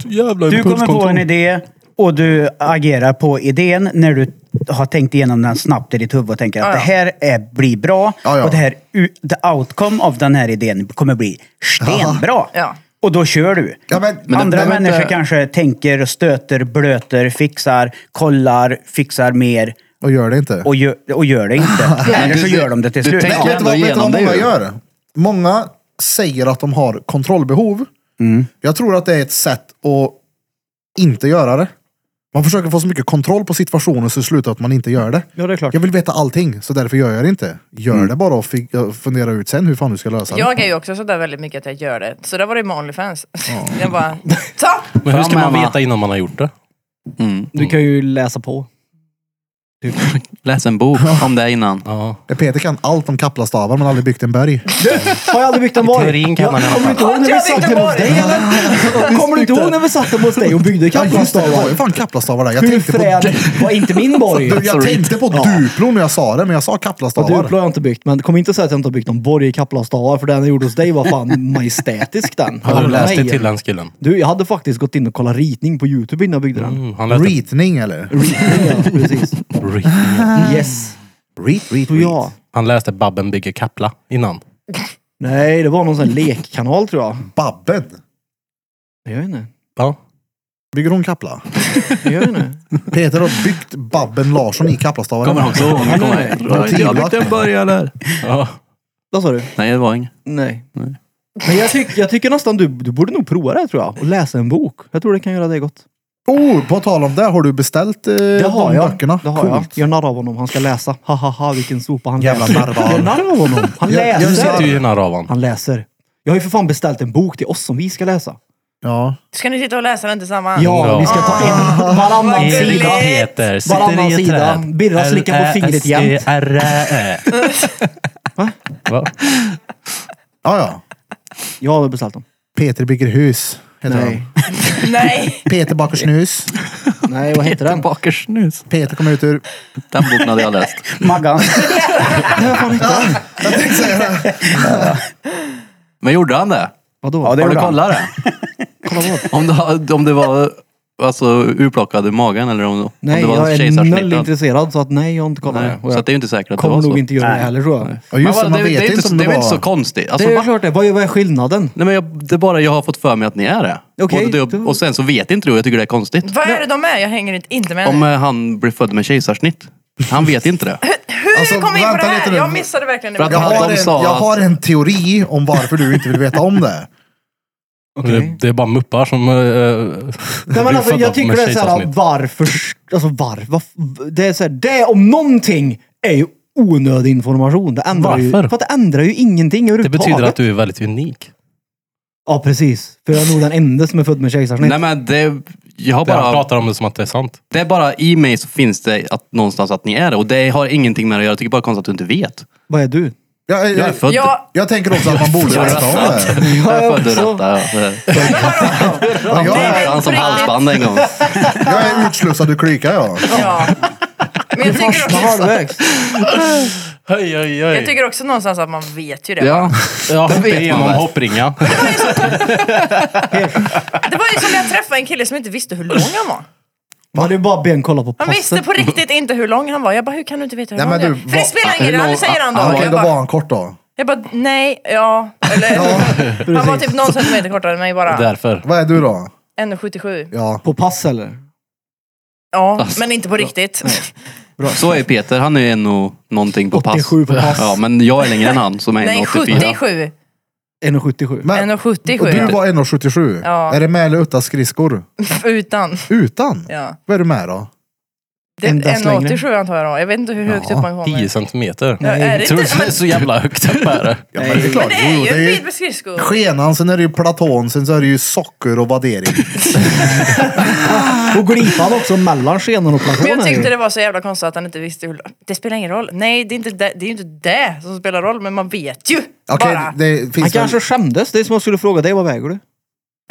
Jävla
Du kommer på en
impulskontroll.
idé och du agerar på idén när du har tänkt igenom den snabbt i ditt huvud och tänker att
Ja, ja.
det här är, blir bra
Ja, ja.
och det här, u- the outcome av den här idén kommer bli stenbra.
Ja.
Och då kör du.
Ja, men- men det
Andra
behöver
människor
inte-
kanske tänker, stöter, blöter, fixar, kollar, fixar mer
Och gör det inte.
och gör, och gör det inte. Eller så gör de det till
du
slut.
tänker
Nej, vet du vad,
ändå
vet du vad
igenom det
många
ju.
gör? Många säger att de har kontrollbehov. Jag tror att det är ett sätt att inte göra det. Man försöker få så mycket kontroll på situationen så det slutar att man inte gör det.
Ja, det är klart.
Jag vill veta allting, så därför gör jag det inte. Gör det bara och fi- fundera ut sen hur fan du ska lösa det.
Jag är ju också sådär väldigt mycket att jag gör det. Så där var det ju med Onlyfans. Jag bara, ta!
Men hur ska
Ja,
man
mamma.
veta innan man har gjort det?
Mm.
Du kan ju läsa på.
Läs en bok om det innan.
Ja.
Peter kan allt om kaplastavar men aldrig byggt en berg.
Har jag aldrig byggt en borg?
teorin kan man i alla
Kommer du inte ihåg när vi
Jag byggde
satt hemma hos dig eller? Kommer du inte ihåg när vi satt hemma hos dig och byggde
Ja just det, det var
kaplastavar?
ju fan kaplastavar där. Jag
Hur
tänkte på,
frän
du,
var inte min borg?
jag tänkte på Duplo när jag sa det, men jag sa
Och
kaplastavar.
Duplo har jag inte byggt, men kom inte och säg att jag inte har byggt någon borg i kaplastavar, för den jag gjorde hos dig var fan majestätisk den.
Har du läst det
Nej.
till den killen?
Du, jag hade faktiskt gått in och kollat ritning på YouTube innan jag byggde den.
Mm, han lät det.
Reatning eller?
Ritning, ja, precis. Yes.
Reat, reat,
Så ja.
reat.
Han läste Babben bygger Kapla innan.
Nej, det var någon sån här lekkanal tror jag.
Babben.
Jag vet inte.
Ja.
Bygger hon kapla?
Jag vet inte.
Peter har byggt Babben Larsson i kaplastavar.
Kommer också ihåg.
nej,
Kommer
nej.
ihåg. Jag fick den börja där.
ja.
Vad sa du?
Nej, det var inget.
Nej.
Nej.
Men jag, tyck, jag tycker nästan du, du borde nog prova det tror jag. Och läsa en bok. Jag tror det kan göra dig gott.
Oh, på tal om det, har du beställt eh,
Det har
de
jag.
böckerna?
Det har jag. Jag narrar av honom. Han ska läsa. Ha ha ha vilken sopa han
Jävla
läser.
narrval.
Jag narrar av honom. Han
Jag- jag
Du
läser.
sitter ju i den här ravan.
Han läser. Jag har ju för fan beställt en bok till oss som vi ska läsa.
Ja.
Ska ni sitta och läsa den tillsammans?
Ja,
Ja.
vi ska ta in
Vad
varannan
gulligt.
sida.
Peter
Varannan sida. Birra slickar på fingret jämt.
E-
R-Ä-S-E-R-Ä. Va?
ja, ja.
Jag har beställt dem.
Peter bygger hus. Heter
Nej.
han.
Nej!
Peter bakar snus.
Nej, vad heter den?
Baker snus.
Peter kommer ut ur...
Den boken hade jag läst.
Maggan.
Jag tänkte säga det.
Men gjorde han det?
Vadå?
Ja, det
Har du
gjorde han.
kollat det?
Kolla vad.
Om det, om det var alltså, urplockad ur magen eller om, om
Nej,
det var
jag är
kejsarsnitt.
noll intresserad så att nej, jag har inte kollat.
Nej,
Och
så
jag
att det är ju inte säkert att det
kommer
var så.
nog inte göra det
Nej.
heller tror jag.
Ja, just det,
Men vad-
man vet
det, är
inte
så-
om
det
det
är väl
var...
inte så konstigt. Alltså,
det är
va?
klart det. Vad är vad är skillnaden?
Nej, men jag, det är bara jag har fått för mig att ni är det.
Okej,
Både det
det-
och, och sen så vet inte du och jag tycker det är konstigt.
Vad är det de är? Jag hänger inte- inte med.
Om eh, han blir född med kejsarsnitt. Han vet inte det.
Hur
Alltså,
kom vi in på
vänta
det
lite
här?
nu.
Jag missade verkligen det.
För att
Men
Jag
han-
har,
de
en,
sa
jag
att-
har en teori om varför du inte vill veta om det.
Det, det är bara muppar som... eh, blir
Nej, men alltså,
födda
jag tycker
med
det är såhär,
kejsarsnitt.
varför? Alltså var, varf- det är såhär, det om någonting är ju onödig information. Det ändrar ju,
Varför?
för att det ändrar ju ingenting
Det
överhuvudtaget.
betyder att du är väldigt unik.
Ja, precis. För jag är nog den enda som är född med kejsarsnitt.
Nej men det... Jag har
Det Han
bara,
pratar om det som att det är sant.
det är bara i mig så finns det att, någonstans att ni är det. Och det har ingenting med det att göra. Jag tycker bara det är konstigt att du inte vet.
Vad är du?
Jag,
Jag är
jag,
född.
Jag-
jag tänker också att man borde veta om det.
Jag är
jag
född ur
också.
detta. ja.
vadå?
Ja, jag,
Det
är,
är väl
Han som
på riktigt?
halsband en gång.
jag är utslussad ur klyka jag.
Ja. Men jag tycker,
Första
också,
halvvägs.
Hej, hej, hej.
jag tycker också någonstans att man vet ju det.
Ja.
Ja,
Det
hopp
vet man
igenom
väl.
hoppringa.
Det var ju som när jag träffade en kille som inte visste hur lång han var.
Man hade ju bara ben kolla på
Han visste
passet.
på riktigt inte hur lång han var. Jag bara, hur kan du inte veta hur
Nej,
lång
men
han är?
du,
För det
vad-
spelar ingen
hur
roll,
lång-
nu säger han då.
Ja,
Okej,
jag,
då var
bara,
han kort då.
jag bara, nej, ja, eller Han var typ någon centimeter kortare än mig bara.
Därför.
Vad är du då?
1,77.
Ja.
På pass eller?
Ja, men inte på riktigt.
Så är Peter. Han är en och någonting på pass.
87 på pass.
Ja, men jag är längre än han som är en
Nej,
84.
77.
1,77.
Men, och du
1,77.
var 1,77.
Ja.
Är det med eller utan skridskor?
Utan.
Utan?
Ja.
Vad är du med då?
Det är
En dags längre.
1,87 antar jag då. Jag vet inte hur högt upp man
10
kommer.
centimeter.
Ja, är det
Tror du
inte-
det är så jävla högt upp är det?
Ja, men det är klart.
Det är
Jo,
ju
det
en
är
bit
ju
med skridskor.
skenan, sen är det ju platon, sen så är det ju socker och vaddering.
Och glipan också mellan skenan och
Men jag
plakonen.
tyckte
ju.
det var så jävla konstigt att han inte visste hur... Det spelar ingen roll. Nej, det är inte det, det, är ju inte det som spelar roll, men man vet ju
Okej,
bara.
det
Han
finns väl...
kanske skämdes. Det är som jag skulle fråga dig, vad väger du?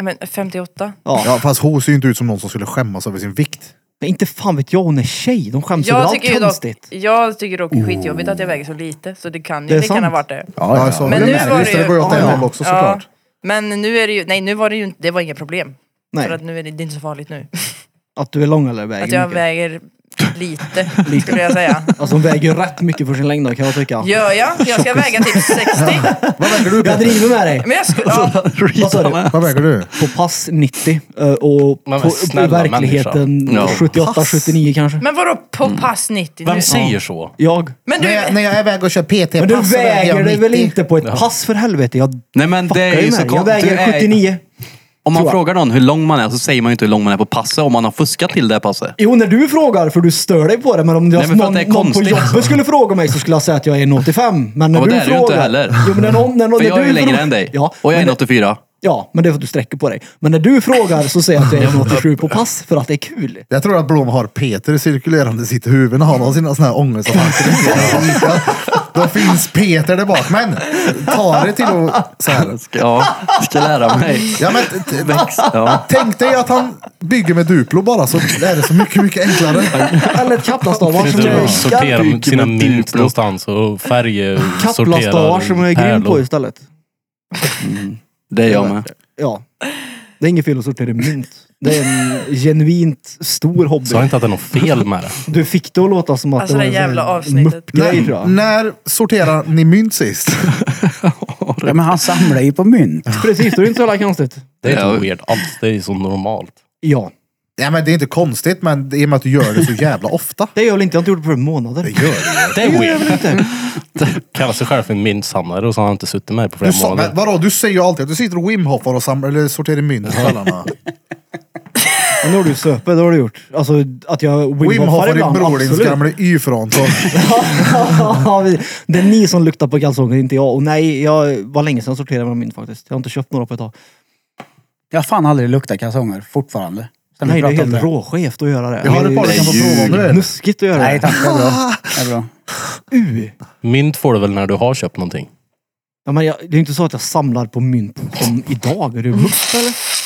Men 58?
Ja, fast hon ser ju inte ut som någon som skulle skämmas över sin vikt.
Men inte fan vet jag, hon är tjej. De skäms över
Jag
allt
tycker, ju dock,
konstigt.
jag tycker dock det är skitjobbigt att jag väger så lite, så det kan ju
Det är
lika gärna
sant.
varit det.
Ja, ja, så
Men
Alltså, det
nu
med.
var det
Visst,
ju-
det går ju åt det
ja.
hållet också såklart.
Men nu är det ju... Nej, nu var det ju inte... Det var inget problem. För att
Nej,
nu är det, det är inte så farligt nu.
att du är lång eller
Att jag
väger mycket.
väger lite, skulle jag säga.
Alltså hon väger ju rätt mycket för sin längd kan jag tycka.
Gör jag? Jag ska väga typ 60.
Vad väger du
Jag
Peter?
driver med dig.
Men jag skulle... Ja,
Vad sa du?
Vad väger du?
På pass 90 eh, och
Men
på, i
snälla
verkligheten
människa. Ja.
78-79 kanske.
men vadå på pass 90 nu?
Vem säger så?
Jag.
Men
När
du...
jag, när jag är iväg och kör PT-pass
Men du
så jag
väger dig väl
90.
inte på ett pass för helvete? Jag
Nej men det
fuckar
är ju så
med dig. Jag
konstigt. Du
väger
är-
79.
Om man
Tror jag.
frågar någon hur lång man är så säger man ju inte hur lång man är på passet om man har fuskat till det passet.
Jo, när du frågar, för du stör dig på det, men om jag,
Nej, men för att
någon,
det är
någon på
konstigt.
jobbet skulle fråga mig så skulle jag säga att jag är 1,85. Men när
Ja, men det
du
är du
frågar...
inte heller.
Jo, men när någon, när någon,
För
när
jag är
du
ju längre
frågar-
än dig.
Ja,
Och jag är
men-
en 84.
Ja, men det är för att du sträcker på dig. Men när du frågar så säger jag att jag är 87 på pass för att det är kul.
Jag tror att Blom har Peter cirkulerande i sitt huvud när han har sina såna här ångestattacker. Då finns Peter där bak. Men ta det till att... Så här.
Ja, ska lära mig.
Ja, men, t- t-
Ja.
tänk dig att han bygger med Duplo bara så är det så mycket, mycket enklare.
Eller kaplastavar som
Sitter
jag
och sorterar
är
sina
med
mynt
Duplo.
någonstans och
Kaplastavar
färgsorterar
som jag är grym på istället.
Det är jag med.
Ja. Det är inget fel att sortera mynt. Det är en genuint stor
Sa
hobby.
inte att det är något fel med det.
Du fick det att låta som att
Alltså,
det var
det
en
jävla
sån här
avsnittet.
muppgrej tror jag.
När sorterar ni mynt sist?
Ja, men han samlar ju på mynt.
Precis, då är det inte så jävla konstigt.
Det är inte
Ja.
weird alls. Det är så normalt.
Ja,
Ja, men det är inte konstigt, men i och med att du gör det så jävla ofta.
det gör väl inte. Jag har inte gjort det på månader.
Det gör du ju.
Det är weird.
inte.
Kallar sig själv för en myntsamlare och så har han inte suttit med på
Du,
flera
sa, men,
månader.
vadå, du säger ju alltid att du sitter och wimhoppar och samlar, eller sorterar mynt på kvällarna.
Men nu har du söpet, det har du gjort. Alltså att jag
Wim Hof
wimhoffar
var din
ibland,
bror, din
absolut.
gamle Y-front. och-
Ja, vi- det är ni som luktar på kalsonger, inte jag. Och nej, jag var länge sedan jag sorterade mina mynt faktiskt. Jag har inte köpt några på ett tag.
Jag har fan aldrig luktat kalsonger, fortfarande. Sen vi
Nej, det är
pratade om
helt råskevt att göra det.
Jag har ett par du kan få prova om du vill.
Nuskigt att göra
Nej
det.
tack, det är bra. Det är bra.
U.
Mynt får du väl när du har köpt någonting?
Ja, men jag, det är ju inte så att jag samlar på mynt som idag. Är du mupp eller?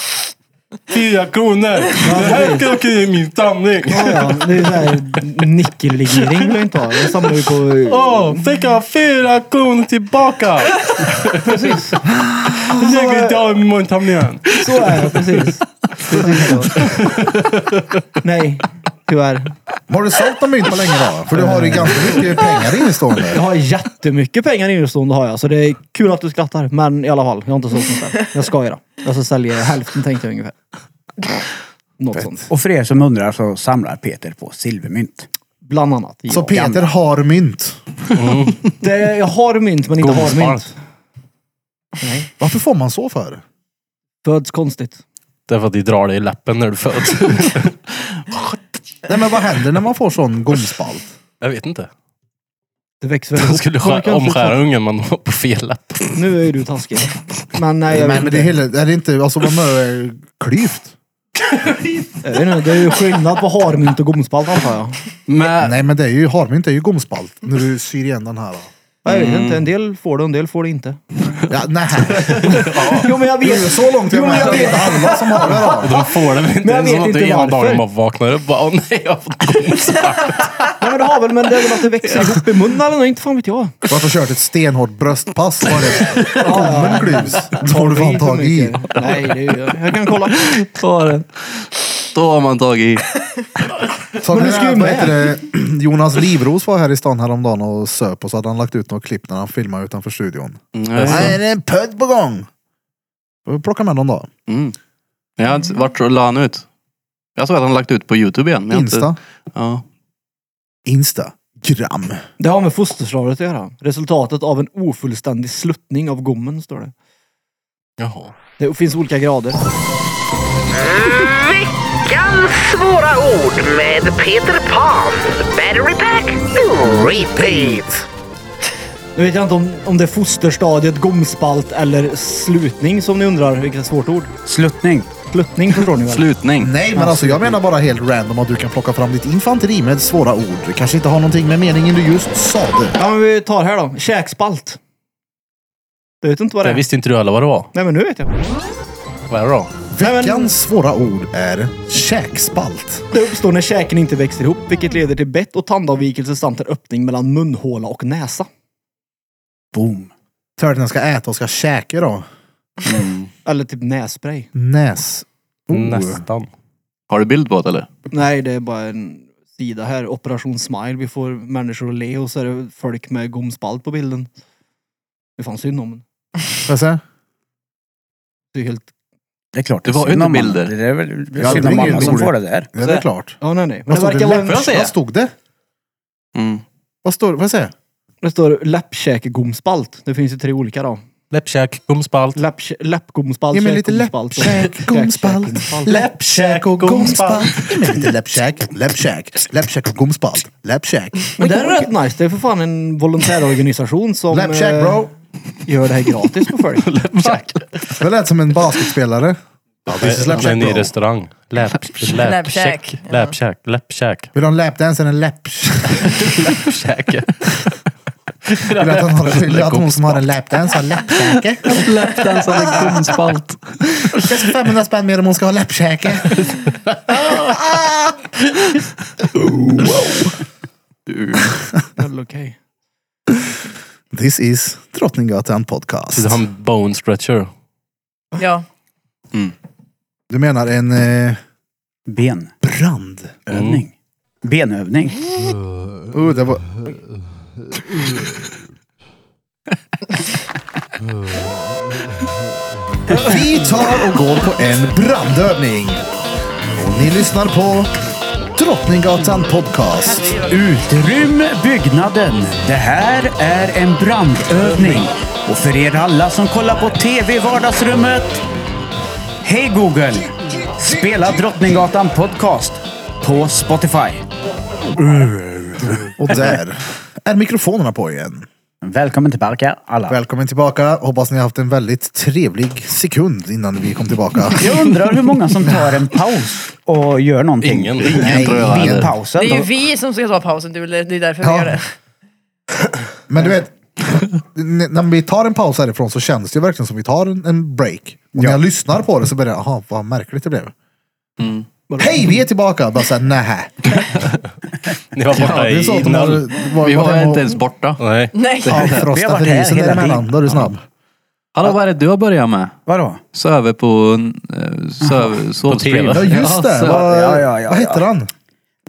Fyra kronor! Det här ska åka i min samling!
Ja, ja, det är såhär nickellegering vill jag inte ha. Jag samlar ju på...
Åh, fick jag fyra kronor tillbaka!
Precis.
Lägg inte av i muntamlingen!
Så är det, precis. precis så. Nej, tyvärr.
Har du sålt någon mynt på länge då? För du har ju ganska mycket pengar innestående.
Jag har jättemycket pengar innestående har jag, så det är kul att du skrattar. Men i alla fall, jag har inte sålt något där. Jag ska göra. Jag ska sälja hälften tänkte jag ungefär. Något sånt.
Och för er som undrar så samlar Peter på silvermynt.
Bland annat. Ja.
Så Peter har mynt.
det, jag har mynt men inte har mynt.
Varför får man så för?
Föds konstigt.
Därför att de drar dig i läppen när du föds.
Nej men vad händer när man får sån gomspalt?
Jag vet inte.
Det växer väl
Jag
ihop.
skulle
Man
skä-
kan inte
omskära ungen men var på fel läpp.
få- Nu är ju du taskig. Men nej, jag
Men,
vet
men det är,
inte.
hela, är det inte, alltså vad är klyft?
Jag vet inte, Det är ju skillnad på harmynt och gomspalt antar jag.
Men,
Nej men det är ju, harmynt är ju gomspalt. När du syr igen den här.
Jag vet inte, en del får det och en del får det inte.
Ja, nej.
Jo men jag
Det är ju
vet.
så långt jag
Jo,
menar.
men jag
Det är
vet.
inte alla som har det då.
Och de får det väl inte?
Men jag
Det
vet
är som att du
inte
ena dagen
varför.
bara vaknar upp och bara, åh nej, jag har fått
Nej men det har väl, men det är väl att det växer ihop i munnen eller något, inte fan vet jag.
Du har alltså kört ett stenhårt bröstpass. Var det gommen klyvs? Då har du fan tag i.
Nej, det är, jag- jag kan kolla. Så är det.
då har man tagit i.
Så
Men
det
du ska ju
är, vad
med.
heter det, eh, Jonas Livros var här i stan häromdagen och söp och så hade han lagt ut några klipp när han filmade utanför studion.
Mm,
Nej, det är en pödd på gång! Får vi plocka med dem då.
Mm. Jag har inte, vart la han ut? Jag såg att han lagt ut på Youtube igen. men jag har inte-
Insta.
Ja.
Instagram.
Det har med fosterslaget att göra. Resultatet av en ofullständig sluttning av gommen, står det.
Jaha.
Det finns olika grader.
Veckans svåra ord med Peter Pan. Battery pack, repeat.
Nu vet jag inte om, om det är fosterstadiet, gomspalt eller slutning som ni undrar, vilket är ett svårt ord.
Sluttning.
Sluttning förstår ni väl?
Slutning.
Nej, men alltså jag menar bara helt random att du kan plocka fram ditt infanteri med svåra ord. Det kanske inte har någonting med meningen du just sade.
Ja, men vi tar här då. Käkspalt. Jag vet inte vad det
Jag
är.
visste inte du heller vad det var.
Nej, men nu vet jag.
Vad är det då?
Nej, men
Veckans svåra ord är käkspalt.
det uppstår när käken inte växer ihop, vilket leder till bett och tandavvikelse samt en öppning mellan munhåla och näsa.
Boom.
Törnen ska äta och ska käka då.
Eller typ nässpray.
Näs... Oh.
Nästan.
Har du bild på det eller?
Nej, det är bara en sida här. Operation Smile. Vi får människor att le och så är det folk med gomspalt på bilden. Det fanns synd om den.
Får jag se?
Det är helt...
Det är klart.
Det var ju
synd
inte
om alla.
bilder.
Det är väl det är
Ja,
synd
det
om
är
alla
inget
som
roligt.
får det där.
Ja, det är klart.
Ja, nej, nej. Men
Vad
det
stod
verkar
det?
vara...
Läpp-
en-
jag se?
Vad stod det?
Mm.
Vad står det? Får jag se?
Det står läppkäkegomspalt. Det finns ju tre olika då.
Läppkäk, gomspalt.
Läppkä- Läppgomspalt,
Ge mig lite
käkgomspalt
läppkäk, gomspalt.
och käkgomspalt.
Läppkäk och gomspalt. Ge mig lite läppkäk, läppkäk, läppkäk och gomspalt. Läppkäk.
Men det här är rätt nice. Det är för fan en volontärorganisation som
Läppkäk bro.
eh, gör det här gratis för folk.
Det lät som en basketspelare. Ja, this is
En
läppkäk
ny
bro.
restaurang. Läpp- Läppkäk.
Läppkäk.
Läppkäk. Läppkäk.
Vill du ha en lapdance eller en läppkäk?
Käke.
Vill du att, han har, vill du att hon som har en lapdance har läppkäke?
Läppdansande gomspalt.
Det ska 500 spänn mer om hon ska ha läppkäke.
Väl okej.
This is Drottninggatan podcast.
Så han bone stretcher.
Ja.
Du menar en eh,
Benövning.
brand? Mm.
Benövning.
Oh, det var... Vi tar och går på en brandövning. Och ni lyssnar på Drottninggatan podcast.
Utrym byggnaden. Det här är en brandövning. Och för er alla som kollar på TV i vardagsrummet. Hej Google! Spela Drottninggatan podcast på Spotify.
Och där är mikrofonerna på igen.
Välkommen tillbaka alla.
Välkommen tillbaka. Hoppas ni har haft en väldigt trevlig sekund innan vi kom tillbaka.
Jag undrar hur många som tar en paus och gör någonting.
Ingen.
Nej,
tror jag
vid
hade.
pausen.
Det är ju
Då,
vi som ska ta pausen, du, det är därför
Ja.
vi gör det.
Men du vet, n- när vi tar en paus härifrån så känns det ju verkligen som vi tar en, en break. Och när jag lyssnar på det så börjar jag, jaha vad märkligt det blev. Hej, vi är tillbaka! Bara såhär, nähä.
Ni var
Ja,
borta
det är så
i
att de har,
noll.
var,
Vi var
hemma
inte
och
ens borta.
Nej.
Nej.
avfrostat
varit här
risen
hela
däremellan. Då är du snabb.
Hallå, vad är det du har börjat med?
Vadå?
Söver på... eh, Söver, sovstream.
TV.
Ja, just det.
söver.
vad,
ja, ja, ja,
vad heter han?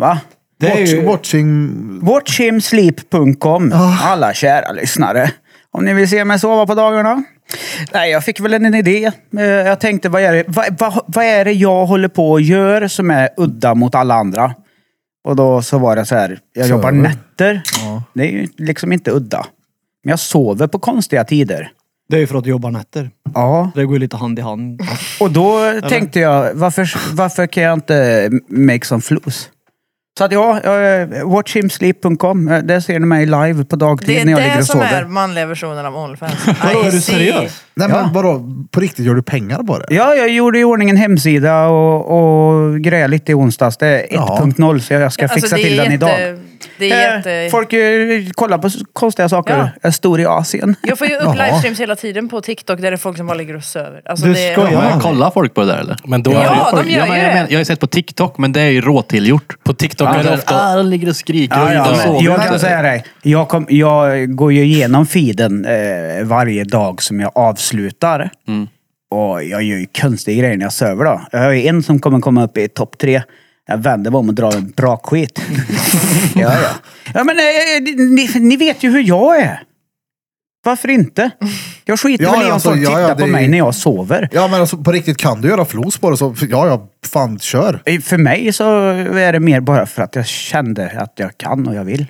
Va?
Det är
Watch,
ju,
Watching...
Watchhimsleep.com. Alla kära lyssnare. Om ni vill se mig sova på dagarna. Nej, jag fick väl en idé. Eh, Jag tänkte, vad är det, vad, vad, vad är det jag håller på och gör som är udda mot alla andra? Och då så var det så här, jag jobbar
Söver.
nätter. Det är ju liksom inte udda. Men jag sover på konstiga tider.
det är ju för att jobba nätter.
Ja.
Det går ju lite hand i hand.
Och då tänkte jag, varför, varför kan jag inte make some flows? Så att ja, eh, watchhimsleep.com. eh, Där ser ni mig live på dagtid
Det är
när jag ligger
det
och
som
sover.
är manliga versionen av Onlyfans.
Vadå, är du
I see.
seriös?
Nej men vadå, på riktigt, gör du pengar på det?
Ja, jag gjorde i ordning en hemsida och, och grejade lite i onsdags. Det är
Ja.
1.0 så jag ska
Alltså,
fixa
det är
till den
jätte-
idag.
Det är
Eh,
jätte...
Folk eh, kollar på s- konstiga saker.
Ja.
Jag är stor i Asien.
Jag får ju upp
Jaha.
livestreams hela tiden på TikTok där det är folk som bara ligger och söver. Alltså,
Du
det är...
skojar.
Men kollar folk på det där eller?
Men då är det,
Ja, de gör
jag,
ju
men, jag,
det.
menar, jag har ju sett på TikTok, men det är ju råtillgjort.
på TikTok är det ofta...
de ligger och skriker
Ja, ja,
inte
men
sover. Mm.
jag kan säga dig, jag, kom, jag går ju igenom feeden eh, varje dag som jag avslutar.
Mm.
Och jag gör ju konstiga grejer när jag söver då. Jag har ju en som kommer komma upp i topp tre. Jag vänder mig om och drar en bra skit. ja, ja. ja, men eh, ni, ni vet ju hur jag är. Varför inte? Jag skiter
Ja,
väl i om
alltså,
folk
ja,
tittar
ja, det
på
är
mig
ju-
när jag sover.
Ja men alltså på riktigt, kan du göra flos på det så, ja ja, fan kör.
Eh, För mig så är det mer bara för att jag kände att jag kan och jag vill.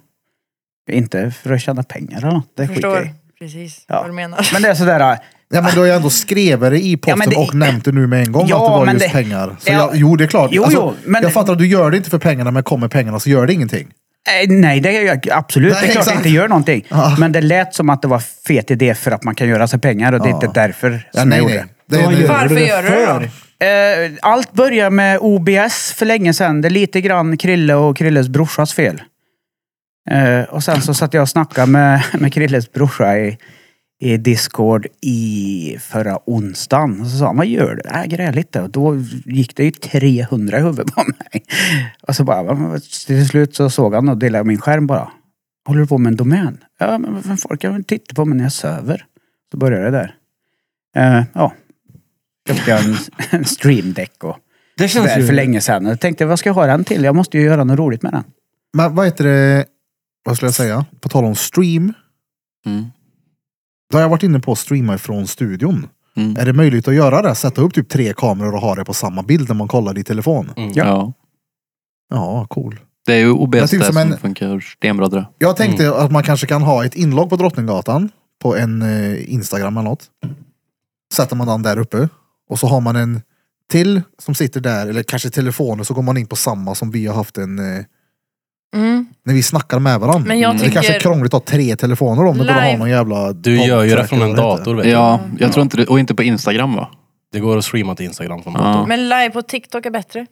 Inte för att tjäna pengar eller något. Det skiter jag i.
Förstår precis
Ja.
vad du menar.
Men det är sådär... äh,
Ja men du har ju ändå skrevet det i
Ja,
posten
men det-
och nämnt det nu med en gång
Ja,
att det var
men
just
det-
pengar. Så
Ja.
jag, jo det är klart. Alltså,
Jo, jo, men-
Jag fattar att du gör det inte för pengarna men kommer pengarna så gör det ingenting.
eh, Nej, det är jag absolut.
Nej,
det är klart
exakt.
jag inte gör någonting.
Ja.
Men det lät som att det var fet idé för att man kan göra sig pengar och det är
Ja.
inte därför
Ja,
som jag
nej
gjorde.
nej. Det
Vad
är,
Varför
det
gör du det då?
för?
Eh, Allt börjar med OBS för länge sedan. Det är lite grann Krille och Krilles brorsas fel. Eh, Och sen så satt jag och snackade med, med Krilles brorsa i, i Discord i förra onsdagen. Och så sa han, vad gör du? Äh, grejar lite. Och då gick det ju 300 i huvudet på mig. Och så bara, "Men till slut så såg han och delade min skärm bara. Håller du på med en domän? Ja, men vad fan, folk kan väl titta på mig när jag söver. Så började det där. Eh, ja. Köpte jag en, en streamdeck och
Det känns
sådär
ju...
för länge sedan. Jag tänkte, vad ska jag ha den till? Jag måste ju göra något roligt med den.
men vad heter det, vad skulle jag säga? På tal om stream.
Mm.
Då har jag varit inne på att streama ifrån studion.
Mm.
Är det möjligt att göra det? Sätta upp typ tre kameror och ha det på samma bild när man kollar i telefon.
Ja.
Ja, cool.
Det är ju OBS
Jag tycker
där som
som en-
funkar stenbra där.
Jag tänkte att man kanske kan ha ett inlogg på Drottninggatan på en eh, Instagram eller något. Sätter man den där uppe och så har man en till som sitter där eller kanske telefonen så går man in på samma som vi har haft en eh,
Mm.
när vi snackar med varandra.
Men jag
Mm. Det kanske är
tycker-
krångligt att ha tre telefoner om det går att ha
Live-
någon jävla...
Du gör ju det från en
eller vad
dator vet du.
Ja, jag tror inte det. Och inte på Instagram va?
Det går att streama till Instagram från datorn.
Mm.
Ja.
Men live på TikTok är bättre.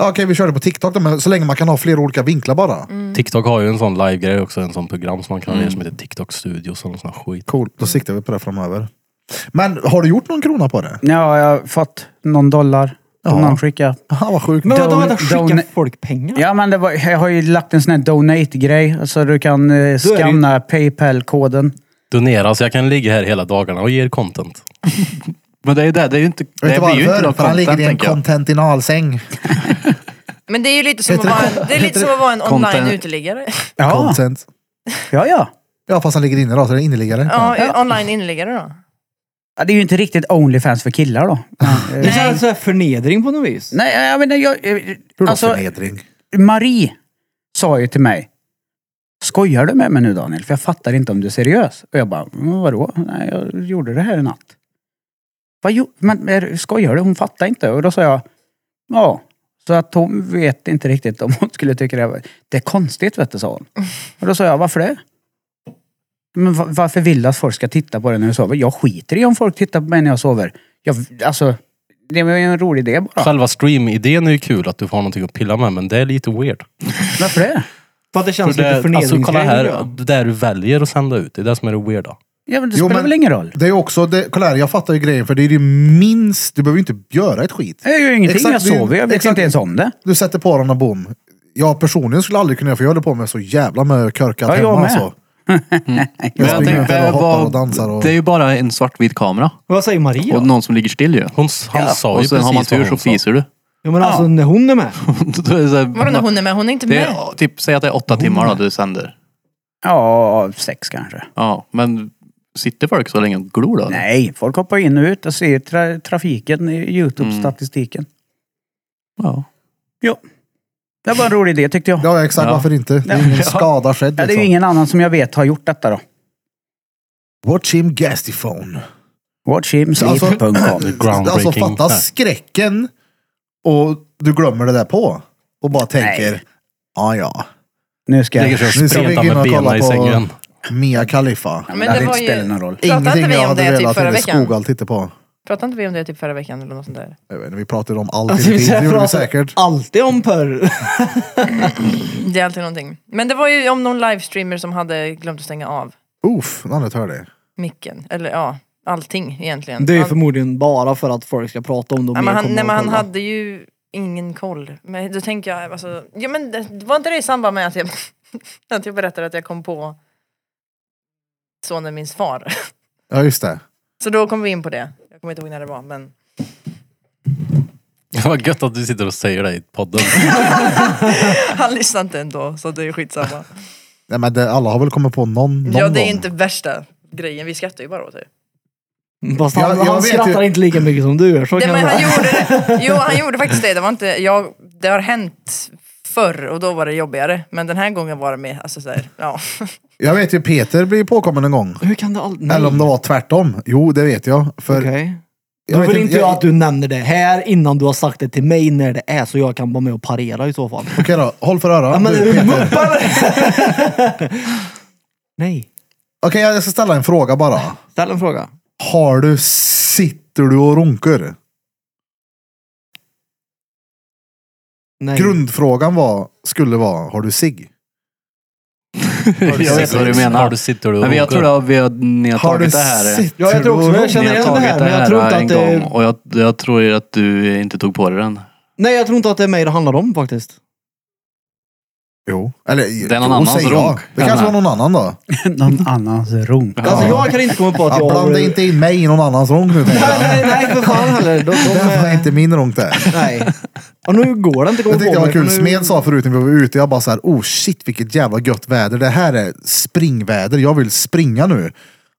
Ja, Okej, vi kör det på TikTok då, men så länge man kan ha flera olika vinklar bara.
Mm.
TikTok har ju en sån live-grej också, en sån program som man kan
Mm.
göra som heter TikTok Studios eller någon sån här skit.
Cool, då siktar vi på det framöver. Men har du gjort någon krona på det?
Ja, jag har fått någon dollar.
Ja.
Ja. Någon skicka.
Aha, vad sjukt.
Men vänta,
Don-
vänta, skickar
don-
folk pengar?
Ja, men det var, jag har ju lagt en sån här donate-grej. Så du kan eh,
ju-
scanna Paypal-koden.
Donera så jag kan ligga här hela dagarna och ge er content.
Men det är ju det, det är ju inte...
Vet du
det blir ju inte
varför?
någon
För han ligger
content
i en
tänker jag.
kontentinalsäng.
Men det är ju lite som, att
Heter det
vara,
kon-
en- det är lite som att vara en
content?
online uteliggare.
Ja,
Content.
ja, ja.
Ja, fast han ligger inne då, så det är inneliggare.
Ja, alltså- online inneliggare då.
ja. Det är ju inte riktigt Onlyfans för killar då. Men,
Det
eh,
känns så här förnedring på något vis.
Nej, jag menar, jag... eh,
Hur då
Alltså,
förnedring?
Marie sa ju till mig, skojar du med mig nu Daniel? För jag fattar inte om du är seriös. Och jag bara, "Mm, vadå? Nej, jag gjorde det här i natt. Vad jo, men är, skojar du? Hon fattar inte. Och då sa jag, ja. Så att hon vet inte riktigt om hon skulle tycka det var... Det är konstigt vet du, sa hon. Och då sa jag, varför det? Men va- varför vill du att folk ska titta på dig när du sover? Jag skiter i om folk tittar på mig när jag sover. Jag, alltså, det var ju en rolig idé bara.
Själva stream-idén är ju kul, att du får någonting att pilla med, men det är lite weird.
Varför det?
För att det
För
känns lite
det, alltså kolla
förnedringsgrej.
här,
tycker jag.
det där du väljer att sända ut, det är det som är det weirda.
Ja, men det
Jo,
spelar
men-
väl ingen roll?
Det är ju också, det, kolla här, jag fattar ju grejen för det är det minst, du behöver ju inte göra ett skit.
Jag gör ingenting,
Exakt,
jag
det är-
sover, jag vet
exakt.
inte ens om det.
Du sätter på den en bom. Jag personligen skulle aldrig kunna göra för jag håller på med så jävla med körkat
Ja, jag
hemma
med.
alltså.
Men
Jag
jag
springer runt
tänkte,
här och hoppar och dansar
vad,
och...
det är ju bara en svartvit kamera.
Vad säger Maria?
Och någon som ligger still ju.
Hon, s- han sa
Och
ju
sen har man
precis
tur
vad
så
hon sa.
fiser du.
Ja, men alltså när hon är med.
Då är det så här-
Vadå när hon är med? Hon är inte
det
med.
är, typ, säg att det är åtta timmar då du sänder.
Ja, sex kanske.
Ja, men sitter folk så länge och glor då?
Nej, folk hoppar in och ut. Jag ser tra trafiken i Youtube-statistiken.
Mm.
Ja.
Ja. Det var en rolig idé tyckte jag.
Ja exakt,
Ja.
varför inte? Det är ingen skada skedd
Ja, det är
liksom.
ju ingen annan som jag vet har gjort detta då.
Watch him gastifone.
Watchhimsleep.com.
Alltså
Groundbreaking.
fatta
Nej.
skräcken och du glömmer det där på. Och bara tänker, ja ja.
Nu ska
Ligger
jag...
så
Nu
och
ska vi
spretar
gå in
med
och
benen
kolla
i sängen.
på Mia Khalifa.
Men
det
det var
inte spelar
ju...
någon roll.
Pratade
Ingenting
inte vi
jag
om
hade
det typ
velat
förra
att
veckan?
Skogal tittar på.
Pratade inte vi om det typ förra veckan eller något sånt där?
Jag vet inte, vi pratade om allt
Alltså,
hela tiden.
jag
Det gjorde vi
pratar
säkert.
alltid om Per.
Det är alltid någonting. Men det var ju om någon livestreamer som hade glömt att stänga av
Oof, nu har jag hört det.
micken. Eller ja, allting egentligen.
Det är ju
Han-
förmodligen bara för att folk ska prata om det. och
Nej,
mer
men han,
kommer
nej,
att
men han
kolla.
hade ju ingen koll. Men då tänker jag, alltså, ja men det, var inte det i samband med att jag, att jag berättade att jag kom på sonen min far?
Ja just det.
Så då kom vi in på det. Jag kommer inte ihåg när det var, men
Det var gött att du sitter och säger det i podden.
han lyssnade inte ändå, så det är skitsamma.
Nej men det, alla har väl kommit på någon, någon
ja, det är
gång.
inte värsta grejen, vi skrattar ju bara åt det.
Fast han,
Jag- jag
han
vet
skrattar
ju-
inte lika mycket som du gör. Så
Nej,
kan
men
det
han
vara.
gjorde det. Jo, han gjorde faktiskt det. Det, var inte, jag, det har hänt förr och då var det jobbigare. Men den här gången var det mer, alltså så här, ja.
Jag vet ju Peter blir påkommen en gång.
Mm.
Hur kan det aldrig... Nej.
Eller om det var tvärtom. Jo, det vet jag. För
Okej.
jag
Då
vet
vill inte jag
jag-
att du nämner det här innan du har sagt det till mig när det är så jag kan vara med och parera i så fall.
Okej då, håll för öronen.
Ja, men
Du,
är du
Peter.
mupp eller? Nej.
Okej, jag ska ställa en fråga bara.
Ställ en fråga.
Har du, sitter du och runkar?
Nej.
Grundfrågan var, skulle vara, har du sig?
Jag vet vad du menar.
Har du sitter du och
Men jag tror att vi har, ni har,
Har du
tagit det här.
sitter
Ja, jag tror också
du och
jag känner
runkar?
Ni har
igen det
tagit det
här, men jag
här,
tror inte
en
att det-
gång och jag, jag tror ju att du inte tog på dig den.
Nej, jag tror inte att det är mig det handlar om faktiskt.
Jo. Eller,
Det är någon
jo,
annans
säger jag.
runk.
Det kanske
Ja.
var någon annan då.
någon annans runk.
Alltså jag kan inte komma på att
Ja,
jag...
blanda inte in mig i någon annans runk nu. tänker
Nej,
jag.
nej, nej, för fan heller. De, de,
Det här var
är-
inte min runk där.
Nej. Och nu går det inte att komma
Jag tyckte
på
det var
mig,
kul.
för nu-
Smed sa förut när vi var ute, jag bara så här, oh shit vilket jävla gött väder. Det här är springväder, jag vill springa nu.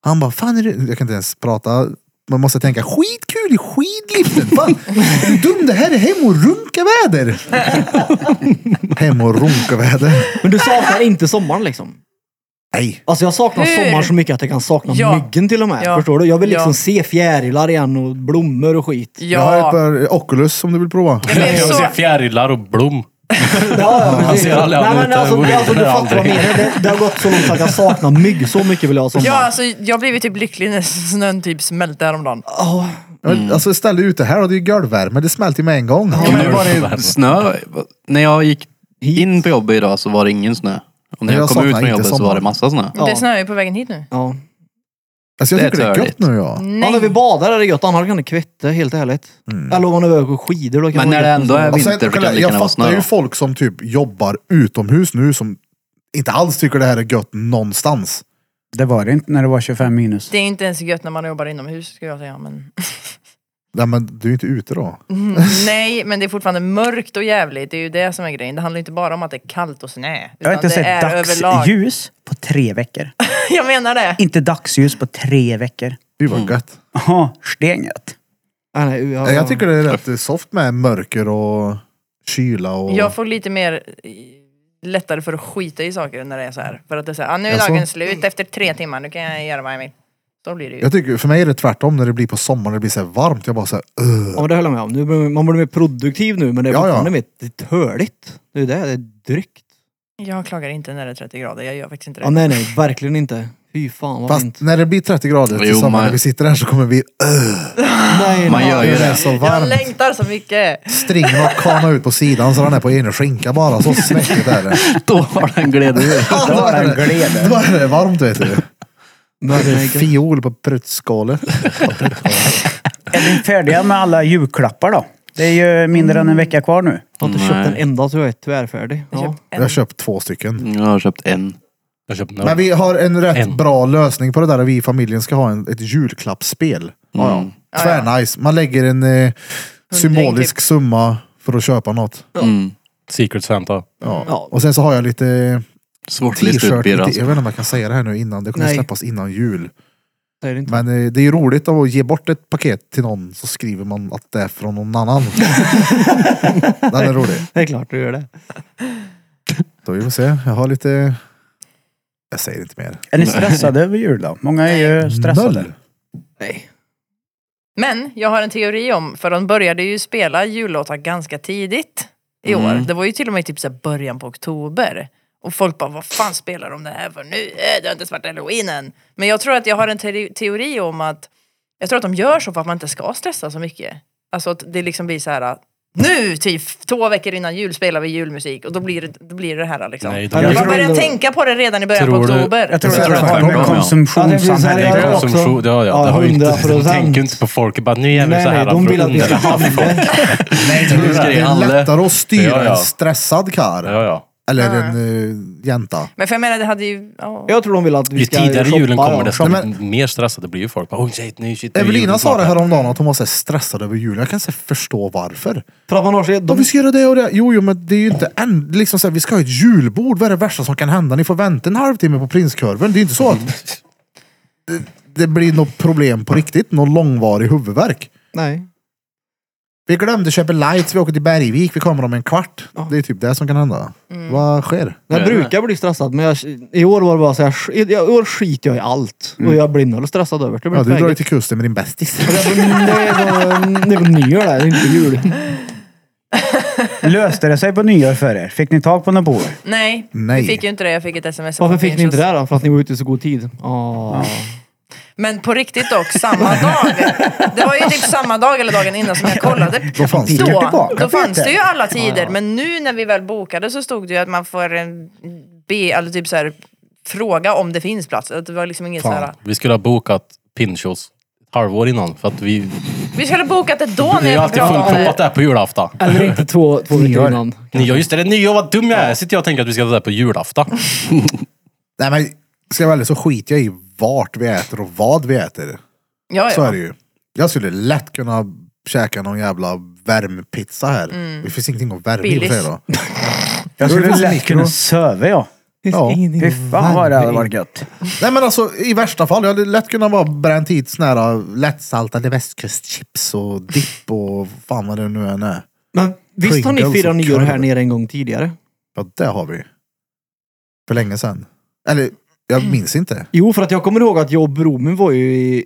Han bara, fan är det... Jag kan inte ens prata. Man måste tänka, skitkul i skidliften. Fan, är du dum? Det här är hem och runkaväder. hem och runkaväder.
Men du saknar inte sommaren liksom?
Nej.
Alltså jag saknar
Hur?
sommaren så mycket att jag kan sakna
Ja.
myggen till och med.
Ja.
Förstår du? Jag vill liksom
Ja.
se fjärilar igen och blommor och skit.
Jag har ett
Ja,
par Oculus som du vill prova.
jag blev
Jag
så...
ser fjärilar och blom.
Ja, ja,
Han ser aldrig
Nej,
han
men
ut,
alltså,
han går
alltså,
ut
du
där
fattar vad jag menar.
aldrig.
Det, det har gått så långt så att jag saknar mygg. Så mycket vill jag ha sommar.
Ja, alltså jag blev ju typ lycklig när snön typ smälte häromdagen.
Ja.
Mm. Alltså ställ dig ute här och det är golvvärme. Det smälter ju med en gång.
Ja, men det var det snö. När jag gick in på jobbet idag så var det ingen snö. Och när
Jag
jag, kom
saknar
ut från
inte
jobbet så
sommaren.
var det massa snö.
Ja.
Det snöar ju på vägen hit nu.
ja.
Alltså
Det
jag
är
tycker det är gött
törligt.
nu ja.
Ja,
Nej.
när vi badar är det gött, annars kan det kvitta helt ärligt.
Mm.
Eller om man är iväg och skidor. Då kan
Men
det
när
vara
det
gött
ändå
med
är
snö.
Och sen,
vinter så kan det
kolla,
lika
Alltså, jag
gärna vara
fattar
snö.
ju
då.
folk som typ jobbar utomhus nu som inte alls tycker det här är gött någonstans.
Det var det inte när det var 25 minus.
Det är inte ens gött när man jobbar inomhus skulle jag säga. Men...
Nej men du är inte ute då.
Nej, men det är fortfarande mörkt och jävligt. Det är ju det som är grejen. Det handlar inte bara om att det är kallt och snö.
Jag har inte
utan det är
sett
överlag.
dagsljus på tre veckor.
Jag menar det.
Inte dagsljus på tre veckor.
Gud vad gött.
Jaha, stengött.
Ja, nej, ja,
Nej,
ja.
Jag tycker det är rätt soft med mörker och kyla och...
Jag får lite mer i- lättare för att skita i saker när det är så här. För att det är så här, ah, nu är
Jaså?
dagen slut efter tre timmar, nu kan jag göra vad jag vill. Då blir det ju.
Jag tycker, för mig är det tvärtom när det blir på sommaren, det blir så här varmt. Jag bara såhär,
Ja, men det håller jag med om. Nu blir- Man blir mer produktiv nu, men det är
Ja, ja.
fortfarande mer det är töligt. Det är det, det är drygt.
Jag klagar inte när det är 30 grader, jag gör faktiskt inte det.
Ja, nej, nej, verkligen inte. Fy fan vad
Fast
fint.
när det blir 30 grader till
Jo,
sommaren
man-
när vi sitter här så kommer vi... Öh,
Nej,
Man gör ju
det är
det.
så
Jag
varmt.
längtar så mycket.
Stringen har kanat ut på sidan så den är på ena skinka bara. Så snäckigt är det.
Då har den gled ur.
Ja, Då är det, då är det varmt vet du. Då är det fiol på pruttskålet.
Är vi färdiga med alla julklappar då? Det är ju mindre än en vecka kvar nu.
Jag har inte
Nej.
köpt en enda så jag är tvärfärdig. Ja.
Typ
Jag har köpt två stycken.
Jag har köpt en.
Jag köpte
Men
några.
vi har en rätt
En.
bra lösning på det där. Vi i familjen ska ha en, ett julklappsspel. Ja, ja. Tvärnice. Man lägger en eh, symbolisk
typ.
summa för att köpa något.
Mm.
Secret Santa.
Ja.
Ja.
Och sen så har jag lite
Svårt att lista ut
t-shirt.
Birra.
Jag vet
alltså.
inte om jag kan säga det här nu innan. Det kommer
Nej.
släppas innan jul.
Det är det inte.
Men eh, det är ju roligt att ge bort ett paket till någon så skriver man att det är från någon annan. Den är rolig.
Det är klart du gör det.
Då vi får se. Jag har lite... Jag säger inte mer.
Är ni stressade över jul då? Många är ju stressade.
Noll.
Nej.
Men jag har en teori om, för de började ju spela jullåtar ganska tidigt i år. Det var ju till och med typ så här början på oktober. Och folk bara, vad fan spelar de det här för nu? Äh, det har inte ens varit halloween än. Men jag tror att jag har en teori, teori om att, jag tror att de gör så för att man inte ska stressa så mycket. Alltså att det liksom blir så här. Nu, typ två veckor innan jul spelar vi julmusik och då blir det, då blir det det här liksom.
Nej,
Nej,
det-
man
Jag
börjar
tror-
tänka på det redan i början på
Tror du-
oktober.
Jag tror
Jag
att
tror
det
att
har
det är tvärtom,
med
ja.
Ja, det
konsumtionssamhället
blir
att
så
göra.
här-
Konsumtion, ja, ja.
Ja,
Det har ju inte, de
100%.
tänker ju inte på folk. Bara, nu gör vi
Nej,
så här.
nej, de
för
vill att vi ska
underlätta.
handla.
Nej, det är,
det är
det är
alla.
lättare att styra
Ja, ja.
en stressad kar.
Ja, ja.
Eller en eh, jänta.
Men för jag menar, det hade ju... Ja.
Jag tror de vill att vi
Ju
ska
tidigare
shoppa,
julen kommer
ja.
desto
Men-
mer stressade blir ju folk. Bara, Oh, shit, nu, shit, nu är
Evelina
julen
sa
snart
det
här.
häromdagen att hon var så här stressad över julen. Jag kan inte förstå varför.
För att man har så...
Ja,
De,
vi ska göra det och det. Jo, jo, men det är ju inte än. Liksom så här, vi ska ha ett julbord. Vad är det värsta som kan hända? Ni får vänta en halvtimme på prinskorven. Det är inte så att det- det blir något problem på riktigt. Någon långvarig huvudvärk.
nej.
Vi glömde köpa lights. Vi åker till Bergvik. Vi kommer om en kvart.
Ja. Mm.
Det är typ det som kan hända. Vad sker?
Jag
Nej,
brukar bli stressad men jag, i år var det bara så här, sk- i år skiter jag i allt. Och jag blir noll stressad över det.
Mm. Ja, du
blir
drar
inte
ju
läget.
till kusten med din bästis.
Nej, det var- det var nyår där, det är inte jul.
Löste det sig på nyår för er? Fick ni tag på några polare?
Nej,
Nej.
vi fick ju inte det. Jag fick ett sms. om
Varför
att
fick
min
ni inte
tjej-
det här då? För att ni var ute i så god tid? Ah.
Men på riktigt dock, samma dag. Det var ju typ samma dag eller dagen innan som jag kollade.
Då fanns det.
Går
Då,
tillbaka,
då fanns
Peter.
det ju alla tider. Men nu när vi väl bokade så stod det ju att man får en be, eller typ så här, fråga om det finns plats. Att det var liksom inget så här.
Vi skulle ha bokat Pinchos ett halvår innan. För att vi,
Vi skulle ha bokat det då när
vi har
jag
alltid
pratade om
fullproppat
det.
det här på julafton.
Eller inte två, två veckor innan.
Nyår, just det, det är nyår. Vad dum jag är. Sitter jag och tänker att vi ska ha det där på julafton.
Nej, men ska jag vara ärlig så skiter jag i vart vi äter och vad vi äter.
Ja,
Så är
ja.
det ju. Jag skulle lätt kunna käka någon jävla värmpizza här. Det finns ingenting att värma i och för sig då.
Jag
Då är det
skulle
faktiskt
lätt
mikro.
kunna söva ja.
Finns
Ja.
ingenting.
Fy fan vad det hade varit gött.
Nej men alltså i värsta fall, jag hade lätt kunnat vara bränt hit såna här lättsaltade västkustchips och dipp och fan vad det nu än är.
Men visst har ni
Pringles
firat
och
nyår här
korv.
nere en gång tidigare?
Ja det har vi. För länge sedan. Eller jag minns inte.
Jo, för att jag kommer ihåg att jag och Bromin var ju i...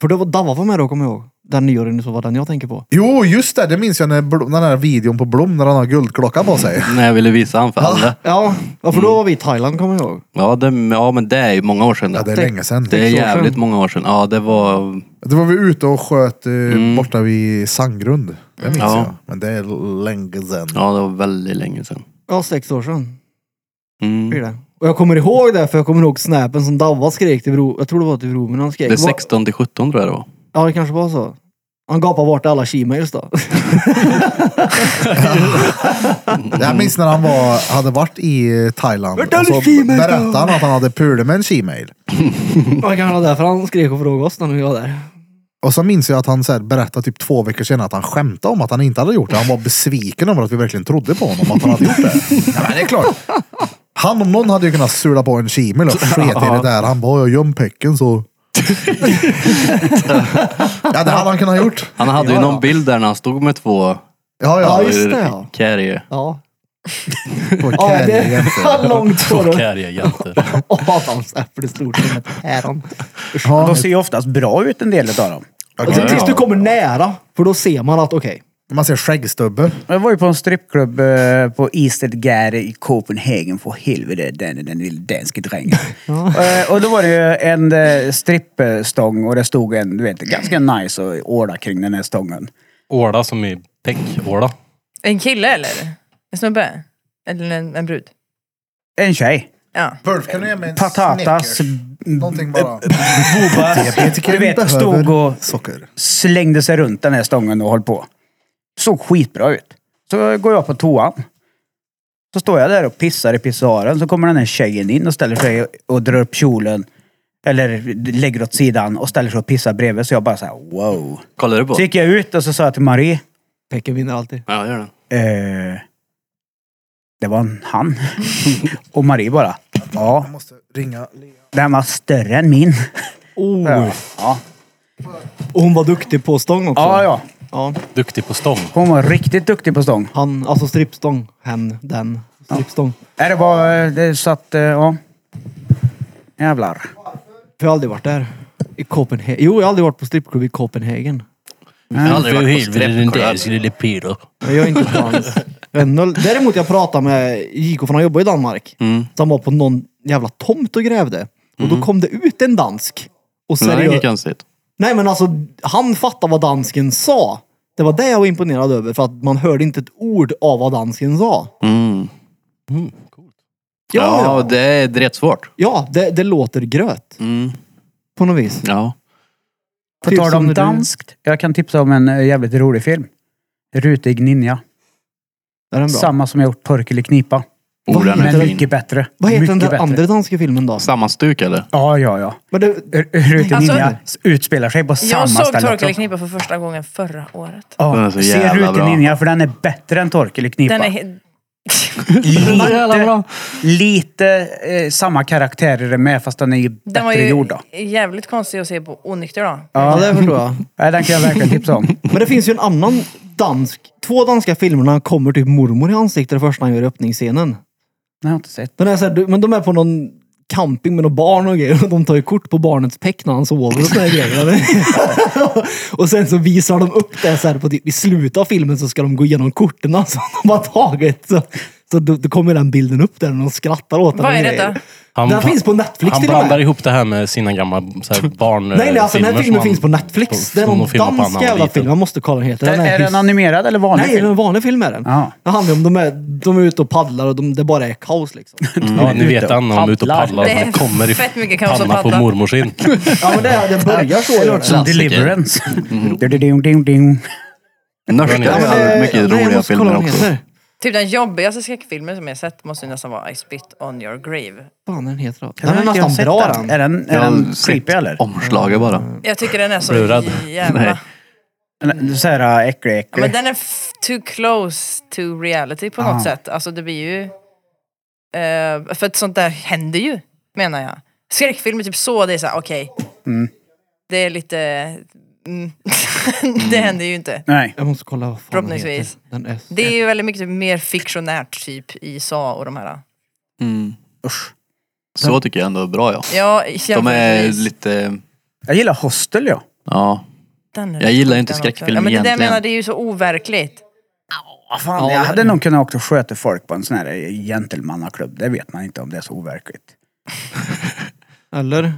För det var Dava var med då, kommer jag ihåg. Den nyåren så var den jag tänker på.
Jo just det, det minns jag när Blom, den här videon på Blom när han har guldklocka på sig.
När jag ville visa han för alla.
Ja, ja
Mm.
för då var vi i Thailand kommer jag ihåg.
Ja, det, ja, men det är ju många år sedan.
Ja det är
Tänk-
länge sedan.
Det är
sex år
jävligt
sedan.
många år sedan. Ja, det var...
Då var vi ute och sköt eh, borta vid Sandgrund. Det minns
Ja.
jag. Men det är länge sedan.
Ja, det var väldigt länge sedan.
Ja, sex år sedan. blir
Mm.
det. Och jag kommer ihåg det, för jag kommer ihåg snappen som Davva skrek till Bro. Jag tror det var till Bro, men han skrek.
Det är 16 till 17 tror jag det var.
Ja, det kanske var så. Han gapade bort alla shemales då.
Jag minns när han var, hade varit i eh, Thailand
Vart är
och så
min Gmail då?
berättade han att han hade pulat med en Gmail.
Det var kanske därför han skrek och frågade oss när vi var där.
Och så minns jag att han så här, berättade typ två veckor senare att han skämtade om att han inte hade gjort det. Han var besviken över att vi verkligen trodde på honom att han hade gjort det. Ja, men det är klart. Han om någon hade ju kunnat sula på en Gmail och sket i det där. Han bara, jag göm pecken så... ja, det hade han kunnat gjort.
Han hade ju någon bild där när han stod med två eh,
Ja, ja.
Ja, just det, ja.
carrier.
Ja.
På
ja det
Kärringön, så.
var långt var det.
Kärriga jäntor.
Och Adams äpple stort som ett päron.
Ja,
De ser ju oftast bra ut en del av dem.
Alltså, Och sen tills du kommer nära, för då ser man att okej,
Man ser skäggstubbe.
Jag var ju på en strippklubb eh, på Eastedgade i Copenhagen. För helvete, den, den lille danske drängen. Eh, och då var det ju en eh, strippstång och det stod en, du vet, ganska nice och orda kring den här stången.
Åla som i Bäckåla.
En kille eller? En snubbe? Eller en, en brud?
En tjej.
Ja.
Burf, kan du ge mig en
Patatas.
Snickers? Någonting bara. eh, Diabetiker
Du vet,
behöver
stod och
socker.
slängde sig runt den här stången och höll på. Såg skitbra ut. Så går jag på toan. Så står jag där och pissar i pissoaren. Så kommer den här tjejen in och ställer sig och drar upp kjolen. Eller lägger åt sidan och ställer sig och pissar bredvid. Så jag bara så här, wow.
Kollar du på?
Så gick jag ut och så sa jag till Marie.
Pekka vinner alltid.
Ja, gör det.
Eh, det var en han. och Marie bara, ja.
Jag måste ringa.
Den var större än min.
Oh.
Ja,
Och hon var duktig på stång också.
ja. ja.
Ja.
Duktig på stång.
Hon var riktigt duktig på stång.
Han, alltså strippstång. Hen, den. Strippstång.
Nej, det var... eh, Det satt... eh, Ja. Jävlar.
För jag har aldrig varit där. I Copenhagen. Jo, jag har aldrig varit på strippklubb i Copenhagen.
Jag har aldrig varit på
danske
strippklubb.
lille Peter.
Men jag är inte dans. Jag är noll- Däremot jag pratade med JK, för han jobbar i Danmark.
Mm.
Så han var på någon jävla tomt och grävde. Och då kom det ut en dansk. Och
Nej,
seriöst.
inget konstigt.
Nej men alltså, han fattade vad dansken sa. Det var det jag var imponerad över, för att man hörde inte ett ord av vad dansken sa.
Mm.
Ja,
Ja,
ja.
det är rätt svårt.
ja det, det låter gröt.
Mm.
På något vis.
Ja.
På
Tips
tal
om
om
Typ du-
danskt. Jag kan tipsa om en eh, jävligt rolig film. Rutig ninja.
Är den bra?
Samma som jag gjort Torkel i knipa.
Oh, den är
Men
fin.
mycket bättre.
vad heter
mycket
den där
bättre.
andra danska filmen då?
Samma stuk eller?
Ja, ja, ja.
Men det,
R- Rutig
Alltså-
ninja s- utspelar sig på samma
Jag såg
ställe.
Torkel i
också.
Knipa för första gången förra året.
Den är
Ja,
så
se
jävla
Rutig
bra.
ninja för den är bättre än Torkel i knipa.
Den är... he-
Lite, lite eh, samma karaktärer är med fast den är ju bättre
Den var ju
gjord. Då.
jävligt konstig att se på onykter då.
ja, det förstår jag.
Nej, den kan jag verkligen tipsa om.
Men det finns ju en annan dansk. Två danska filmer när han kommer typ mormor i ansiktet det första han gör i öppningsscenen.
Den har jag inte sett.
Den är så här, du- men de är på någon camping med några barn och grejer. Och de tar ju kort på barnets peck när han sover och såna här grejer. och sen så visar de upp det så här på typ, i slutet av filmen så ska de gå igenom korten som de har tagit. Så, så då, då kommer den bilden upp där och de skrattar åt den.
Vad
och
är
grejer.
detta?
Han,
Den finns på Netflix
Han
till och med.
blandar ihop det här med sina gamla så här, barn...
Nej, nej, alltså den här
filmer som
filmen
han-
finns på Netflix. det är
som de
någon
filmade på när han
dansk
var
jävla
liten.
film. Jag måste kolla vad den heter.
Den är
piss-
den animerad eller vanlig?
Nej, det är
film?
en vanlig film är den.
Ja.
Det handlar om de är, de är ute och paddlar och de, det bara är kaos liksom.
Ja, ni Mm, vet han när de är ute och paddlar.
Det är
Han kommer i
fett mycket kaos att
panna på
paddla.
mormors in.
Ja, men det, det börjar så. gör det.
Som Deliverance. Ding, ding, ding.
Norska
Ja,
Ja, men
är mycket
nej, jag
roliga
måste kolla
filmer
vad den
också.
heter.
Typ den jobbigaste skräckfilmen som jag sett måste ju nästan vara I spit on your grave.
Fan, den heter då.
Kan
Den är
jag
nästan
se
bra
den?
den.
Är den, är
Jag
den
har
creepy
sett
eller?
omslaget bara.
Jag tycker den är så
Blir du rädd? Nej.
jävla...
Eller Så här äh, äcklig,
Ja, men
äcklig.
den är f- too close to reality på något sätt. Alltså det blir ju... eh, för att sånt där händer ju, menar jag. Skräckfilmer typ så, det är såhär, okej. Det är lite... Mm. det händer ju inte.
Nej.
Jag måste kolla vad fan den
Förhoppningsvis.
heter. Den är...
Det är ju väldigt mycket typ, mer fiktionärt typ i USA och de här.
Mm.
Usch.
Så tycker jag ändå är bra ja.
Ja,
De är
jämförelsevis.
lite...
Jag gillar Hostel ja.
Ja.
Den är
Jag
rätt
gillar
sjuk
inte
den
skräckfilm
också. ja, men det där
egentligen.
menar, det är ju så overkligt.
Ah, fan, jag hade nog kunnat åka och sköta folk på en sån här gentlemannaklubb. Det vet man inte om det är så overkligt.
Eller?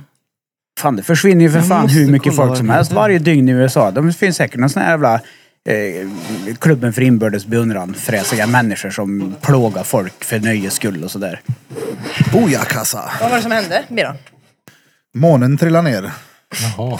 Fan, det försvinner ju för
Jag
fan
måste
hur mycket
kolla
folk
vad
som
den
helst
heter.
varje dygn i USA. De finns säkert någon sån här jävla eh, klubben för inbördes beundran. Fräsiga människor som plågar folk för nöjes skull och sådär.
Boja Oh kassa.
Vad var det som hände, Biron?
Månen trillar ner.
Jaha.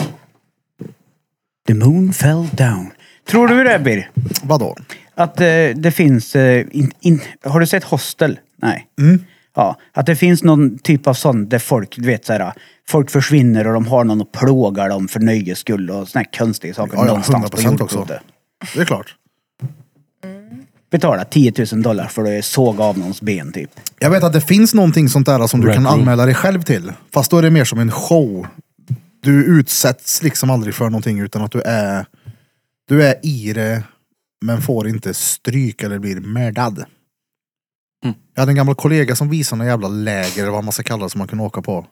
The moon fell down. Tror du det Bir?
Vadå?
Att eh, det finns... Eh, in, in, har du sett Hostel? Nej.
Mm.
Ja, att det finns någon typ av sånt där folk, du vet såhär, folk försvinner och de har någon och plågar dem för nöjes skull och såna här konstiga saker
Ja, ja,
någonstans på
100% också.
jordklotet.
Det är klart.
Betala 10 000 dollar för att såga av någons ben typ.
Jag vet att det finns någonting sånt där som du
Red
kan
Room.
anmäla dig själv till. Fast då är det mer som en show. Du utsätts liksom aldrig för någonting utan att du är, du är i det men får inte stryk eller blir mördad. Jag hade en gammal kollega som visade några jävla läger eller vad man ska kalla det som man kunde åka på.
Men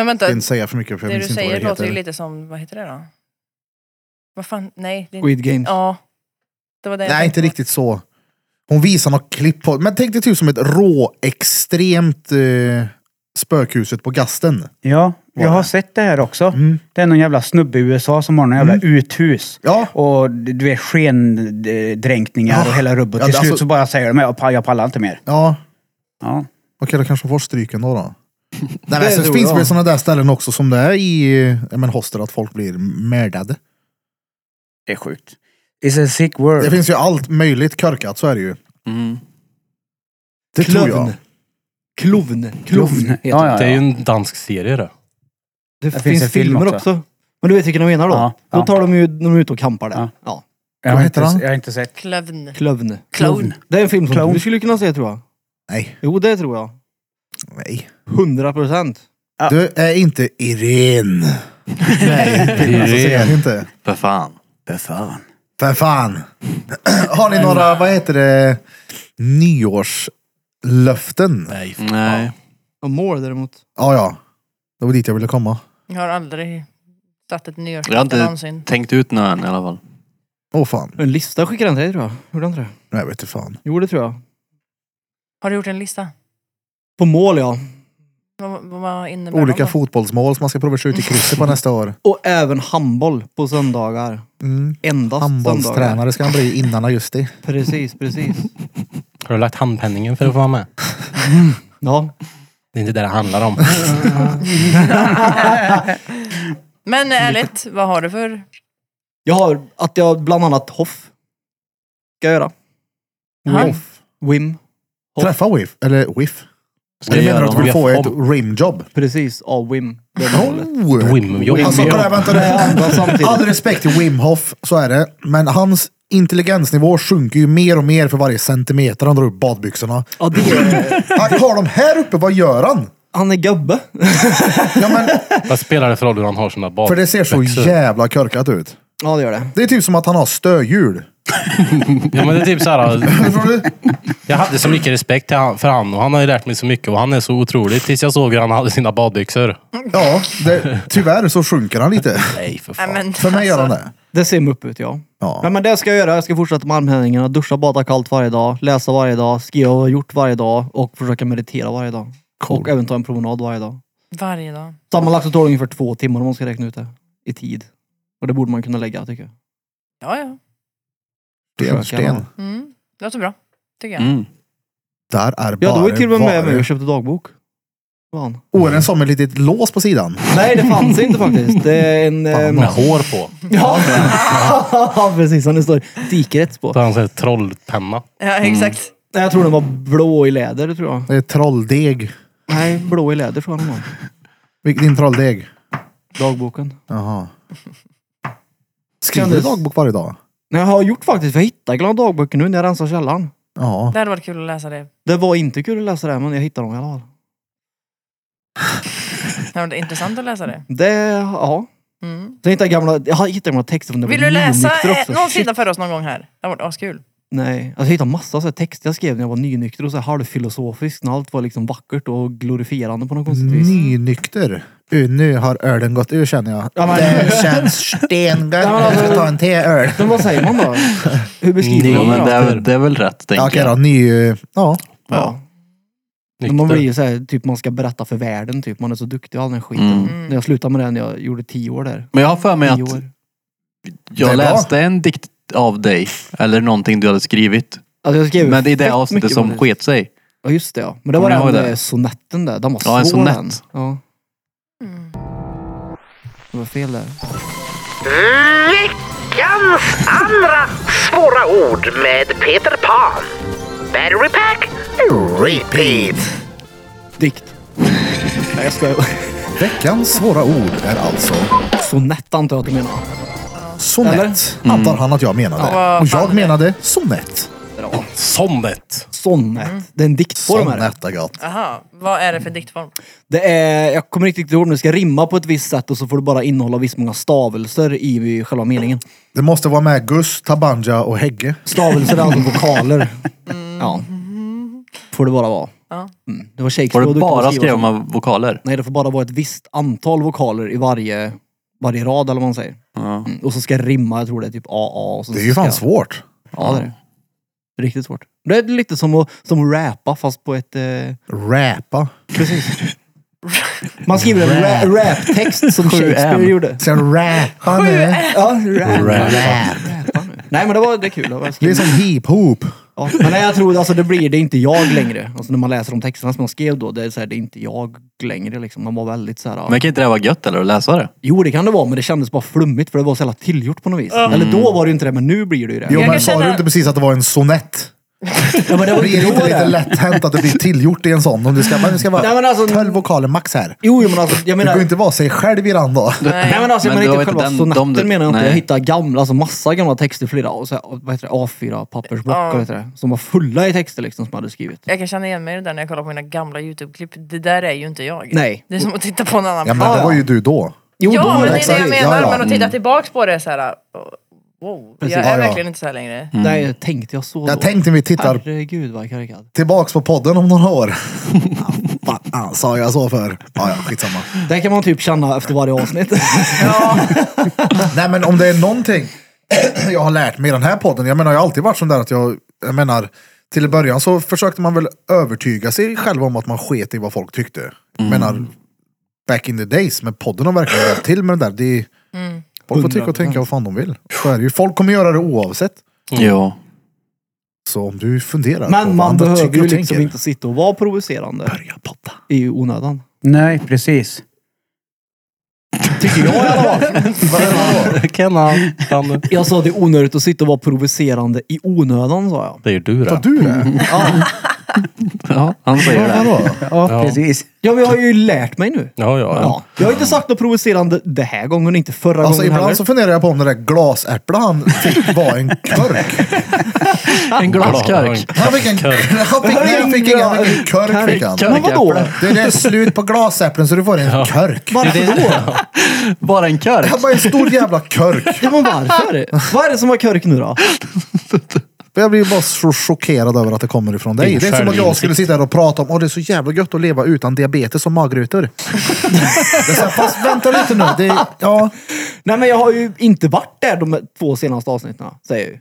Jag
vänta,
vill inte säga för mycket för jag
Äh, det du
minns inte vad
säger
det
låter
heter.
ju lite som, vad heter det då? Vad fan, nej. Det,
Squid Games.
Ja. Det var det jag
Nej,
tänkte
inte
på.
riktigt så. Hon visar något klipp på... Men tänk dig typ som ett rå-extremt eh, spökhuset på gasten.
Ja, jag har sett det här också.
Mm.
Det är någon jävla snubbe i USA som har någon jävla uthus.
Ja.
Och du vet skendränkningar
Ja.
och hela rubbet.
Ja,
Till
det-
slut
alltså-
så bara säger de jag pallar, jag pallar inte mer.
Ja,
Ja.
okej då kanske hon får stryk ändå då. Nej, men
Det
alltså, det
tror
finns
jag.
väl sådana där ställen också som det är i eh, men hostel, att folk blir mördade.
Det är sjukt. It's a sick world.
Det finns ju allt möjligt korkat, så är det ju.
Mm.
Det tror jag.
Klovn. Klovn. Klovn heter
Ja, ja,
Det är ju
ja.
en dansk serie det.
Det,
finns
finns,
en film
filmer
också.
också. Men du vet vilken jag menar då?
Ja, ja.
Då tar de ju, de är ute och kampar där.
Ja.
Ja.
Jag har
Vad
inte-
heter han?
Jag har inte sett.
Klövn.
Klövn.
Clown.
Det är en film som
Clown.
du skulle kunna se tror jag.
Nej,
Jo, det tror jag.
nej.
Hundra procent.
Du är inte Irene. Nej, Pippa, så säger jag inte.
För fan.
För fan.
För fan. Har ni några, vad heter det, nyårslöften?
Nej.
Nej.
Och Moore däremot.
Ja, ja. Det var dit jag ville komma.
Jag har aldrig satt ett
Jag har
nyårslöfte
inte
någonsin.
tänkt ut något än i alla fall.
Åh fan.
En lista skickade han till dig tror jag. Gjorde han inte det?
Nej, jag vet inte fan.
Jo, det tror jag.
Har du gjort en lista?
På mål ja.
Vad, vad innebär
Olika
de då?
fotbollsmål som man ska prova skjuta i krysset på nästa år.
Och även handboll på söndagar.
Mm.
Endast söndagar.
Handbollstränare ska han bli innan augusti.
Precis, precis.
Har du lagt handpenningen för att få vara med?
Ja.
Det är inte det det handlar om.
Men ärligt, vad har du för...
Jag har att jag bland annat Hoff. Ska jag göra.
Han?
Wim. Hoff.
Träffa WIF. Eller WIF.
Ska
Jag menar
göra
att du
en
får
jobb?
ett rimjobb.
Precis, av Wim. Det är målet.
Oh.
Wimjobb.
Alltså, kolla, vänta, det
Jag
är-
andas samtidigt.
All respekt till Wim Hof, så är det. Men hans intelligensnivå sjunker ju mer och mer för varje centimeter han drar upp badbyxorna.
Ja, det är,
Han har dem här uppe, vad gör han?
han är gubbe.
Ja, men,
Vad spelar det för roll hur han har sina bad?
för det ser så jävla korkat ut.
Ja, det gör det.
Det är typ som att han har stödhjul.
Ja, men det är typ så här,
Förstår du?
jag hade så mycket respekt till han, för han och han har ju lärt mig så mycket och han är så otrolig tills jag såg hur han hade sina badbyxor.
Ja, det, tyvärr så sjunker han lite.
Nej för
Nej, men,
För mig gör han
alltså,
det.
Det ser upp ut, ja.
Ja.
Nej, men det ska jag göra. Jag ska fortsätta med armhävningarna, duscha, bada kallt varje dag, läsa varje dag, skriva vad jag har gjort varje dag och försöka meditera varje dag. Och även ta en promenad varje dag.
Varje dag.
Sammanlagt så tar det ungefär två timmar om man ska räkna ut det i tid. Och det borde man kunna lägga, tycker jag.
Ja, ja.
Sten,
Försöka,
sten.
ja.
Mm. Det låter bra, tycker jag.
Mm.
Där är
Ja, du var ju
bara
till och med med
varor.
mig och köpte dagbok. Fan.
Åren som ett litet lås på sidan.
Nej, det fanns inte faktiskt. Det är en... ehm,
Med hår på.
ja, precis. Han står dikrätt på.
Så han säger trollpenna.
Ja, exakt.
Mm.
Nej, jag tror den var blå i läder, det tror jag.
Det är eh, trolldeg.
Nej, blå i läder tror jag den var.
Vilk- Din trolldeg.
Dagboken.
Jaha. Skriver du
Kändes-
dagbok varje dag?
Nej, jag har gjort faktiskt, för jag hittade glada dagböcker nu när jag rensar källaren.
Ja.
Det hade varit kul att läsa det.
Det var inte kul att läsa det, men jag hittade dem i alla fall.
Det hade varit intressant att läsa det.
Det, ja.
Mm.
Sen hittade jag gamla, jag har hittat gamla texter från det
Vill
var
du läsa
nynykter
eh,
också.
någon
Shit.
sida för oss någon gång här? Det hade varit askul.
Nej, alltså, jag hittade massa så här texter jag skrev när jag var nynykter och så här halvfilosofiskt. När allt var liksom vackert och glorifierande på något konstigt vis.
Nynykter. Uh, nu har ölen gått ur känner jag.
Ja, men-
Det känns stengött.
Ja, men alltså-
Jag ska ta en till öl.
Men vad säger man då? Hur beskriver
Ja,
man
men
det
det,
då?
är, det är väl rätt, tänker
Ja, Okej då,
jag.
ny... eh, Ja.
Ja. Men Man blir ju såhär, typ man ska berätta för världen typ. Man är så duktig och all den skiten.
Mm.
När jag slutade med det när jag gjorde tio år där.
Men jag har för mig
Tio
att
år.
Det är
jag
bra.
läste en dikt av dig. Eller någonting du hade skrivit.
Alltså jag skrev
Men det är det
fett
avsnittet
mycket
som
faktiskt.
sket sig.
Ja just det ja. Men det
Kommer
var
ni
den
ihåg det?
eh, sonetten där. Den var
Ja, en
svår
sonett. Mm.
den. Ja. Det var fel där.
Veckans andra svåra ord med Peter Pan. Battery pack repeat.
Dikt. Nej jag skojar.
Veckans svåra ord är alltså
Sonett antar jag att du menar.
sonett. Mm. Antar han att jag menade.
Ja.
Och jag menade sonett.
Sonnet.
Sonett.
Mm.
Det är en diktform är det.
Sonett är gott.
Aha, vad är det för diktform?
Det är, jag kommer inte riktigt ihåg, men det ska rimma på ett visst sätt och så får det bara innehålla visst många stavelser i själva meningen.
Det måste vara med Gus, Tabanja och Hägge.
Stavelser är alltså vokaler. Ja. Får det bara vara.
Ja.
Mm. Det var
Var
Shakespeare
det
du
bara
kunde
skriva
så.
med vokaler?
Nej, det får bara vara ett visst antal vokaler i varje, varje rad eller vad man säger.
Ja.
Mm. Och så ska det rimma, jag tror det är typ AA. Och så
Det är ju fan
ska,
svårt.
Ja, det är det. Riktigt svårt. Det är lite som att, som att rappa fast på ett... Eh,
Rappa.
man skriver en
Rap.
ra- raptext som Shakespeare gjorde.
Ska jag rappa nu?
Ja, rap.
Rap.
Nej men det var det är kul. Det var
Det är som hiphop.
ja. Men nej, jag tror alltså, det blir det är inte jag längre. Alltså, när man läser de texterna som jag skrev då, det är, så här, det är inte jag längre. Liksom. De var väldigt så här, ja.
Men kan inte det vara gött eller att läsa det?
Jo det kan det vara men det kändes bara flummigt för det var så jävla tillgjort på något vis. Eller då var det ju inte det men nu blir det ju det.
Jo
Jag
men
kan
sa
känna-
du inte precis att det var en sonett?
Ja, men det var
Blir det
ju
inte
då
lite
det.
lätt hänt att det blir tillgjort i en sån? Om du ska, men det ska vara
Nej, men alltså-
12 vokaler max här.
Jo jo, men alltså jag
Det
menar...
går inte vara sig själv i den då.
Nej men alltså jag
Men det
menar
var
inte
inte
själva
den-
sonetten
de du-
menar jag inte.
nej.
Jag hittade gamla, alltså massa gamla texter, flera och så här, vad heter det, A4 pappersblock
Ja.
vad heter det, som var fulla i texter liksom som jag hade skrivit.
Jag kan känna igen mig i det där när jag kollar på mina gamla YouTube-klipp. Det där är ju inte jag.
Nej.
Det är som att titta på en annan
Ja men det var ju du då.
Jo, då
Ja,
var
men det är det
exakt.
jag
Ja,
menar.
ja. mm.
Men att titta tillbaks på det är så här. oh, Wow,
Precis.
jag
Ja,
är
ja.
verkligen inte så här längre.
Mm.
Nej, tänkte jag så
Jag
då?
tänkte vi tittar
Herregud vad karikad.
tillbaks på podden om några år. Vad fan sa jag så för? Ja, ja, skitsamma.
Det kan man typ känna efter varje avsnitt.
Nej men om det är någonting jag har lärt mig i den här podden. Jag menar jag har alltid varit sån där att jag, jag menar till i början så försökte man väl övertyga sig själv om att man sket i vad folk tyckte. Jag
Mm.
menar back in the days. Men podden har verkligen hjälpt till med det där. Det, är- Folk får tycka och tänka vad fan de vill. Så är det ju. Folk kommer göra det oavsett.
Ja.
Så om du funderar på
men
vad
man
andra
behöver
tycker
ju
och
liksom
tänker.
inte sitta och vara provocerande
Börja podda.
i onödan.
Nej, precis.
Tycker jag i alla fall.
Kenna, Danne.
Jag sa det är onödigt att sitta och vara provocerande i onödan sa jag.
Det är ju du
Tar
det.
Mm.
du det?
ja, han säger det.
Vadå?
Ja, precis.
Ja men jag har ju lärt mig nu.
Ja, ja, ja.
Ja. Jag har inte sagt något provocerande den här gången, inte förra
Alltså
gången heller.
ibland så funderar jag på om det där glasärtlan han fick var en körk.
En glaskörk.
Han fick en körk. Han fick, nej, han fick ingen, han fick en körk. Fick han.
Men vadå?
Det det är slut på glasäpplen så du får en körk.
Varför då?
Bara en körk?
Han bara en stor jävla körk.
Ja, men varför? Vad är det som var körk nu då?
Jag blir bara så chockerad över att det kommer ifrån dig.
Din
Det är som att jag
självinsikt.
skulle sitta här och prata om att det är så jävla gött att leva utan diabetes och magrutor. Det är så här, Fast vänta lite nu. Det, är- ja.
Nej men jag har ju inte varit där de två senaste avsnitten, säger jag ju.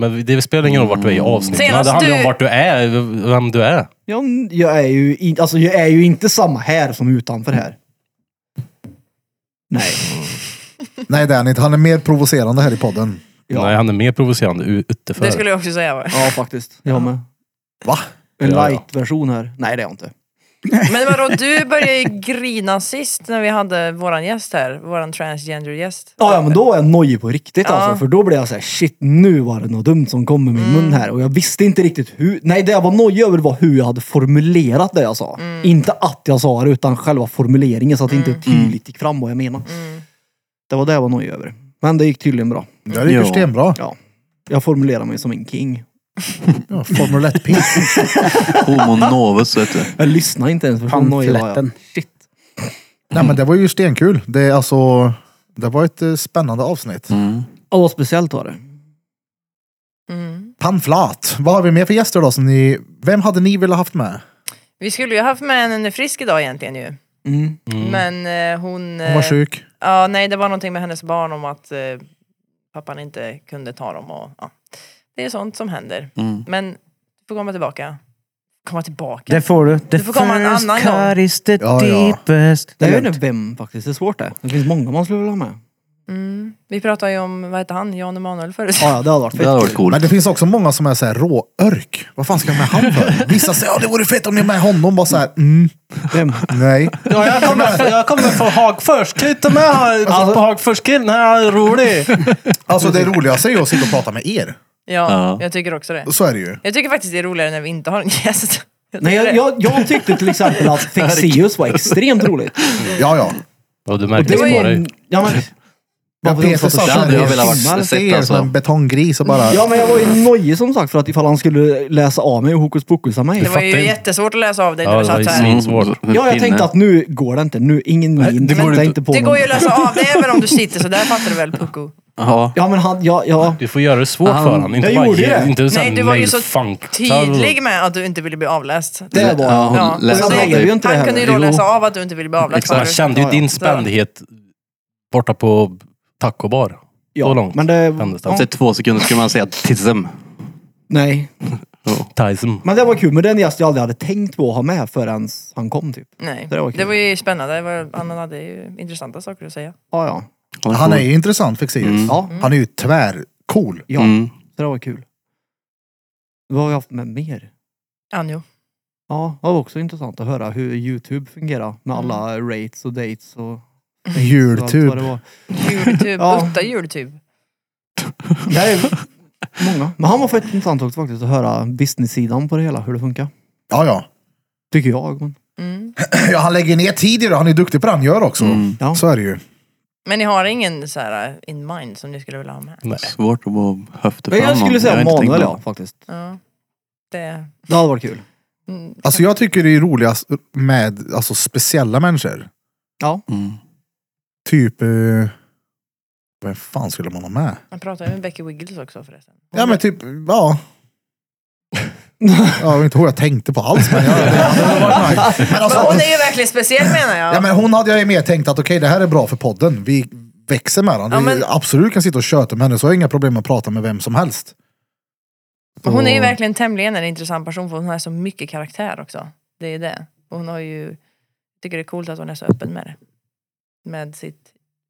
Men det spelar ingen roll vart du är i avsnittet.
Mm. Senast
Det handlar ju
du-
om vart du är, vem du är.
Ja, men Jag är, ju in, alltså, jag är ju inte samma här som utanför här. Nej.
Nej det är han inte. Han är mer provocerande här i podden.
Ja.
Nej, han är mer provocerande u- utifrån.
Det skulle jag också säga. va?
Ja, faktiskt. Jag med.
Va?
En
Ja, ja.
light-version här. Nej, det är jag inte.
Men vadå, du började ju grina sist när vi hade våran gäst här. Våran transgender-gäst.
Ja, ja, men då var jag nojig på riktigt
Ja.
alltså. För då blev jag så här, shit nu var det något dumt som kom med min mun här. Och jag visste inte riktigt hur. Nej, det jag var nojig över var hur jag hade formulerat det jag sa. Inte att jag sa det, utan själva formuleringen så att det inte tydligt gick fram vad jag menade.
Mm,
Det var det jag var nojig över. Men det gick tydligen bra.
Ja, det gick ju
Ja.
stenbra.
Ja. Jag formulerar mig som en king.
Ja, Formel 1-piss.
Homo novus vet du.
Jag lyssnar inte ens för så nojig var jag.
Pamfletten.
Shit.
Nej men det var ju stenkul. Det, är alltså, det var ett eh, spännande avsnitt.
Mm.
Ja, vad speciellt var det.
mm.
Pamflat. Vad har vi mer för gäster då? Som ni, vem hade ni velat haft med?
Vi skulle ju haft med henne frisk idag egentligen ju.
Mm.
Men eh, hon...
Hon var
eh,
sjuk.
Ja, nej, det var någonting med hennes barn om att eh, pappan inte kunde ta dem och ja. Det är sånt som händer. Men du får komma tillbaka. Komma tillbaka.
Det får du. The
får komma en
first
annan
cut is the
Ja, ja.
deepest.
Jag vet inte vem faktiskt. Det är svårt det. Det finns många man skulle vilja ha med.
Vi pratade ju om, vad heter han, Jan Emanuel förut.
Ja, ja, det hade varit
Det
fett.
hade varit coolt.
Men det finns också många som är så här råörk. Vad fan ska jag med han för? Vissa säger att det vore fett om ni är med honom. Bara så här, mm,
Vem?
nej.
Ja, jag kommer, jag kommer från Hagfors. Kan du inte med här på Hagforskillen? Han är rolig.
Alltså det roligaste är ju att sitta och prata med er.
Ja,
Ja.
jag tycker också det.
Så är det ju.
Jag tycker faktiskt det är roligare när vi inte har en gäst. Jag
Nej,
tycker
jag,
det.
jag, jag tyckte till exempel att Fexeus var extremt roligt.
Ja, ja.
Ja, du märkte
Det var
det
ju-
på dig.
Ja, men,
Jag
Varför
Peter sa
de så
så här,
hade jag velat
jag
varit
simmar
sett,
sig er
alltså.
som en betonggris och bara...
ja, men jag var ju nojig som sagt för att ifall han skulle läsa av mig och hokus pokusa mig.
det var ju
fattar ju.
jättesvårt att läsa av dig när
Ja,
du
det var
satt
ju
här.
svinsvårt.
Mm.
Ja, jag tänkte att nu går det inte. Nu, ingen min.
det går
Vänta
inte.
inte på
Det går
någon.
ju att läsa av dig även om du sitter så där fattar du väl Pucko?
Ja.
Ja, men han, ja, ja.
Du får göra det svårt
Han-
för honom. Inte
Jag
bara
gjorde
ge,
det.
inte
Nej, du var ju så
funk.
tydlig med att du inte ville bli avläst.
Det var
Ja, hon
jag.
Ja,
läste
så
av
det-
dig. inte det
Han kunde ju då
heller.
läsa av att du inte ville bli avläst.
Exakt. Jag kände ju
Ja, ja.
Mm.
din spändhet borta på tacobar.
Ja,
Så långt
Men det,
händes det.
ja,
Efter två sekunder skulle man säga tism.
nej.
Alltså, Tyson.
Men det var kul. Men det är en gäst jag aldrig hade tänkt på att ha med förrän han kom typ.
Nej,
Det
det
var
var,
kul.
ju spännande. Det var, han hade ju intressanta saker att säga.
Ja, ja.
Han är ju intressant Fexeus.
Ja,
Han är ju tvärcool.
ja.
Mm.
Så det var kul. Vad har vi haft med mer?
Anjo.
Ja, det var också intressant att höra hur YouTube fungerar med alla rates och dates och... och allt vad
Jultub.
det var.
Jultub.
Ja.
Utta jultub.
Det här är många. Men han var fett intressant också faktiskt att höra business-sidan på det hela, hur det funkar.
Ja, ja.
Tycker jag. Men...
Mm.
ja. Han lägger ner tid i det. Han är duktig på det han gör också.
Mm.
Ja.
Så är det ju.
Men ni har ingen så här uh, in mind som ni skulle vilja ha med?
Nej.
Svårt att bara höfta
Men
fram
jag skulle
någon. har
säga
inte tänkt
Manuel
på
ja, faktiskt.
Ja. Det, mm,
Det hade varit kul.
Alltså jag tycker det är roligast med alltså, speciella människor.
Ja.
det. Mm.
Typ... Eh, vem fan skulle man ha med?
jag pratade med Becky Wiggles också förresten.
Ja men typ, ja. Jag vet inte hur jag tänkte på alls men jag, det hade varit nice. Men
Men
alltså,
hon är ju verkligen speciell menar jag.
ja, men hon hade jag ju mer tänkt att okej det här är bra för podden. Vi växer med den.
Ja, men-
Vi absolut kan sitta och köta med henne så har jag inga problem med att prata med vem som helst.
Men hon är ju verkligen tämligen en intressant person för hon har så mycket karaktär också. Det är ju det. Och hon har ju, tycker det är coolt att hon är så öppen med det. Med sitt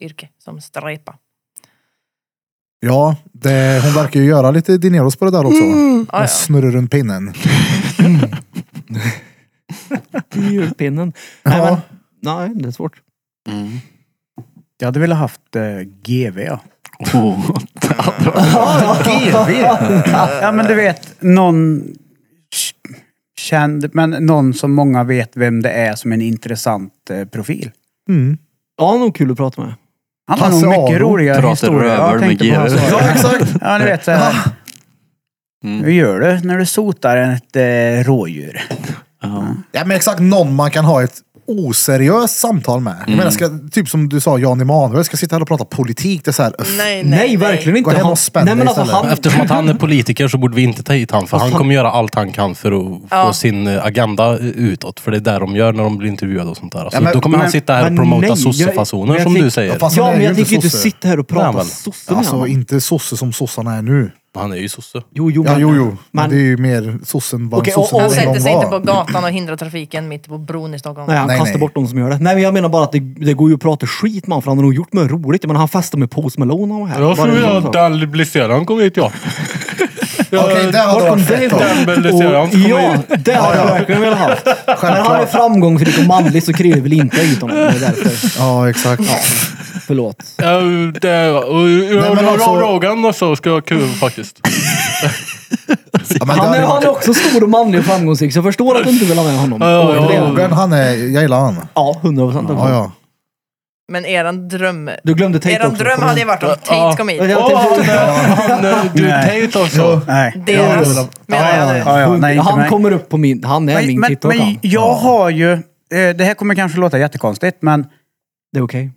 yrke som strepa.
Ja, det, hon verkar ju göra lite dineros på det där också. Hon
Mm. Ja, ja.
snurrar runt pinnen.
Julpinnen. Nej,
Ja.
men, nej, det är svårt.
Jag hade velat haft eh, GV. ja.
Oh.
Ja men du vet, någon k- känd, men någon som många vet vem det är som en intressant eh, profil.
Mm.
Ja, han är nog kul att prata med.
Han har
Hasse
nog mycket
Aro.
roliga
Pratar
historier.
rövel
jag
med
tänkte
GV.
på hans-
Ja exakt.
Ja, du vet så här.
Mm.
Hur gör du när du sotar ett eh, rådjur?
Ja men exakt någon man kan ha ett oseriöst samtal med. Jag menar, ska, typ som du sa Jan Emanuel, ska sitta här och prata politik. Det är så här, öff,
Nej, nej,
Nej, verkligen inte.
Gå hem och
Han-
spänn
nej, men
dig
alltså,
istället.
han,
Eftersom att han är politiker så borde vi inte ta hit han för han kommer göra allt han kan för att få
Ja.
sin eh, agenda utåt. För det är där de gör när de blir intervjuade och sånt där. Alltså,
Ja, men-
då kommer han
men-
sitta här och
men
promota
nej, jag-
sossefasoner
jag
som
tyck-
du säger.
Fast han
ja,
är
men
ju
jag tänker inte
sosse.
sitta här och prata
väl.
sosse med
Alltså
honom.
inte sosse som sossarna är nu.
Han är ju sosse.
Jo, jo,
Ja,
men-
jo, jo. Men
Men-
det är ju mer sossen vad
Okej,
okay, sossen
Han
och-
en
och-
sätter
gång
sig inte på
var.
gatan och hindrar trafiken mitt på bron i Stockholm.
Nej, han
Nej,
kastar
nej.
bort de som gör det. Nej, men jag menar bara att det, det går ju att prata skit med honom för han har nog gjort mig roligt. Men han festade med Post Malone när han var här. Bara en sån sak.
Dan Blizzerdan kom hit ja.
Okej, det hade
Vart kom
varit
det
fett då.
ifrån?
Campbell, det ser jag. Han kommer
Ja, det hade jag verkligen velat ha. Men han är
Självklart.
framgångsrik och manlig så kryr väl inte ut honom. Det är därför.
Ja, exakt.
Förlåt.
Nej, men alltså-
Rogan också ska vara kul faktiskt.
Ja, men
Han
det
är, han
hade varit-
är också stor och manlig och framgångsrik så jag förstår att du inte vill ha med honom.
Ja, ja,
Det-
Rogan, han är, jag gillar han.
Ja, hundra procent.
Ja, ja.
Men eran dröm,
Du glömde Tate
eran
också.
dröm hade ju varit om Tate kom hit.
Ja, jag tänkte-
Du
Nej.
Tate också.
Nej.
Deras, menar jag nu.
Ja, ja, nej, inte
han
mig.
kommer upp på min... Han är
Men,
min
men,
TikTok
men
han.
jag har ju... eh, Det här kommer kanske låta jättekonstigt, men
Det är okej.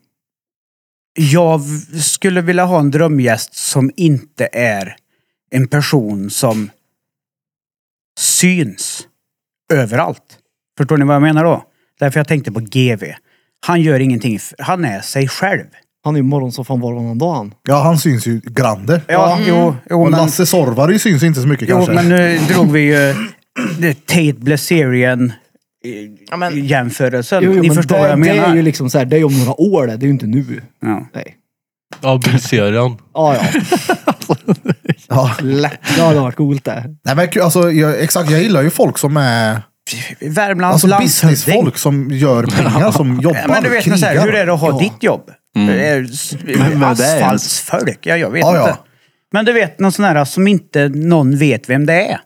jag v- skulle vilja ha en drömgäst som inte är en person som syns överallt. Förstår ni vad jag menar då? Därför jag tänkte på GV. Han gör ingenting. f- Han är sig själv.
Han är ju morgonsoffan var och varannan dag han.
ja, han syns ju grande.
Ja, jo, jo,
Och
men...
Lasse Sorvary syns ju inte så mycket
Jo,
kanske.
men nu drog vi ju eh, det Tate Blazerian
Ja, men,
jämförelsen.
Jo, jo,
Ni
men
förstår
det,
vad jag
Det är
menar.
ju liksom så här, det är ju om några år det. Det är ju inte nu.
Ja.
Nej.
Ja, Blizzerdan.
Ja, ja.
Ja.
Lätt. Det hade varit coolt det.
Nej, men ku- alltså, jag, exakt, jag gillar ju folk som är
Värmlands
alltså,
landshövding.
businessfolk som gör pengar, som jobbar,
Ja, men du vet, men så här, hur är det att ha ditt jobb? Mm.
vad det är ens?
Asfaltsfolk? Ja, jag vet
Ja, ja.
inte. Men du vet, någon sån här som inte någon vet vem det är.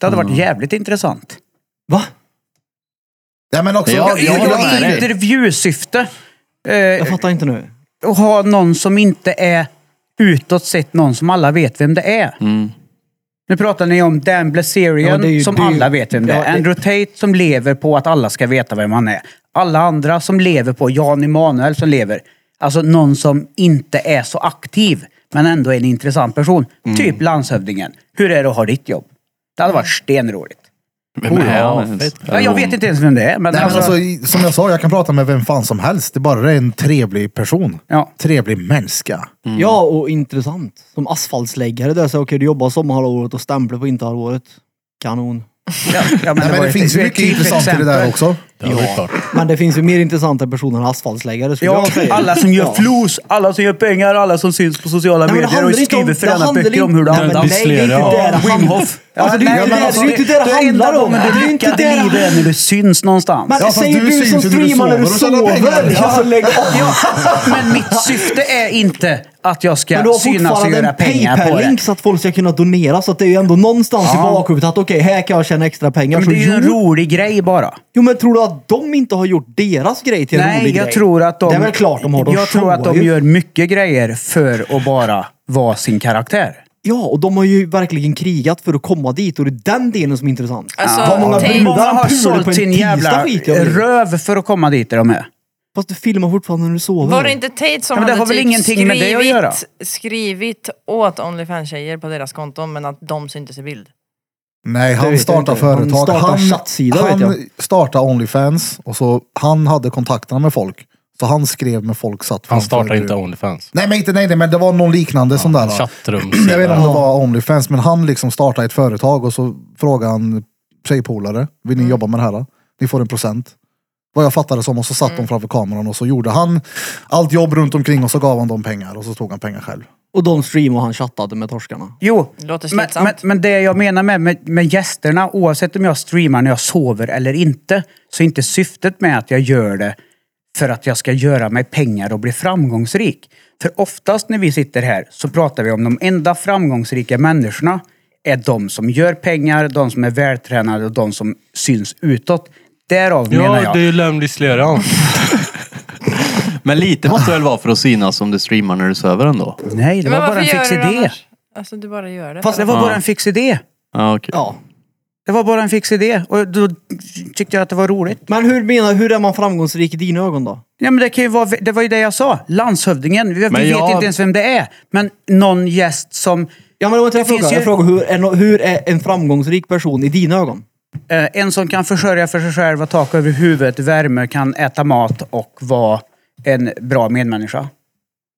Det hade varit jävligt intressant.
Va?
Ja, men också,
Ja,
I
jag håller med dig.
intervjusyfte. Eh,
Jag fattar inte nu.
Och ha någon som inte är utåt sett någon som alla vet vem det är.
Mm.
Nu pratar ni om Dan
Ja, det är
Blazerian
ju-
som
det är ju-
alla vet vem det
Ja, det-
är. Andrew Tate som lever på att alla ska veta vem han är. Alla andra som lever på Jan Emanuel som lever. Alltså någon som inte är så aktiv men ändå är en
Mm.
intressant person. Typ landshövdingen. Hur är det att ha ditt jobb? Det hade varit stenroligt.
Vem är han ens?
Ja, jag vet inte ens vem det är. Men
Nej, men
alltså,
alltså, i- som jag sa, jag kan prata med vem fan som helst. Det är bara det är en trevlig person.
Ja.
Trevlig människa.
Mm.
Ja, och intressant. Som asfaltsläggare där, så okej du jobbar sommarhalvåret och stämplar på vinterhalvåret. Kanon.
ja, ja,
Nej, men
var
det
ett-
finns ju
ett
mycket
typexempel.
intressant i det där också.
Men det finns ju mer intressanta personer än asfaltsläggare skulle
Ja,
jag säga.
alla som gör
Ja.
flos, alla som gör pengar, alla som syns på sociala
Nej, men det
medier och
handlar inte om- det
skriver fräna
handlar
böcker om hur det
inte-
används.
Nej, men det är inte det det
Wim
handlar om.
Hoff.
Alltså, det är ju inte det- det är ju inte det det handlar om. Det är ju inte det det
livet är när du syns någonstans.
Men
Ja, fast
säger
du
du
syns
som
ju när du
streamar när du
sover och tjänar
sover?
pengar.
Ja. Alltså, lägg av.
Ja, men mitt syfte är inte att jag
Men du
ska
har
synas och
fortfarande
göra
en
pengar på det.
Paypal-link så att folk ska kunna donera. Så att det är ju ändå någonstans i
Ja.
bakhuvudet att okej, här kan jag tjäna extra pengar.
Men
Så
det är ju en
jo,
rolig grej bara.
jo, men tror du att de inte har gjort deras grej till en
Nej,
rolig
jag
grej?
tror att de...
Det är väl klart de har. De
jag tror att
showar
de
ju.
gör mycket grejer för att bara vara sin karaktär.
Ja, och de har ju verkligen krigat för att komma dit och det är den delen som är intressant.
Alltså,
Vad många
tänk-
brudar
Många
han
har
pular på en
sålt sin
tisdag
jävla
skit jag vet.
röv för att komma dit där de är.
Fast du filmar fortfarande när du sover.
Var det inte Tate som
Ja, men det
hade
har väl
typ
ingenting
skrivit,
med det att göra?
skrivit åt Onlyfans-tjejer på deras konton men att de syntes i bild?
Nej,
vet
han
jag
startade
inte. Han
företag.
startade chattsida, vet
han
jag.
startade Onlyfans och så han hade kontakterna med folk. Så han skrev med folk satt
Han
framför
startar
ett
inte
rum.
Onlyfans.
Nej, men inte nej, nej, men det var någon liknande sån där. va?
Chattrum.
Jag vet inte om det var Onlyfans, men han liksom startade ett företag och så frågade han tjejpolare, vill ni
Mm.
jobba med det här? då? Ni får en procent. Vad jag fattade som, och så satt
Mm.
de framför kameran och så gjorde han allt jobb runt omkring och så gav han dem pengar och så tog han pengar själv.
Och de streamade och han chattade med torskarna.
Jo,
Det låter
men,
slitsamt.
men, men det jag menar med, med, med gästerna, oavsett om jag streamar när jag sover eller inte, så är inte syftet med att jag gör det för att jag ska göra mig pengar och bli framgångsrik. För oftast när vi sitter här så pratar vi om de enda framgångsrika människorna är de som gör pengar, de som är vältränade och de som syns utåt. Därav menar
Ja,
jag.
det är ju lömdisslera.
Men lite måste det väl vara för att synas om du streamar när du söver ändå?
Nej, det
Men
var bara
varför
en
gör
fix
du det
idé.
annars? Alltså du bara gör det.
Fast det var bara en fix idé.
Ja, okej.
Ja.
Det var bara en fix idé. Och då tyckte jag att det var roligt.
Men hur menar hur är man framgångsrik i dina ögon då?
Ja, men det, kan ju vara, det var ju det jag sa. Landshövdingen. Vi,
Men
vi
jag-
vet inte ens vem det är. Men någon gäst som...
Ja, men det var inte
Det
jag frågade.
finns ju-
Jag frågade hur är, no- hur är en framgångsrik person i dina ögon?
Eh, en som kan försörja för sig själv, ha tak över huvudet, värme, kan äta mat och vara en bra medmänniska.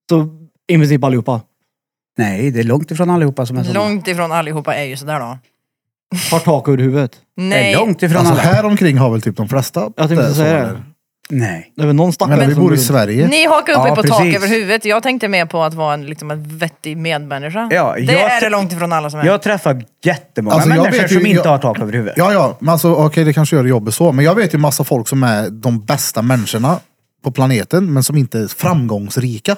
Så i princip allihopa.
Nej, det är långt ifrån allihopa som är sådana.
Långt ifrån allihopa är ju sådär då.
Har tak över huvudet.
Det är
Nej,
långt ifrån
Alltså
alla.
här omkring har väl typ de flesta
Jag tänkte
det,
säga
så,
det.
eller?
Nej.
Det är väl någon stackare
Men vi
som
bor i
går runt.
Sverige.
Ni hakar upp
Ja,
er på tak
precis.
över huvudet. Jag tänkte mer på att vara en, liksom, en vettig medmänniska.
Ja,
det
jag
är
tr-
det långt ifrån alla som är.
Jag träffar jättemånga
Alltså, jag
människor
vet ju-
som inte
jag-
har tak över huvudet.
Ja, ja, men alltså okej det kanske gör jobbet så, men jag vet ju massa folk som är de bästa människorna på planeten, men som inte är framgångsrika.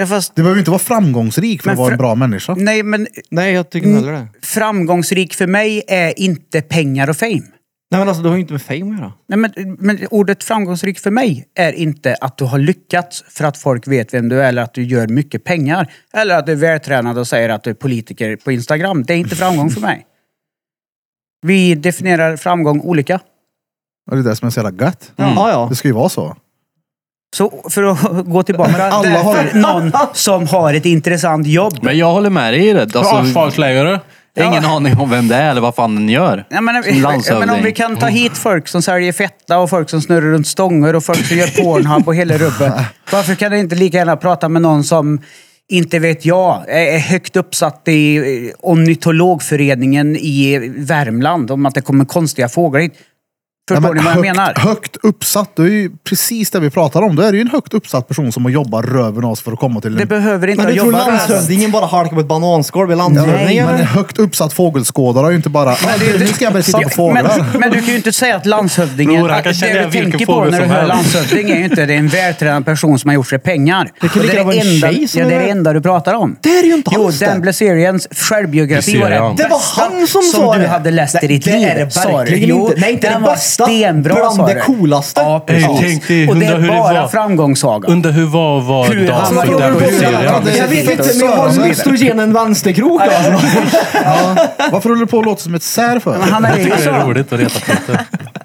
Ja, fast,
Du behöver inte vara framgångsrik för
Men
att vara
fra-
en bra människa.
nej, men
Nej, jag tycker
Mm.
inte heller det.
framgångsrik för mig är inte pengar och fame.
Nej men alltså det har ju inte med fame att göra.
Nej, men, men ordet framgångsrik för mig är inte att du har lyckats för att folk vet vem du är eller att du gör mycket pengar. Eller att du är vältränad och säger att du är politiker på Instagram. Det är inte framgång för mig. Vi definierar framgång olika.
Och det är det som är så jävla gött.
Ja, ja.
Mm. Det ska ju vara så.
Så för att gå tillbaka.
Men alla
därför
har-
någon som har ett intressant jobb.
Men jag håller med dig i det. Alltså,
Asfaltläggare.
jag har ingen aning om vem det är eller vad fan den gör.
Ja, men,
Som landshövding.
men om vi kan ta hit folk som säljer fetta och folk som snurrar runt stånger och folk som gör Pornhub och hela rubbet. Varför kan du inte lika gärna prata med någon som, inte vet jag, är är högt uppsatt i eh, ornitologföreningen i Värmland om att det kommer konstiga fåglar hit? Förstår
Nej, men
ni vad jag
högt,
menar?
Högt uppsatt, det är ju precis det vi pratar om. Då är det ju en högt uppsatt person som har jobbat röven av oss för att komma till
Det
en...
behöver inte
Men du
jag
tror
jobba med.
landshövdingen bara halkar på ett bananskal vid landshövdingen?
men en högt uppsatt fågelskådare är ju inte bara "Ah,
det-
nu ska jag börja titta på fåglar.
Men, men du kan ju inte säga att landshövdingen...
Bror, han kan
att
känna
det
igen
du
vilken
tänker på
fågel
när du
som
hör
helst.
landshövding är ju inte det är en vältränad person som har gjort sig pengar.
Det kan
Och
lika
är
gärna vara en
enda-
tjej som
ja, det är
är-
det enda du pratar om.
Det är ju inte
Jo,
alls
Dan
det.
Blazerians självbiografi var det
Blazerian.
bästa
Det var han som sa
du
det.
hade läst i ditt
Det- det
liv.
är det
sa du.
verkligen
Jo,
inte. Nej, inte
den
det
var
bästa.
stenbra,
Bland
sa
det
du.
coolaste.
Ja, precis.
Ey, tänk dig,
och det
undra
är
hur det
bara
var.
framgångssaga.
Undrar hur var, var
Hur
alltså,
han
dagen
var
för den
gjord.
Blazerian?
Det är
Jag vet
fint.
inte, men jag har lust att ge henne en vänsterkrok. Alltså.
Ja. Varför håller du på att låta som ett sär för?
Men han är ju
Det är
så.
roligt att reta Peter.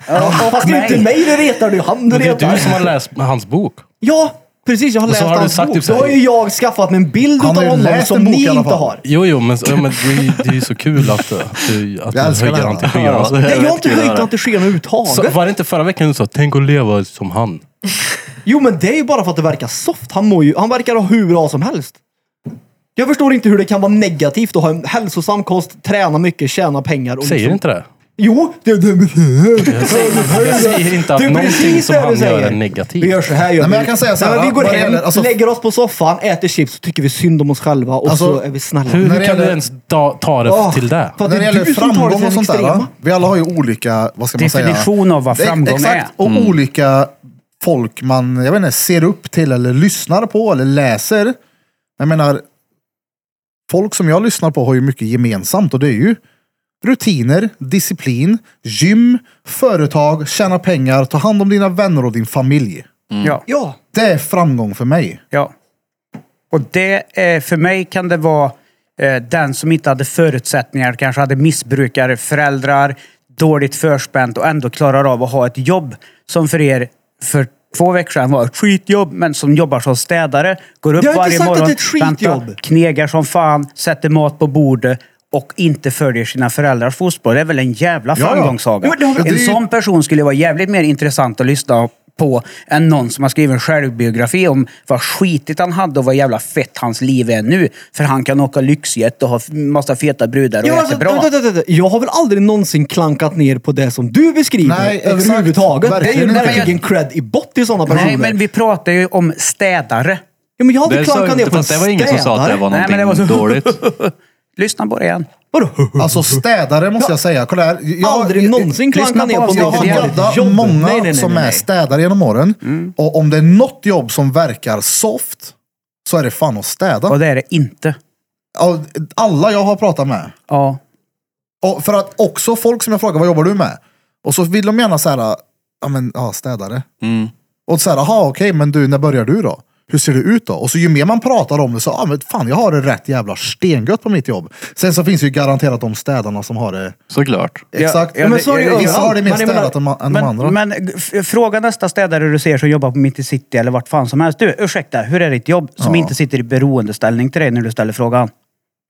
Ja, och
Fast det är inte
mig.
mig du retar, det är han du
Men det är
retar.
du som har läst hans bok.
Ja, Precis, jag har
Och så
läst
har du
hans
sagt
bok.
typ så
då
här-
har ju jag skaffat mig en bild
Han
av
har ju
honom
läst
som
en bok
ni
i alla
inte
fall.
har.
Jo, jo, men, ja, men det, är ju- det är ju så kul att, att, du- att du
Jag älskar
höjer
det.
han till skyarna. Alltså,
Nej, jag har
vet inte
inte höjt
det där.
att det sker överhuvudtaget.
så, var det inte förra veckan du sa “tänk att leva som han”?
Jo, men det är ju bara för att det verkar soft. Han, mår ju, han verkar ha hur bra som helst. Jag förstår inte hur det kan vara negativt att ha en hälsosam kost, träna mycket, tjäna pengar. Och
Säger
liksom-
inte det?
Jo! Det, det,
Jag säger inte att
Alltså, Det är
någonting
precis
som
det
han
du säger.
gör är
vi gör
negativt.
så här. Gör
Nej,
vi.
men jag kan säga så här,
Nej, men
vad
vi går
det
hem,
gäller- alltså-
lägger oss på soffan, äter chips, så tycker vi synd om oss själva och
Alltså,
så är vi snälla.
Hur
När det
kan du
gäller-
ens ta, ta det
Ah,
till det?
för att
När det
är
gäller
du som tar till
framgång
den
och sånt där.
extrema.
va? Vi alla har ju olika, vad ska man säga?
Definition av vad
Det är-
framgång
Exakt, och olika folk man, jag vet inte, ser upp till eller lyssnar på eller läser. Jag menar, folk som jag lyssnar på har ju mycket gemensamt och det är ju rutiner, disciplin, gym, företag, tjäna pengar, ta hand om dina vänner och din familj.
Ja,
Ja,
Det är framgång för mig.
ja. Och det, eh, för mig kan det vara eh, den som inte hade förutsättningar, kanske hade missbrukare, föräldrar, dåligt förspänt och ändå klarar av att ha ett jobb som för er för två veckor sedan var ett skitjobb, men som jobbar som städare, går upp
Jag har inte
varje
sagt att
morgon,
det är ett skitjobb.
vänta, knegar som fan, sätter mat på bordet och inte följer sina föräldrars fotspår. Det är väl en jävla
Ja, ja.
framgångssaga.
Ja, det har vi-
En
det är ju-
sån person skulle vara jävligt mer intressant att lyssna på än någon som har skrivit en självbiografi om vad skitigt han hade och vad jävla fett hans liv är nu. För han kan åka lyxjet och ha f- massa feta brudar och
Ja,
äta
alltså,
bra.
vänta, vänta, vänta. Jag har väl aldrig någonsin klankat ner på det som du beskriver
Nej, exakt.
överhuvudtaget. Det är
Verkligen
ju
inte.
verkligen cred i bott till sådana personer.
Nej, men vi pratar ju om städare.
ja, men jag har aldrig
Det, sa
klankat
jag
ner
inte,
på en
fast det var ingen som sa att det var
Nej, men
någonting
det var så-
dåligt.
Lyssna på det igen.
Vadå?
Alltså städare måste jag säga. Kolla här. Jag,
aldrig någonsin
lyssna
klankat ner på
på oss.
Jag
något
har
Det är
gaddat
jobb.
många
Nej, nej, nej,
som
nej,
är
nej.
städare genom åren.
Mm.
Och om det är något jobb som verkar soft så är det fan att städa.
Och det är det inte.
Av Alla jag har pratat med.
Ja.
Och för att också folk som jag frågar vad jobbar du med? Och så vill de gärna så här, ja men ja, städare.
Mm.
Och så här, jaha okej men du när börjar du då? Hur ser det ut då? Och så ju mer man pratar om det så, ja men fan jag har det rätt jävla stengött på mitt jobb. Sen så finns det ju garanterat de städarna som har det
Såklart.
exakt.
ja, men så är det ju
Vissa har det mer
överallt. Men jag
städat än, ma- än de andra.
Men, men g- f- fråga nästa städare du ser som jobbar på Mitt i City eller vart fan som helst. Du, ursäkta, hur är ditt jobb? Som
Ja.
inte sitter i beroendeställning till dig när du ställer frågan.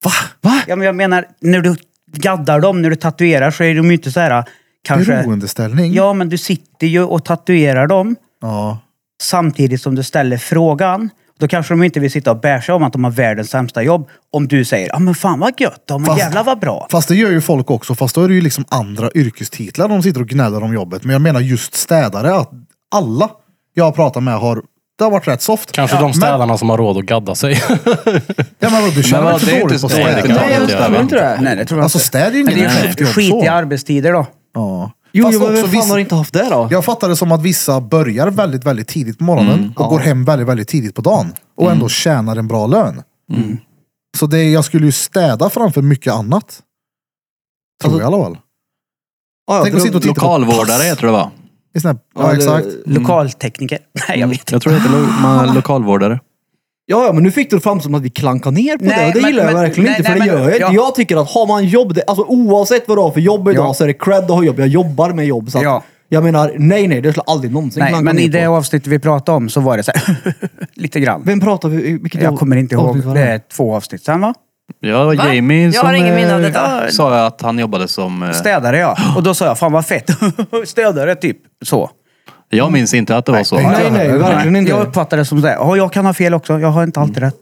Va? Va?
Ja, men jag menar, när du gaddar dem, när du tatuerar så är de ju inte så här... eh, Kanske,
Beroendeställning?
Ja, men du sitter ju och tatuerar dem
Ja.
samtidigt som du ställer frågan. Då kanske de inte vill sitta och bärsa om att de har världens sämsta jobb. Om du säger, ja ah, men fan vad gött, ja, men
Fast-
jävlar vad bra.
Fast det gör ju folk också, fast då är det ju liksom andra yrkestitlar de sitter och gnäller om jobbet. Men jag menar just städare, att alla jag har pratat med har, det har varit rätt soft.
Kanske de städarna som har råd att gadda sig.
Ja men vadå, du
Men
känner
vad,
inte
det är
dåligt
inte
på
så
städning?
enkelt.
Nej, jag tror inte det.
Nej, det tror jag
Alltså städ är ju
Men det
inget
är ju
häftigt
skit
så.
i arbetstider då.
Ja.
Jo,
Fast
jo men
också
vem fan har inte haft det då?
Jag fattar det som att vissa börjar väldigt, väldigt tidigt på morgonen och går hem väldigt, väldigt tidigt på dagen. Och ändå tjänar en bra lön. Så det, jag skulle ju städa framför mycket annat. Tror jag i alla fall.
Ja, ja,
Tänk att sitta och titta på
Lokalvårdare
pass.
heter det va?
I sån här, ja,
det-
exakt.
Lokaltekniker. Nej, jag vet inte.
Jag tror det heter lo- man, lokalvårdare.
Ja, ja, men nu fick du det fram som att vi klankar ner på det
Nej,
och det
men-
gillar jag
men-
verkligen
nej,
inte för
nej,
det
men-
gör jag inte.
ja.
Jag tycker att har man jobb, det, alltså oavsett vad du har för jobb idag
Ja.
så är det cred att ha jobb. Jag jobbar med jobb. Så att,
Ja.
Jag menar, nej nej, det skulle jag aldrig någonsin
Nej,
klanka
men
ner
i det
på.
avsnitt vi pratade om så var det så här, lite grann.
Vem pratar vi i- vilket av-
Jag kommer inte
avsnitt
ihåg.
var
Det är två avsnitt sen va?
Ja,
Va?
Jamie
Jag
som
har ingen minne av
eh,
detta.
sa att han jobbade som... eh,
Städare ja. Och då sa jag, fan vad fett. Städare typ. Så.
Jag minns inte att det var så.
Nej, nej, verkligen inte. Mm.
Jag uppfattar det som så här, "Ja, jag kan ha fel också. Jag har inte alltid rätt.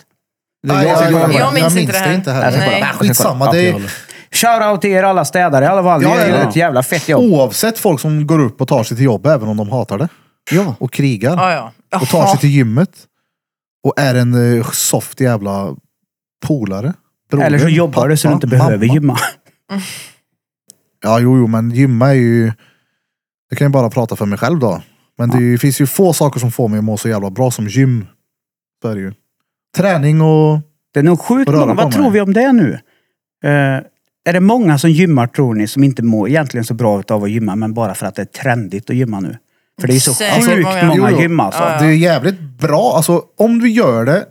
Nej, jag, jag,
minns inte det här.
heller.
Nej.
Nej, Skitsamma. Det är,
Shoutout till er alla städare i alla fall.
Ja,
det är
ja, ja.
ett jävla fett jobb.
oavsett folk som går upp och tar sig till jobbet, även om de hatar det.
Ja.
Och krigar.
Ja, ja.
Och tar sig till gymmet. Och är en eh, soft jävla polare. Broder,
Eller så jobbar du så du
pappa,
inte behöver
mamma.
gymma.
Ja, jo, jo, men gymma är ju... Jag kan ju bara prata för mig själv då. Men det är ju, finns ju få saker som får mig att må så jävla bra som gym. Så är det ju. Träning och...
Det är nog sjukt
Röra
många.
på
Vad
mig.
tror vi om det nu? Eh, är det många som gymmar tror ni som inte mår egentligen så bra av att gymma men bara för att det är trendigt att gymma nu? För det är ju så
Säkert
sjukt
många.
många,
Jo, jo.
gym alltså.
Ja, ja.
Det är jävligt bra. Alltså, om du gör det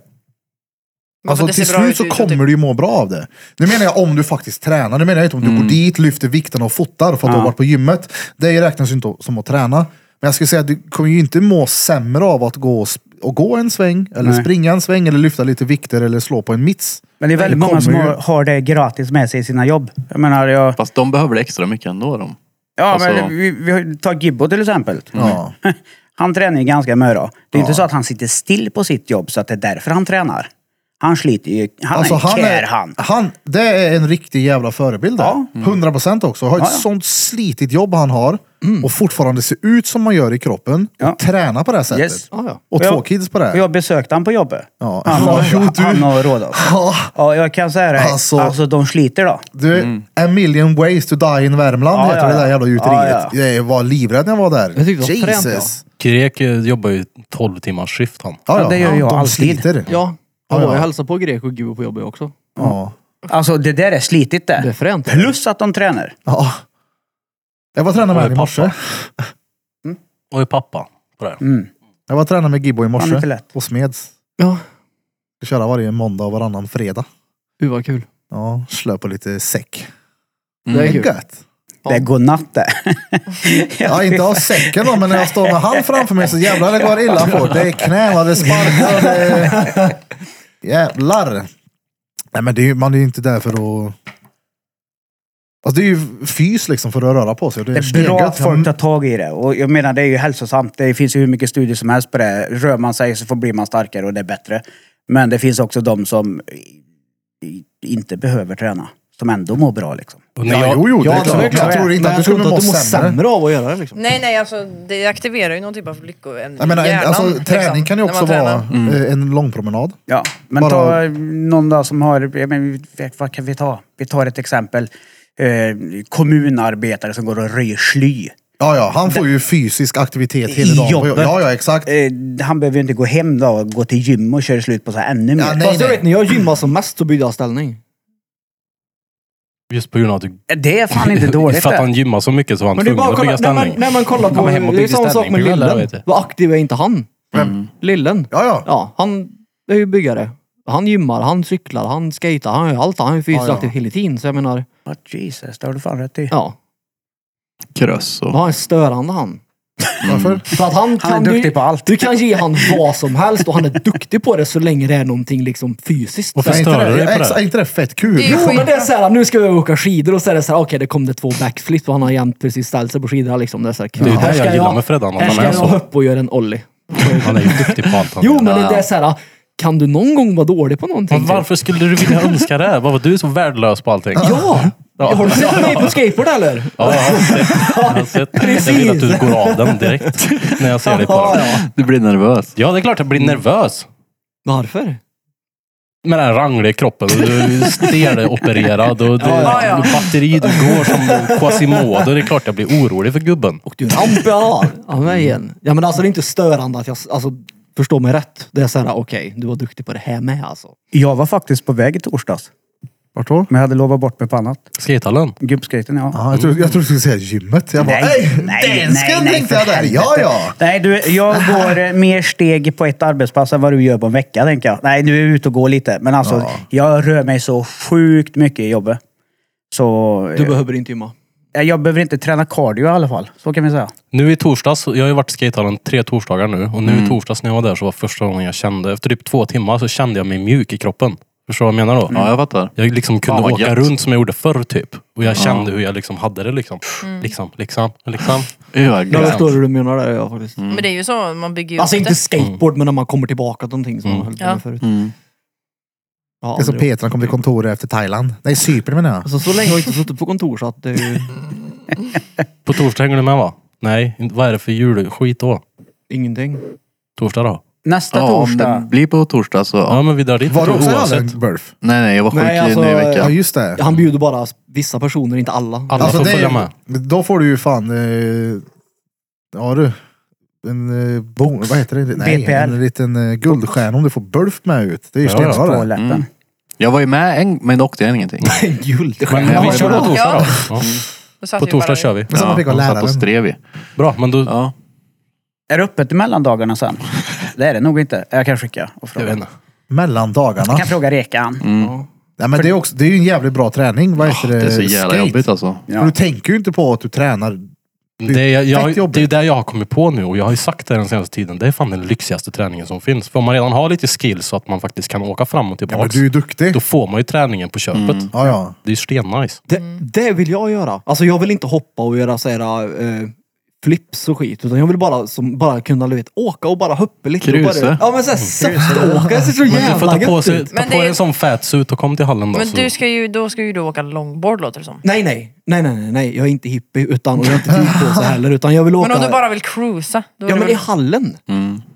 Bara för
Alltså
att det
till
ser bra
slut så
ut
typ.
typ.
kommer
utåt.
du ju må bra av det. Nu menar jag om du faktiskt tränar. Nu menar jag inte om du
Mm.
går dit, lyfter vikten och fotar för att du har varit på gymmet. Det räknas ju inte som att träna. Men jag skulle säga att du kommer ju inte må sämre av att gå och sp- att gå en sväng, eller
Nej.
springa en sväng, eller lyfta lite vikter, eller slå på en mitts.
Men det är väldigt
Det
många som
kommer ju.
har, har det gratis med sig i sina jobb. Jag menar, jag,
Fast de behöver det extra mycket ändå. De.
ja,
Alltså-
men vi, vi har- tar Gibbo till exempel.
Ja.
Han tränar ju ganska mycket. då. Det är inte så att han sitter still på sitt jobb så att det är därför han tränar. Han sliter ju. Han
Alltså,
är en care han.
han. Det är en riktig jävla förebild där.
Ja. Mm.
100 procent också. Har ett
Ja, ja. Mm.
sånt slitigt jobb han har och fortfarande ser ut som man gör i kroppen
Ja.
och träna på det här sättet.
Yes.
Ja, ja.
Och
Ja.
två kids på det.
Och
här.
jag besökte han på jobbet.
Ja.
Han,
Ja, jo,
har,
du.
han har råd alltså.
Ja.
Ja, jag kan säga det.
Alltså-
Alltså, de sliter då.
Du, A million ways to die in Värmland
Mm. Ja,
heter
ja,
det där
ja.
jävla gjuteriet.
Ja, ja.
Jag var livrädd när jag var där.
Jag tyckte det var fränt,
Grek eh, jobbar ju 12 timmars skift han.
Ja, ja.
Ja, det gör jag
de
alltid.
sliter.
Ja. Jag
Ja,
var
ja.
ju hälsade på grek och Gio på jobbet också.
Ja.
Alltså det där är slitigt det.
Det är fränt.
Plus att de tränar.
Ja. Jag var tränad med
Och
han i
är
morse.
pappa. Och är pappa på det.
Mm.
Jag var tränad med Gibbo i
Fan, inte
morse.
lätt.
Och Smeds.
Ja.
Vi köra varje måndag och varannan fredag.
Gud vad kul.
Ja, slö på lite säck.
Det är
Det är
kul.
gött.
Det Mm. är godnatt det.
Ja, inte av säcken då, men när jag står med han framför mig så jävlar det går illa fort. Det är knän och det är sparkar och det är... Jävlar. Nej men det är, ju- man är ju inte där för att... Alltså det är ju fys liksom för att röra på sig. Det är,
Det är bra
stengött.
att folk tar tag i det. Och jag menar, det är ju hälsosamt. Det finns ju hur mycket studier som helst på det. Rör man sig så får blir man starkare och det är bättre. Men det finns också de som i- inte behöver träna. Som ändå mår bra liksom.
Och när
Ja,
jag,
jo, jo, det
Ja,
är klart.
det är
Men jag
klart.
tror inte
Men
att du
jag tror
skulle
inte
må
att du mår
sämre.
sämre av att göra det liksom.
Nej, nej, alltså det aktiverar ju någon typ av lyckoämne
Jag menar, en,
liksom.
alltså, träning kan ju också vara eh, en lång promenad.
Ja, men
Bara-
ta eh, någon då som har... Jag menar, vi- vad kan vi ta? Vi tar ett exempel. Eh, kommunarbetare som går och röjer sly.
Ja, ja, han får ju fysisk aktivitet hela
I
dagen.
jobbet.
Ja, ja, exakt.
Eh, han behöver ju inte gå hem då och gå till gym och köra slut på så här ännu mer.
Ja, nej,
Fast jag
nej.
vet när jag gymmade som mest så bytte jag ställning.
just på grund av att du...
Det är fan inte dåligt
För att
det.
han gymmar så mycket så var han
Men det är
tvungen
bara att
att
kolla,
bygga
när man,
ställning.
när man kollar
Ja,
på,
men hem och
det är
bygga
samma sak med
ställning, det är väl där,
Lillen.
vet du.
Vad aktiv är inte han?
Vem?
Lillen.
Ja, ja.
Ja, han är ju byggare. Han gymmar, han cyklar, han skatar, han gör allt. Han är ju fysiskt
Ja, ja.
aktiv hela tiden. Så jag menar,
Oh, Jesus, det har du fan rätt i.
ja.
Kröss och...
Han är störande han.
Varför?
För att han,
Han
kan
är duktig på allt.
Du kan ge han vad som helst och han är duktig på det så länge det är någonting liksom fysiskt.
Och
Är
Stör
inte
du dig
det,
på det?
exa- är inte det fett kul?
Det är-
Jo men det är såhär, nu ska vi åka skidor och så är det såhär, okej det kom det två backflips och han har jämt precis ställt sig på skidorna liksom. Det är såhär kul.
Det är ju
Här
det
ska
jag gillar med Freddan, att
Här ska
han är
jag
så.
upp och göra en ollie.
Han är ju duktig på allt han
Jo
gör.
men det är såhär, kan du någon gång vara dålig på någonting?
Men varför skulle du vilja önska det? Varför du är så värdelös på allting?
Ja!
Ja.
Har du sett mig på skateboard eller?
Ja, jag har sett- jag har sett. Jag vill att du går av den direkt när jag ser dig på
Ja,
den.
ja.
Du blir nervös.
Ja, det är klart jag blir nervös.
Varför?
Med den här rangliga kroppen. och Du är steleopererad och du,
Ja, ja.
batteri, du går som Quasimodo. Det är klart jag blir orolig för gubben.
Och du rampar av av mig igen. Ja men alltså det är inte störande att jag, alltså förstå mig rätt. Det är såhär, okej du var duktig på det här med alltså.
Jag var faktiskt på väg i torsdags.
Vart då?
Men jag hade lovat bort mig på annat.
Skatehallen.
Gubbskaten, ja.
Ja, jag trodde jag tror du skulle säga gymmet. Jag bara, nej, nej, den ska nej, tänkte jag där. Ja, ja.
Nej, du, jag går eh, mer steg på ett arbetspass än vad du gör på en vecka, tänker jag. Nej, du är ute och går lite. Men alltså,
Ja.
jag rör mig så sjukt mycket i jobbet. Så
Du behöver inte gymma.
eh, jag behöver inte träna cardio i alla fall. Så kan vi säga.
Nu i torsdags, jag har ju varit i skatehallen tre torsdagar nu. Och nu i torsdags när jag var där så var första gången jag kände, efter typ två timmar så kände jag mig mjuk i kroppen. Förstår du vad jag menar då?
Ja, jag fattar.
Jag liksom kunde
Fan, Mm. vad
åka
gött.
runt som jag gjorde förr typ. Och jag kände hur jag liksom hade det liksom. Liksom, liksom, liksom.
Ja,
Jag
gud.
förstår hur du menar där ja faktiskt.
Men det är ju så, man bygger ju
Alltså
upp
inte
det.
skateboard men när man kommer tillbaka till någonting som man höll på med
Mm. Ja.
förut.
Mm.
Ja,
Det är som
aldrig.
Petra kom till kontoret efter Thailand. Nej, Cypern menar jag.
alltså, så länge har jag inte suttit på kontor så att det är ju
På torsdag hänger du med va? Nej, inte- vad är det för julskit då?
ingenting.
Torsdag då?
Nästa
Ja, om
torsdag.
det blir på torsdag så...
Ja, men vi drar dit
Var du också i
oavsett.
hallen, Burf?
Nej, nej, jag var sjuk
Nej,
i
alltså,
en ny
Ja,
vecka.
just det.
Han bjuder bara vissa personer, inte alla.
Alla får
Alltså, det
följa
är,
med.
då får du ju fan... Eh, ja du. En eh, bon, vad heter det? Nej,
BPL.
en liten eh, guldstjärna om du får Burf med ut. Det är ju
Ja, ja.
stenbra det.
Toaletten.
Jag var ju med en, men då åkte jag ingenting.
Men
Ja,
vi
det
kör
är
på
bra.
torsdag då. Ja.
Då satt
På
vi bara
torsdag
i-
kör vi.
Men samma fick
de
av
satt och
läraren.
strev i.
Bra, men då...
Ja.
Är det öppet mellan dagarna sen? Det är det nog inte. Jag kan skicka och
Jag
fråga.
vet
Jag,
inte.
Mellan dagarna.
Alltså, kan fråga Rekan.
Ja, men det, är också, det är ju en jävligt bra träning. Vad heter
Ah,
eh,
Det är så jävla
Skate.
jobbigt alltså.
Ja.
För Du tänker ju inte på att du tränar
Det, är- jag,
fett
jag,
jobbigt.
det är ju det jag har kommit på nu och jag har ju sagt det den senaste tiden. Det är fan den lyxigaste träningen som finns. För om man redan har lite skill så att man faktiskt kan åka fram och
Ja, men
tillbaks.
du Mm. är duktig.
Då får man ju träningen på köpet.
Ja, ja.
Det är ju stennice.
Det,
Mm.
det vill jag göra. Alltså jag vill inte hoppa och göra såhär eh, flips och skit. Utan jag vill bara, som, bara kunna du vet, åka och bara hoppa lite. Och
Kruse.
bara, ja men såhär söftåka. Det ser så
Men du får ta
jävla
på,
gött
sig,
ut.
ta
Men
på
det
dig
är-
en sån fatsuit och kom till hallen då.
Men
Alltså.
så-
du ska ju, då ska ju du åka longboard låter det
Mm.
som.
Nej, nej, nej, nej, nej, nej. Jag är inte hippie utan, och jag har inte tid på så heller. Utan jag vill åka...
Men om du bara vill cruisa. Då är
Ja
det
men
väl-
i hallen.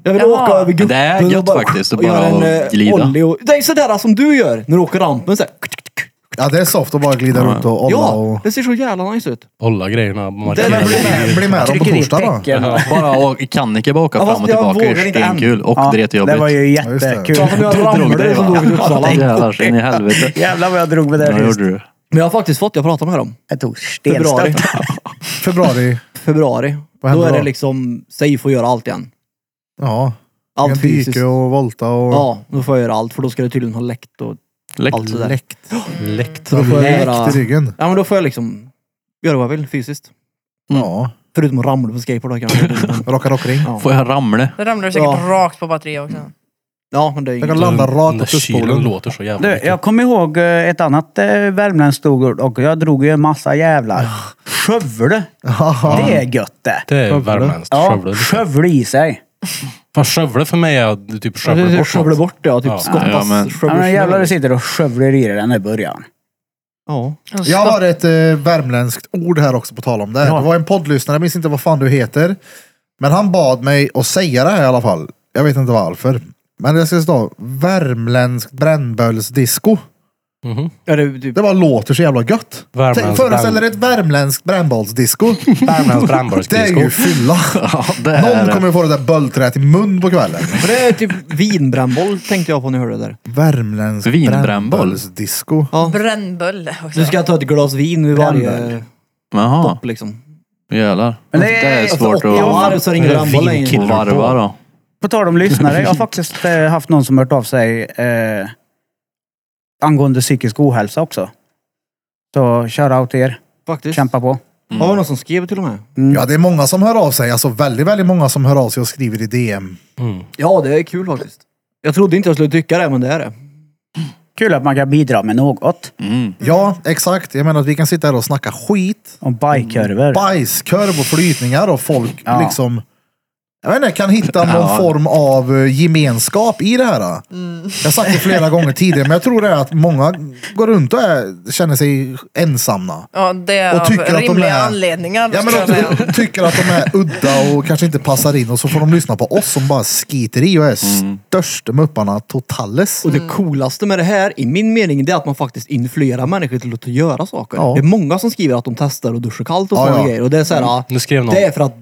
Jag vill
Jaha.
åka över
Mm. det är
guppen
gött faktiskt att
och göra
bara
en, eh,
glida.
ollie Och, det är sådär som du gör när du åker rampen. Såhär.
ja, det är soft att bara glida runt och olla
Ja,
och...
det ser så jävla nice ut.
Hålla grejerna. markera
Det är-
Bli med, bli med dem på
Trycker i
torsdag då.
tecken.
Ja, bara å- Kanike bara åka
Ja,
fram
fast
och
jag
tillbaka är
vågar inte än.
stenkul och
Ja,
det är
Det var
jättejobbigt.
ju
just det.
jättekul.
Ja, men jag ramlade
dig, va?
som låg i Uppsala.
Jävlar så in i helvete.
Jävlar vad jag drog med det.
Ja,
här
gjorde
just.
du.
Men jag har faktiskt fått, jag pratade med dem.
Jag tog
Februari.
stenstött.
Februari.
Februari.
Vad
Då
händer
är
då?
det liksom safe att göra allt igen.
Ja.
Allt
Allt
fysiskt.
dike och volta och...
Ja, då får jag göra allt för då ska det tydligen ha läckt och allt sådär.
Läkt.
Läkt.
Så då får jag göra...
Läkt i ryggen.
Ja men då får jag liksom göra vad jag vill fysiskt.
Ja.
Förutom att ramla på skateboard då kanske.
Rocka rockring.
Ja.
Får jag ramla?
Då ramlar du säkert
Ja.
rakt på batteriet också.
Ja men det är
Jag kan
inget.
landa rakt
Den
på
där kylen
tusspålen.
låter så jävla
Du,
mycket.
jag kommer ihåg eh, ett annat eh, värmländskt storord och jag drog ju en massa jävlar. Skövle. Det är gött det.
Det är värmländskt.
Ja,
Skövla.
skövle i sig.
Fan skövla för mig är att du typ
Ja, det är
skövla bort
Skövla
något.
bort det, ja. Typ
Ja.
skottas.
Ja, men-
Ja,
skövla-
men jävlar du sitter och skövlar i dig den där början.
Ja.
Alltså,
Jag har ett eh, värmländskt ord här också på tal om det. Det var en poddlyssnare, jag minns inte vad fan du heter. Men han bad mig att säga det här i alla fall. Jag vet inte varför. Men det ska stå värmländskt brännbollsdisco.
Mhm.
Ja, det, typ,
Det bara låter så jävla gött.
Värmländskt
Tänk- Föreställ er
brand-
ett värmländskt brännbollsdisco.
Värmländskt
Det är ju
brännbördsdisco.
fylla.
det är
Någon
det.
kommer få det där böldträet i mun på kvällen.
men det är typ vinbrännboll tänkte jag på när jag hörde det där.
Värmländsk
Vinbrännboll.
brännbollsdisco.
Ja.
Brännbölle också.
Du ska ta ett glas vin ur varje
Jaha,
kopp liksom.
jävlar.
Men
det, är svårt
Efter 80 år
att
så ringer
Det
det
är
ramboll längre.
vinkille.
att varva då.
På tal om lyssnare, jag har faktiskt eh, haft någon som hört av sig eh, angående psykisk ohälsa också. Så shoutout till er.
Faktiskt.
Kämpa på.
Ja, det var någon som skrev till och med.
Ja, det är många som hör av sig. Alltså väldigt, väldigt många som hör av sig och skriver i DM.
Ja, det är kul faktiskt. Jag trodde inte jag skulle tycka det, men det är det.
Kul att man kan bidra med något.
Ja, exakt. Jag menar att vi kan sitta här och snacka skit.
Om bajkurvor.
Mm. Bajskorv och flytningar och folk
Ja.
liksom... Jag vet inte, kan hitta någon form av eh, gemenskap i det här. Jag har sagt det flera gånger tidigare, men jag tror det är att många går runt och är, känner sig ensamma.
Ja, det är
Och
av
tycker att de
rimliga
är-
anledningar.
Ja, men
skulle jag säga.
de tycker att de är udda och kanske inte passar in och så får de lyssna på oss som bara skiter i och är störst mupparna totales.
Och det coolaste med det här, i min mening, det är att man faktiskt influerar människor till att göra saker.
Ja.
Det är många som skriver att de testar och duschar kallt och
Ja,
sådana
ja. Mm.
grejer. Och det är så här, ja,
Nu skrev någon.
det är för att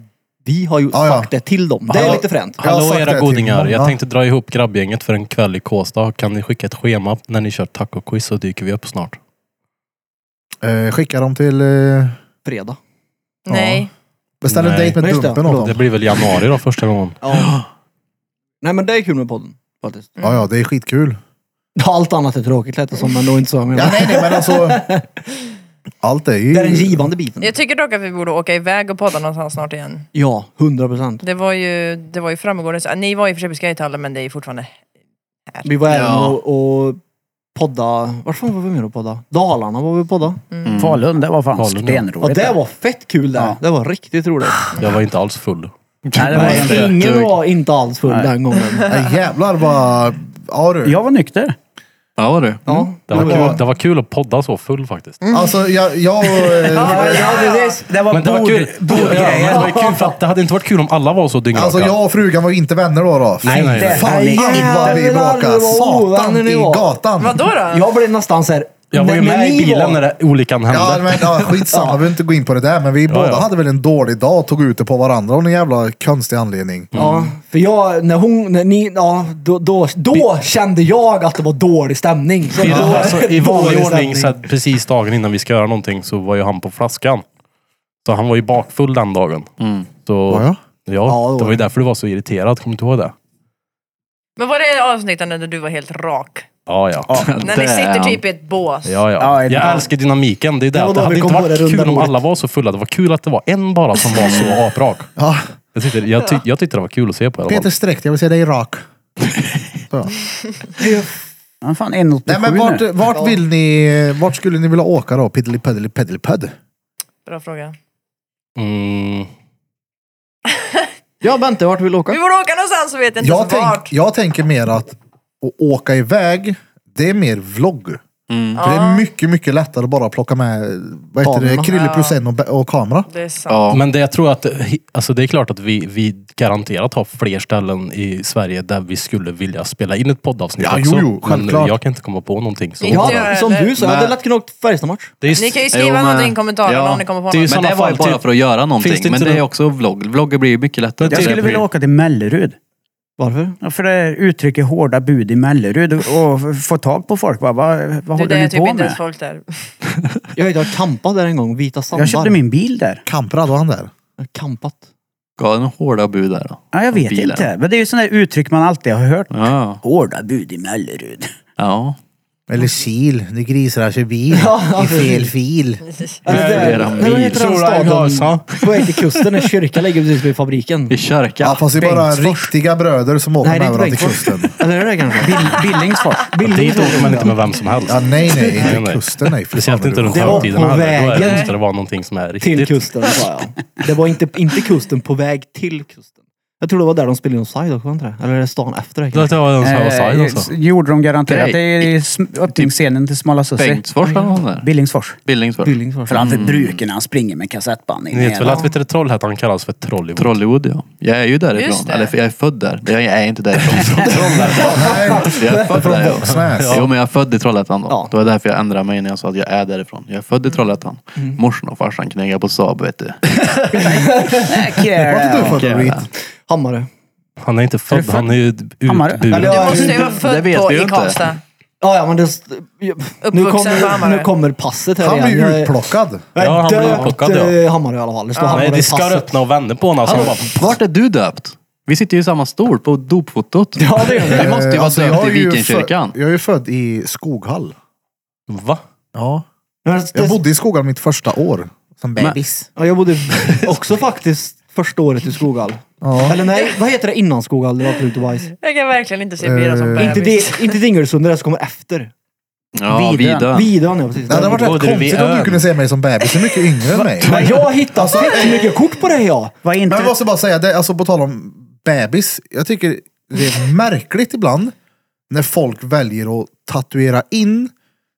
vi har ju
Ja, ja.
sagt det till dem. Det är lite fränt.
Jag har
Hallå
sagt det
era
till
godingar. Jag
många.
tänkte dra ihop grabbgänget för en kväll i Kåsta. Kan ni skicka ett schema när ni kör taco-quiz så dyker vi upp snart.
Eh, skicka dem till... Eh,
Fredag.
Nej.
beställ en
Nej.
dejt med
Just det,
Dumpen åt
förlåt.
Det
dem.
blir väl januari då första gången.
Ja. Nej, men det är kul med podden. Faktiskt.
Ja, ja, det är skitkul.
Allt annat är tråkigt lät det som, men det var inte så jag
Ja,
menade.
nej, nej, men alltså... Allt är ju...
Det är den givande biten.
Jag tycker dock att vi borde åka iväg och podda någonstans snart igen.
Ja, hundra procent.
Det var ju, det var ju framgående. Ni var i och för sig på skatehallen men det är fortfarande...
Vi var även
Ja.
och, och podda. Vart fan var vi mer och podda? Dalarna var vi och podda.
Falun, det var fan
Falun, ja.
Ja,
stenroligt.
det var fett kul det.
Ja.
Det var riktigt roligt.
Jag var inte alls full.
Nej, det var inte.
Ingen var inte alls full den gången.
Ja, jävlar vad... Ja du.
Jag var nykter.
Ja, var du.
Ja.
Det var,
Det var-
kul, det var kul att podda så full faktiskt.
Alltså jag... jag eh,
Det var,
Men det var kul. Ja, men det var kul för att det hade inte varit kul om alla var så dyngraka.
alltså jag och frugan var ju inte vänner då. då.
Nej, nej, nej.
Inte.
Fan
Nej,
allt vad vi
jävlar,
bråkade.
vad ovänner
Satan
ni
i
var.
gatan.
Vadå då?
Jag blev nästan såhär...
Jag var ju med i bilen när det, olyckan hände.
Ja, men, ja, skitsamma, vi behöver inte gå in på det där. Men vi båda
ja.
hade väl en dålig dag och tog ut det på varandra av någon jävla konstig anledning.
Ja, för jag, när hon, när ni, ja, då, då, då kände jag att det var dålig stämning. Så
I,
då-
alltså, I vanlig
dålig
ordning,
stämning.
så att precis dagen innan vi ska göra någonting, så var ju han på flaskan. Så han var ju bakfull den dagen. Så,
Var jag?
Ja,
det var
det var ju
jag.
därför du var så irriterad. Kommer du inte ihåg det?
Men var det avsnittet när du var helt rak?
Ja, ja.
När ni
Damn.
sitter typ i ett bås.
Ja,
Ja, ja.
ibland.
Jag älskar dynamiken. Det är det.
Det var
att det
då vi
hade
kom
inte
på det
varit
runda
kul om
bordet.
alla var så fulla. Det var kul att det var en bara som var så aprak.
Ja,
Jag tyckte, jag, ty, jag tyckte det var kul att se på i alla
Peter
fall.
Sträckt, jag vill se dig rak. Så.
Ja, fan, 1,87
Nej, men vart,
nu.
vart, vill ni, vart skulle ni vilja åka då? Piddly paddly paddly padd.
Bra fråga.
Mm.
Ja, Bente, vart vill du
Vi
åka?
borde åka någonstans så vet jag inte
Jag,
ens vart.
tänk, jag tänker mer att att åka iväg, det är mer vlogg. För det är mycket, mycket lättare att bara plocka med vad heter det,
Kamerorna.
krille plus en och, och kamera.
Det är sant.
Ja.
Men det jag tror att, alltså det är klart att vi, vi garanterat har fler ställen i Sverige där vi skulle vilja spela in ett poddavsnitt
Ja, jo,
också.
jo,
men
självklart.
jag kan inte komma på någonting. Så.
Ja,
Ja, som du sa, jag hade lätt kunnat åka till Färjestad-match.
Det är just-
Ni kan ju skriva
Jo, men-
någonting i kommentarerna
Ja.
om ni kommer på
Det är ju
något.
så-
Men,
Men
sådana
det var ju
fall
bara
typ-
för att göra någonting.
Finns det
men
inte
det är
någon-
också vlogg. Vloggar blir ju mycket lättare.
Jag
Jag skulle vilja åka till Mellerud.
Varför?
Ja, för det uttrycker hårda bud i Mellerud och och få tag på folk. Bara, vad vad
du, det
håller
är
ni
typ
på
inte ens
med?
folk där.
Jag vet, jag har campat där en gång. Vita sandar.
Jag köpte min bil där.
Kamprad hade han där.
Jag har campat.
Gav en hårda bud där då.
Ja, jag vet
Bilen.
inte. Men det är ju sådana där uttryck man alltid har hört.
Ja.
Hårda bud i Mellerud.
ja.
Eller sil, nu grisar han kör bil i fel fil.
Alltså, det
Flera
är, vad heter den
mil. Tror du jag
staden?
sa?
På väg till kusten, en kyrka ligger precis vid fabriken.
I kyrkan.
Ja, fast det är bara
Bengtsfors.
riktiga bröder som åker
Nej, det är
med varandra
inte
till
Bengtsfors.
kusten.
Eller är det kanske?
Bill, Billingsfors.
Dit åker man inte med vem som helst.
Ja, nej, nej,
Nej,
inte
nej.
kusten. Nej, för fan
Speciellt
vad
inte
du-
runt
Det var
högtiderna.
på
heller. Då är
vägen.
det- måste det vara någonting som är
Till
riktigt.
kusten, sa jag. Det var inte, inte kusten, på väg till kusten. Jag tror det var där de spelade in Offside också, var det inte det? Eller är det stan efter det?
Det
kanske?
var en sån här offside
Eh,
alltså.
gjorde de garanterat.
Nej.
Det är i sm- öppningsscenen till Smala Sussie.
Bengtsfors eller någon där.
Billingsfors.
Billingsfors.
Billingsfors.
Framför bruken han springer med kassettband in
Ni vet väl
hela.
att vet du, Trollhättan kallas för Trollywood?
Trollywood ja. Jag är ju
Just
därifrån.
det.
Eller för jag är född där. Jag är inte därifrån. jag är född
Från
där. ja.
Våxnäs.
Jo men jag är född i Trollhättan då.
Ja.
Det var därför jag ändrade mig när jag sa att jag är därifrån. Jag är född i
Mm.
Trollhättan. Morsan och farsan knegade på Saab vet du.
Vart är du
Yeah.
född då, Reed?
Hammare.
Han är inte född, han är ju
Hammare?
utburen.
Du
Ja,
måste
det-
ju vara
det
född
vet
på
vi
i
ju inte.
Karlstad.
Ja, ja, men det... Nu
på
kommer,
Hammare.
nu kommer passet här
Han
igen.
är
Jag
ju
är-
utplockad.
jag är
Ja, han blev
döpt,
utplockad, ja.
eh, Hammare i alla fall. Det står Hammare
Nej,
i
de skar
passet.
upp och vände på honom. Så han bara,
Vart är du döpt? Vi sitter ju i samma stol på dopfotot.
Ja, det gör det.
Du måste ju
Eh,
vara
alltså,
döpt
jag
i
är ju
Vikenkyrkan.
född- Jag är ju född i Skoghall.
va?
Ja.
Men
Jag
det-
bodde i Skoghall mitt första år. Som bebis.
Ja, jag bodde också faktiskt första året i Skoghall. Eller nej, vad heter det innan Skoghall? Det var Krut och Bajs.
Jag kan verkligen inte se Bira som
Inte,
bebis.
det, inte Dingelsunde, det som kommer efter.
Ja,
Vidön.
Vidön.
Vidön, ja precis.
Det hade varit
Bodde
rätt
du vid
konstigt om du
ön?
kunde se mig som bebis. Du är mycket yngre än mig.
Men jag hittade så mycket kort på dig ja.
Var
Men jag
inte...
måste bara säga, det, alltså på tal om bebis. Jag tycker det är märkligt ibland när folk väljer att tatuera in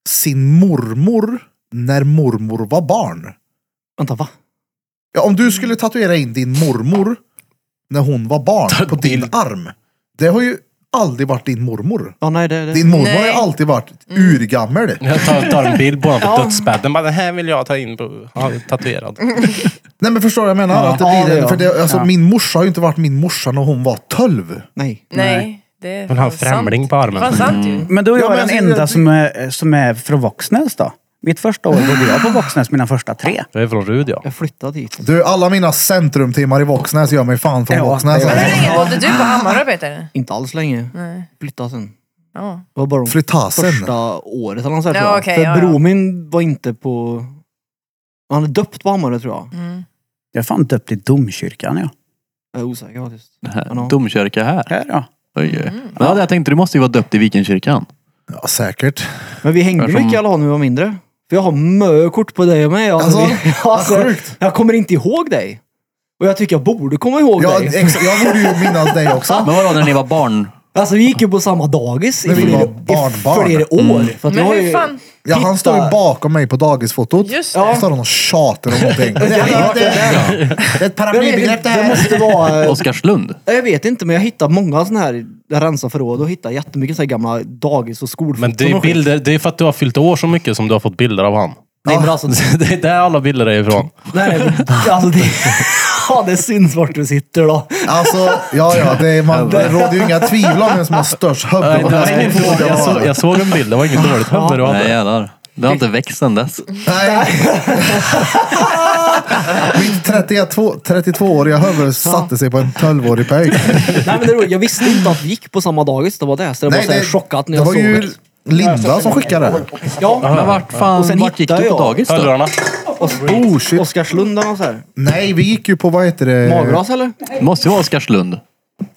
sin mormor när mormor var barn.
Vänta, va?
Ja, om du skulle tatuera in din mormor när hon var barn på din arm. Det har ju aldrig varit din mormor.
Ja, nej, det, det.
Din mormor har
Nej.
ju alltid varit urgammal.
Jag tar, tar en bild på honom på dödsbädden. Bara, Den här vill jag ta in på... Han är tatuerad.
Nej men förstår du vad jag menar? Att det
Ja,
blir,
det gör
för det, alltså,
Ja.
Min morsa har ju inte varit min morsa när hon var 12.
Nej.
Nej. Det är
Han har en
fan
främling
sant.
på armen.
Fan sant ju.
Men då är
Ja,
jag
men
den
alltså,
enda
jag-
som är, som är från Våxnäs då. Mitt första år bodde jag på Våxnäs, mina första tre.
Jag är från Rud ja.
Jag flyttade dit.
Du, alla mina centrumtimmar i Våxnäs gör mig fan från
Ja,
Våxnäs.
det gör
Men
Alltså.
hur länge bodde du på Hammarö Peter?
Inte alls länge.
Nej.
Flyttade sen.
Ja.
Det var bara de
Flyttasen.
första året eller något sånt här,
Ja,
tror jag.
okej,
För
ja, ja.
bror min var inte på... Han är döpt på Hammarö tror jag.
Mm.
Jag är fan döpt i domkyrkan ja.
Jag är osäker faktiskt.
Här, Domkyrka här.
Här ja.
Oj, oj. Men ja, jag tänkte du måste ju vara döpt i Vikenkyrkan.
Ja, säkert.
Men vi hängde
Eftersom-
mycket i alla fall när vi var mindre. För jag har mö kort på dig och mig. Jag,
Alltså,
vi, alltså, jag kommer inte ihåg dig. Och jag tycker jag borde komma ihåg
Ja,
dig.
ex- jag borde ju minnas dig också.
Men vadå när ni var barn?
Alltså vi gick ju på samma dagis i
Men vi var
flera,
barnbarn. Mm.
i flera år. För att
Men
jag har
hur
ju-
fan-
Ja, han står ju bakom mig på dagisfotot.
Just det.
Han står och tjatar om någonting. Det är det är ett
Jag vet inte,
paraplybegrepp det
det
här.
måste vara...
Oskarslund?
Jag vet inte, men jag hittar många sådana här... Jag rensar förråd och hittar jättemycket så här gamla dagis och skolfoton
Men det är,
och skit.
bilder, det är för att du har fyllt år så mycket som du har fått bilder av han.
Nej, men alltså,
Det är där alla bilder är ifrån.
nej, men alltså det... Ja, det syns vart du sitter då.
Alltså, ja, ja, det, är, man, det råder ju inga tvivel om vem som har störst hubbe. på den här fotot.
Jag, såg, jag såg en bild, det var inget dåligt huvud du
Nej
hade.
jävlar. Det har inte växt sedan dess.
Mm. Nej. Mitt 32 32-åriga huvud satte sig på en 12-årig pöjk.
Nej, men det är roligt. Jag visste inte att vi gick på samma dagis. Det var det. Så jag var så här chockat när
det
jag
var
såg
ju
det.
Linda som skickade det.
Ja,
Men vart fan,
Och sen
vart gick
hittar
du på
jag-
dagis då?
Hörlurarna.
Oh shit.
Oscarslund eller något så här.
Nej, vi gick ju på, vad heter det?
Magras eller?
Måste ju vara Oskarslund.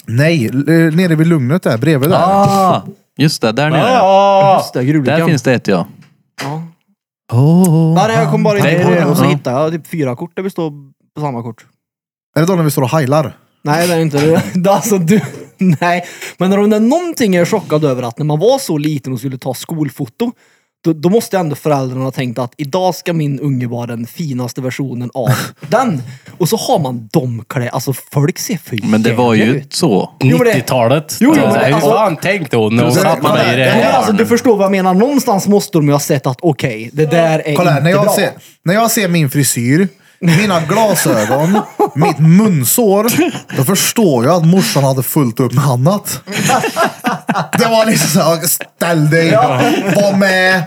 Nej, l- eh, nere vid Lugnet där, bredvid där.
Ah, just det, där nere.
Just det,
Där
Gruvlyckan.
finns det ett ja.
Ja, det jag kom bara
Det
in
är
på
det,
det och så
ja.
hittade jag typ fyra kort där vi står på samma kort.
Är det då när vi står och heilar?
Nej, det är inte det. det. är Alltså, du, nej. Men om det är någonting jag är chockad över att när man var så liten och skulle ta skolfoto, då, då måste ändå föräldrarna ha tänkt att idag ska min unge vara den finaste versionen av den. Och så har man de kläder. Alltså folk ser för
Men det var
jävla
ju
ut.
så.
Jo, men det-
90-talet.
Jo, jo, men
Nej,
alltså-
fan tänk då när
Precis.
satt man där i det
Nej, alltså,
här.
du förstår vad jag menar. Någonstans måste de ju ha sett att okej, det där är
Kolla här,
inte
när
bra.
jag, ser, när jag ser min frisyr, mina glasögon, mitt munsår. Då förstår jag att morsan hade fullt upp med annat. Det var liksom såhär, ställ dig, var med,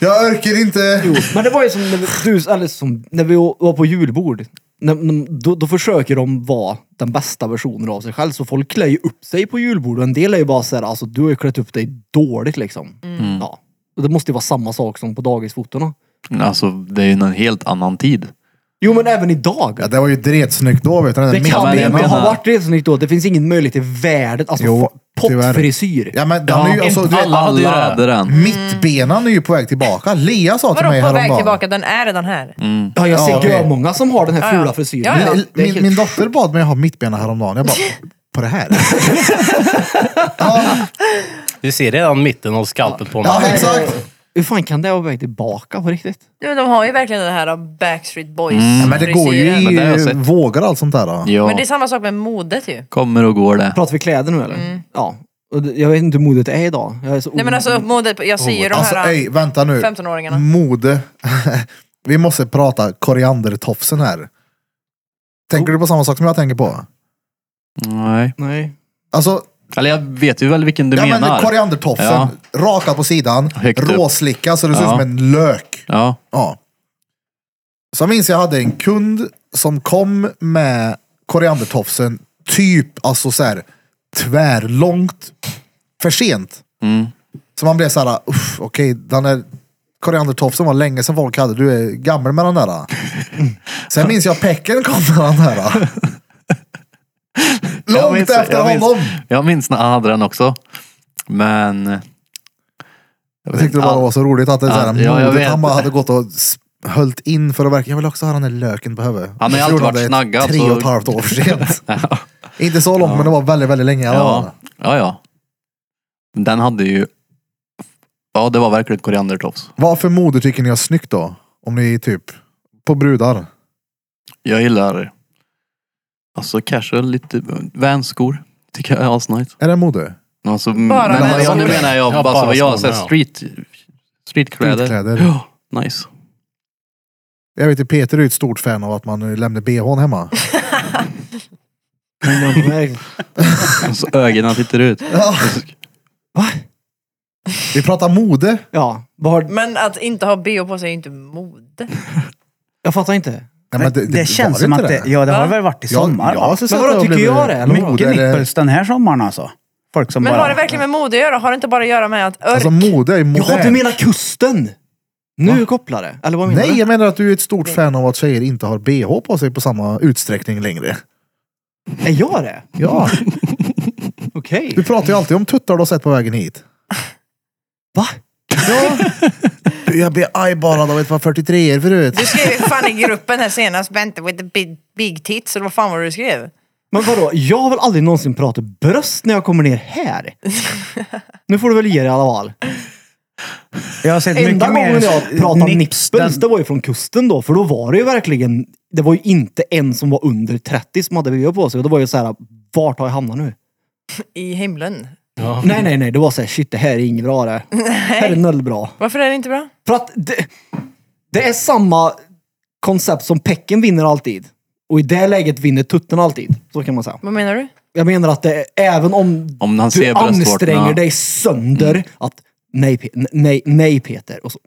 jag orkar inte.
Jo, men det var ju som när vi, du, eller som när vi var på julbord. När, när, då, då försöker de vara den bästa versionen av sig själv. Så folk klär ju upp sig på julbord och en del är ju bara såhär, alltså du har ju klätt upp dig dåligt liksom.
Mm.
Ja. Och det måste ju vara samma sak som på dagisfotona.
Alltså det är ju en helt annan tid.
Jo men även idag.
Ja, det var ju dretsnyggt då vet du. Den
det
mitt-
kan
men
ju
jag
inte ha
menar-
varit det så nytt då. Det finns ingen möjlighet i världen. Alltså
Jo,
fa- pottfrisyr.
Ja men den är ju, alltså, du vet,
alla hade ju det.
hade den.
mittbenan är ju på väg tillbaka. Lea sa till
Vadå
mig
på väg
häromdagen.
tillbaka? Den är redan här.
Ja, jag ser
Ja, okej.
många som har den här
Ja, ja.
fula frisyren.
Ja, ja.
Det är
Min,
helt-
min dotter bad mig ha mittbena häromdagen. Jag bara, på det här? ja,
Du ser redan mitten av skalpen på mig.
ja, exakt.
Hur fan kan det vara på väg tillbaka på riktigt?
Nu, de har ju verkligen det här av Backstreet Boys
Ja, men det går ju
frisyren.
Men det har jag
i
sett.
vågor allt sånt där. Då.
Men
Ja,
det är samma sak med modet ju. Mm.
kommer och går det.
Pratar vi kläder nu eller? Ja. Och det- Jag vet inte hur modet är idag. Jag är så
Nej men alltså modet, jag ser ju de
äh,
Alltså
här...
ej, vänta nu. Mm.
15-åringarna.
Mode. Vi måste prata koriandertofsen här. Tänker du på samma sak som jag tänker på?
Nej.
Nej.
Alltså,
Eller jag vet ju väl vilken du
ja, men
menar.
koriandertofsen,
Ja.
rakad på sidan,
Högt upp.
råslickad så det ser ut
Ja.
som en lök.
Ja.
Ja. Så jag minns jag hade en kund som kom med koriandertofsen typ alltså så här tvärlångt för sent.
Mm.
Så man blev så här, uff, okej, den där koriandertofsen var länge sedan folk hade. Du är gammal med den där. Sen minns jag Pecken kom med den där.
Jag
Långt
minns-
efter
jag minns-
honom.
Jag minns när han hade den också. Men... Jag
Jag tyckte det bara var så roligt att det är så här,
Ja, jag
modigt.
vet.
han bara hade gått och s- höllt in för att verkligen, jag vill också ha den där löken på huvudet.
Han har ju
Så
alltid
gjorde
varit
det
snaggad,
Tre
så-
och ett halvt år för sent. Inte så långt, men det var väldigt, väldigt länge.
Ja,
Ja.
ja. ja. Den hade ju... Ja, det var verkligen koriandertofs.
Vad för mode tycker ni är snyggt då? Om ni typ, på brudar?
Jag gillar... Alltså casual, lite vänskor. Tycker jag är asnice.
Är det mode?
Alltså,
Bara
men, men,
vänskor.
ja, nu menar jag bara,
Ja, bara
så, jag, så
skorna,
här,
ja.
street, streetkläder.
Streetkläder.
Ja, nice.
Jag vet ju Peter är ju ett stort fan av att man eh, lämnar bhn hemma.
Och Så Alltså, ögonen tittar ut.
Ja.
Va?
Vi pratar mode.
Ja. Vad har-
Men att inte ha bh på sig är ju inte mode.
Jag fattar inte.
Ja,
Men
men
det, känns
var
som
inte
att det, ja, det har
Va?
väl varit i
Ja,
sommar.
ja,
va?
så
Men
satt
vadå,
jag och
tycker
blev
jag det, eller?
mode,
Mycket
eller-
nipples den här sommaren alltså. Folk som
Men
bara...
har det verkligen med mode att göra? Har det inte bara att göra med att örk...
Alltså mode är ju
Jaha, du
modernt.
menar kusten? Nu kopplar det? Eller vad menar
Nej,
du?
jag menar att du är ett stort fan av att tjejer inte har bh på sig på samma utsträckning längre.
Är jag det?
Ja,
Okej.
du pratar ju alltid om tuttar du har sett på vägen hit.
Va?
Du, jag blev ajbarad av ett par 43 er förut.
Du skrev ju fan i gruppen här senast, Bente with the big, big tits, eller vad fan var det du skrev?
Men vadå, jag har väl aldrig någonsin pratat bröst när jag kommer ner här? Nu får du väl ge dig i alla fall.
Jag har sett
Enda
mycket mer
gången jag pratade
nips
nipples,
den-
det var ju från kusten då. För då var det ju verkligen, det var ju inte en som var under 30 som hade bh på sig. Och det var ju så här, vart har jag hamnat nu?
I himlen.
Nej, nej, nej. Det var så här, shit, det här är inget bra det. här är noll bra.
Varför är det inte bra?
För att det, det är samma koncept som pecken vinner alltid. Och i det läget vinner tutten alltid. Så kan man säga.
Vad menar du?
Jag menar att det, även om,
Om han
du
ser bröstvårtorna.
anstränger dig sönder att nej, Pe- nej, nej Peter. Och, så,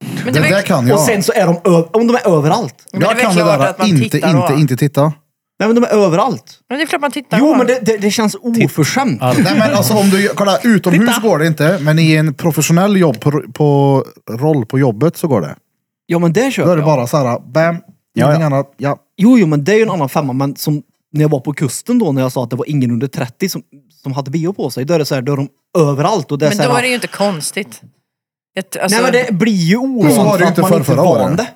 Men
Det
det, är väl-
där kan
och
jag.
sen så är de, ö- om de är överallt.
men det är
jag
väl
kan det
klart
där
att
att
man
inte,
tittar
inte,
då.
inte titta.
Nej men de är överallt.
Men det är klart man tittar på
Jo men
dem.
det, det, det känns oförskämt.
Nej men alltså om du, kolla utomhus går det inte, men i en professionell jobb på, på roll på jobbet så går det.
Ja men det
Då
köper
är det
jag.
bara så här, bam,
ja.
ingenting annat. Ja.
Jo, jo men det är ju en annan femma. Men som när jag var på kusten då när jag sa att det var ingen under 30 som, som hade bio på sig. Då är det så här, då är de överallt. Och det är
Men
så här,
då är det ju inte konstigt. Jag t- Alltså,
Nej men det blir ju ovant
Så var det ju
för att
inte
man
förr
inte är
förra året.
van det.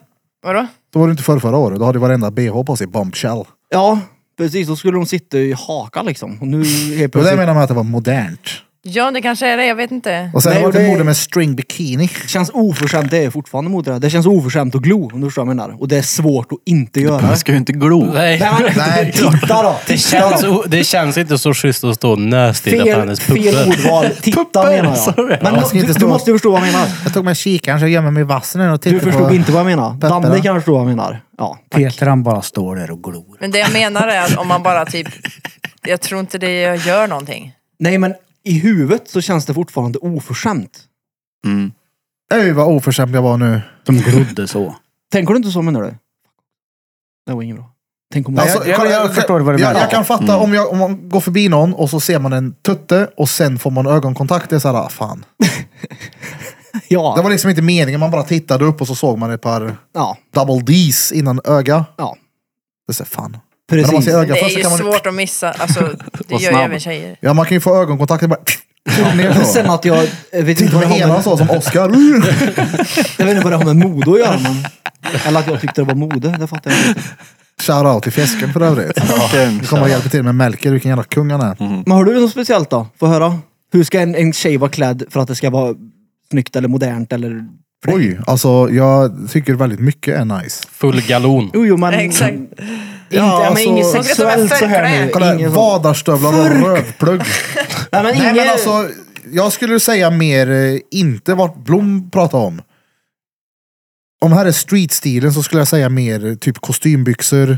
Vadå?
Då var det inte förr förra året, då hade ju varenda bh på sig bombshell.
Ja, precis. Då skulle de sitta i haka liksom. Och nu
Det
helt
var det jag
plötsligt
menar med att det var modernt.
Ja det kanske är det, jag vet inte.
Och sen har
Nej,
det
och
varit
det-
en mode med string bikini.
känns oförskämt. Det är fortfarande mot det. här. Det känns oförskämt att glo, om du förstår vad jag menar. Och det är svårt att inte göra
Jag
det.
ska ju inte glo.
Nej.
Nej, men,
Nej.
titta då!
Det känns, o- det känns inte så schysst att stå och nöstida på
Fel,
hennes pupper.
fel ordval. Titta
Pupper,
menar
sorry.
jag. Men
ska
du,
inte
du
stå-
måste ju förstå vad jag menar.
Jag tog med kikaren så jag gömmer mig i vassen här och tittar
Du förstod
på...
inte vad jag menar.
Pepparna.
Danne kanske förstår vad jag menar. Ja.
Peter han bara står där och glor.
Men det jag menar är att om man bara typ, jag tror inte det gör någonting.
Nej men i huvudet så känns det fortfarande oförskämt.
Oj vad oförskämd jag var nu.
De glodde så.
Tänker du inte så menar du? Det var inget bra. Tänk om det...
Alltså,
jag- jag-
kolla,
jag förstår vad du
jag,
menar.
Jag kan fatta om, jag, om man går förbi någon och så ser man en tutte och sen får man ögonkontakt. Det är såhär, ah, fan. Det
ja,
var liksom inte meningen, man bara tittade upp och så såg man ett par
ja,
double D's innan öga.
ja.
Det är så här, fan. Men om man
Precis.
ser öga
Det är
först så
ju
kan man...
svårt att missa, alltså det
Och
gör ju
snabb.
även tjejer.
Ja, man kan ju få ögonkontakt. och Bara, ner så.
Sen att jag... Jag vet inte
Titta
vad det
på
har
ena
med,
så som Oscar.
jag vet inte vad det har med mode att göra. Men, eller att jag tyckte det var mode. Det fattar jag inte.
Shoutout till Fjäsken för övrigt. Vi kommer att hjälpa till med Melker, vilken jävla kung han är.
Men har du något speciellt då? Få höra. Hur ska en, en tjej vara klädd för att det ska vara snyggt eller modernt eller... för dig?
Oj, alltså jag tycker väldigt mycket är nice.
Full galon.
Jo, jo, men...
Exakt.
Inte,
Ja,
men
alltså-
inget
Hon
vet om jag
sexuellt så här nu.
förklär.
Kolla,
Ingen
här,
sån-
vadarstövlar och rövplugg.
Nej, men
Nej
inget...
men alltså, jag skulle säga mer eh, inte vad Blom pratar om. Om här är streetstilen så skulle jag säga mer eh, typ kostymbyxor.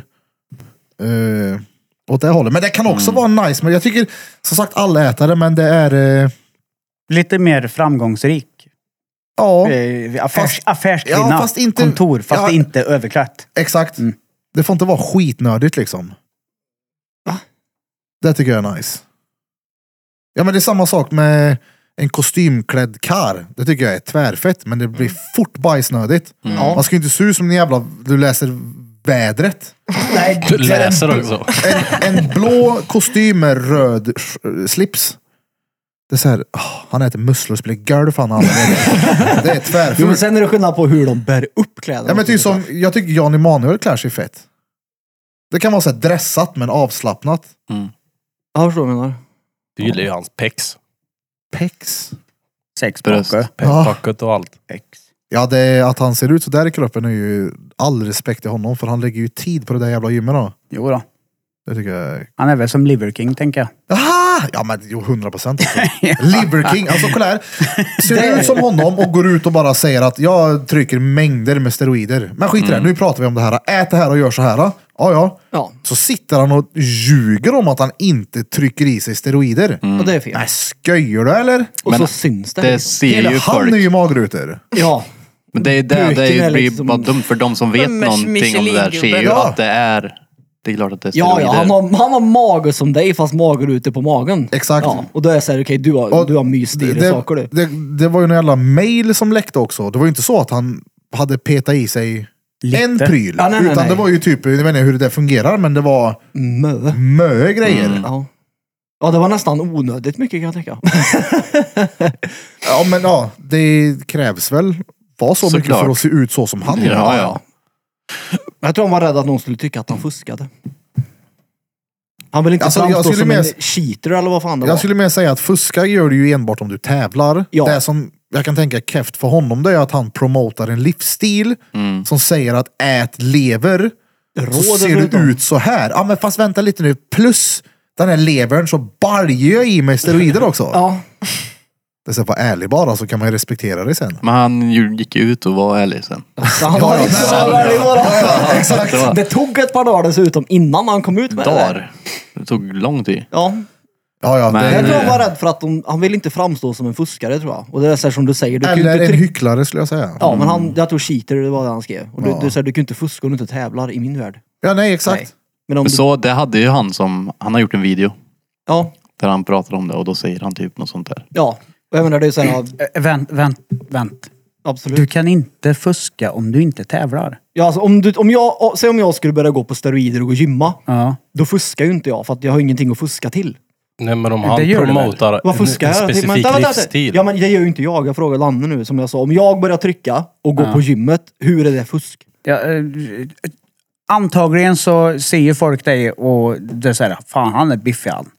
Eh, åt det hållet. Men det kan också vara nice. Men jag tycker som sagt allätare men det är... Eh,
Lite mer framgångsrik.
ja,
Eh, Affärs,
Fast-
affärskvinna.
ja, fast inte-
kontor, fast
ja.
inte överklätt.
exakt.
Mm.
Det får inte vara skitnödigt liksom.
Va?
Det tycker jag är nice. Ja men det är samma sak med en kostymklädd kar. Det tycker jag är tvärfett men det blir
Mm.
fort bajsnödigt. Man ska ju inte se ut som en jävla... Du läser vädret.
Nej,
Du läser också.
En, en blå kostym med röd sh- slips. Det är såhär, han äter musslor och spelar golf han använder. Det är
Jo, men
tvärfult.
sen är det skillnad på hur de bär upp kläderna.
Ja, men typ som, jag tycker Jan Emanuel klär sig fett. Det kan vara såhär dressat men avslappnat.
Ja, jag förstår vad du menar.
Du gillar ju hans pex.
Pex.
Sex
Bröst.
packe.
Ja.
Packet och allt.
Sex.
Ja, det är, att han ser ut sådär i kroppen är ju all respekt till honom för han lägger ju tid på det där jävla gymmet då.
Jo då.
Det tycker jag är
Han är väl som Liver King, tänker jag.
Aha! Ja men jo, 100 procent. alltså. Liver King, alltså kolla här. Ser du ut som honom och går ut och bara säger att jag trycker mängder med steroider. Men skit i det, nu pratar vi om det här. Ät det här och gör så här. Ja, ja.
Ja,
Så sitter han och ljuger om att han inte trycker i sig steroider.
och det är fel.
Mm. Nej, skojar du eller?
Och
Men
så syns det.
Det ser
Hela
ju
han
folk.
är ju magrutor.
Ja.
Men det är det, det är
Pöken
ju,
är
det blir
liksom-
bara dumt för de som vet
Men
någonting om det där ser ju
Michelin-gubben.
att det är... Det är klart att det är
Ja,
steroider.
ja han, har, han har mage som dig fast mager ute på magen.
Exakt.
Ja, och då är jag såhär, okej du har,
Och
du har mysdyra
det,
saker du.
Det, det var ju en jävla mail som läckte också. Det var ju inte så att han hade petat i sig en pryl.
Ja, nej, nej,
utan
nej.
det var ju typ, jag vet inte hur det där fungerar, men det var
Mö.
mö grejer.
Mm. Ja. ja, det var nästan onödigt mycket kan jag tänka.
Ja men ja, det krävs väl vara så mycket
Såklart.
för att se ut så som han gör.
Ja, ja.
Jag tror han var rädd att någon skulle tycka att han fuskade. Han vill inte
Alltså, jag
framstå
skulle
som en
mer-
cheater eller vad fan det var.
Jag skulle mer säga att fuska gör du ju enbart om du tävlar.
Ja.
Det som jag kan tänka är keft för honom det är att han promotar en livsstil som säger att ät lever. så
Mm. Råder
ser
runt om.
du ut så här. Ja men fast vänta lite nu, plus den här levern så baljer jag i mig steroider också.
Ja,
Det är så här, var ärlig bara så kan man ju respektera det sen.
Men han ju- gick ju ut och var ärlig sen.
så han var
Ja, ja,
så
ja,
var det bara-
Exakt.
Det tog ett par dagar dessutom innan han kom ut med det där.
Dar. Det tog lång tid.
Ja,
Ja, ja,
Men-
jag
det,
tror han var rädd för att de, han vill inte framstå som en fuskare tror jag. Och det är så här som du säger. Du kan ju
eller
inte
en
trycka-
hycklare skulle jag säga.
Ja, men han, jag tror cheater det var det han skrev. Och du, du, så här, du kan ju inte fuska om du inte tävlar i min värld.
Ja, nej exakt.
Nej. Men om du,
Så det hade ju han som, han har gjort en video
ja,
där han pratar om det och då säger han typ något sånt där.
ja. Och jag menar, det är så här, ja,
Eh,
Äh, vänt, vänt, vänt.
absolut.
Du kan inte fuska om du inte tävlar.
Ja, alltså, om du, om jag, å- säg om jag skulle börja gå på steroider och gå och gymma.
Ja.
Då fuskar ju inte jag för att jag har ingenting att fuska till.
Nej men om han
Det gör det väl?
promotar
Vad
en, en
fuskar jag?
specifik
Men vänta, vänta, vänta.
livsstil.
Ja, men det gör ju inte jag. Jag frågar Lanne nu som jag sa. Om jag börjar trycka och gå på gymmet, hur är det fusk?
Ja, eh, antagligen så ser ju folk dig och det är så här, fan han är biffig han.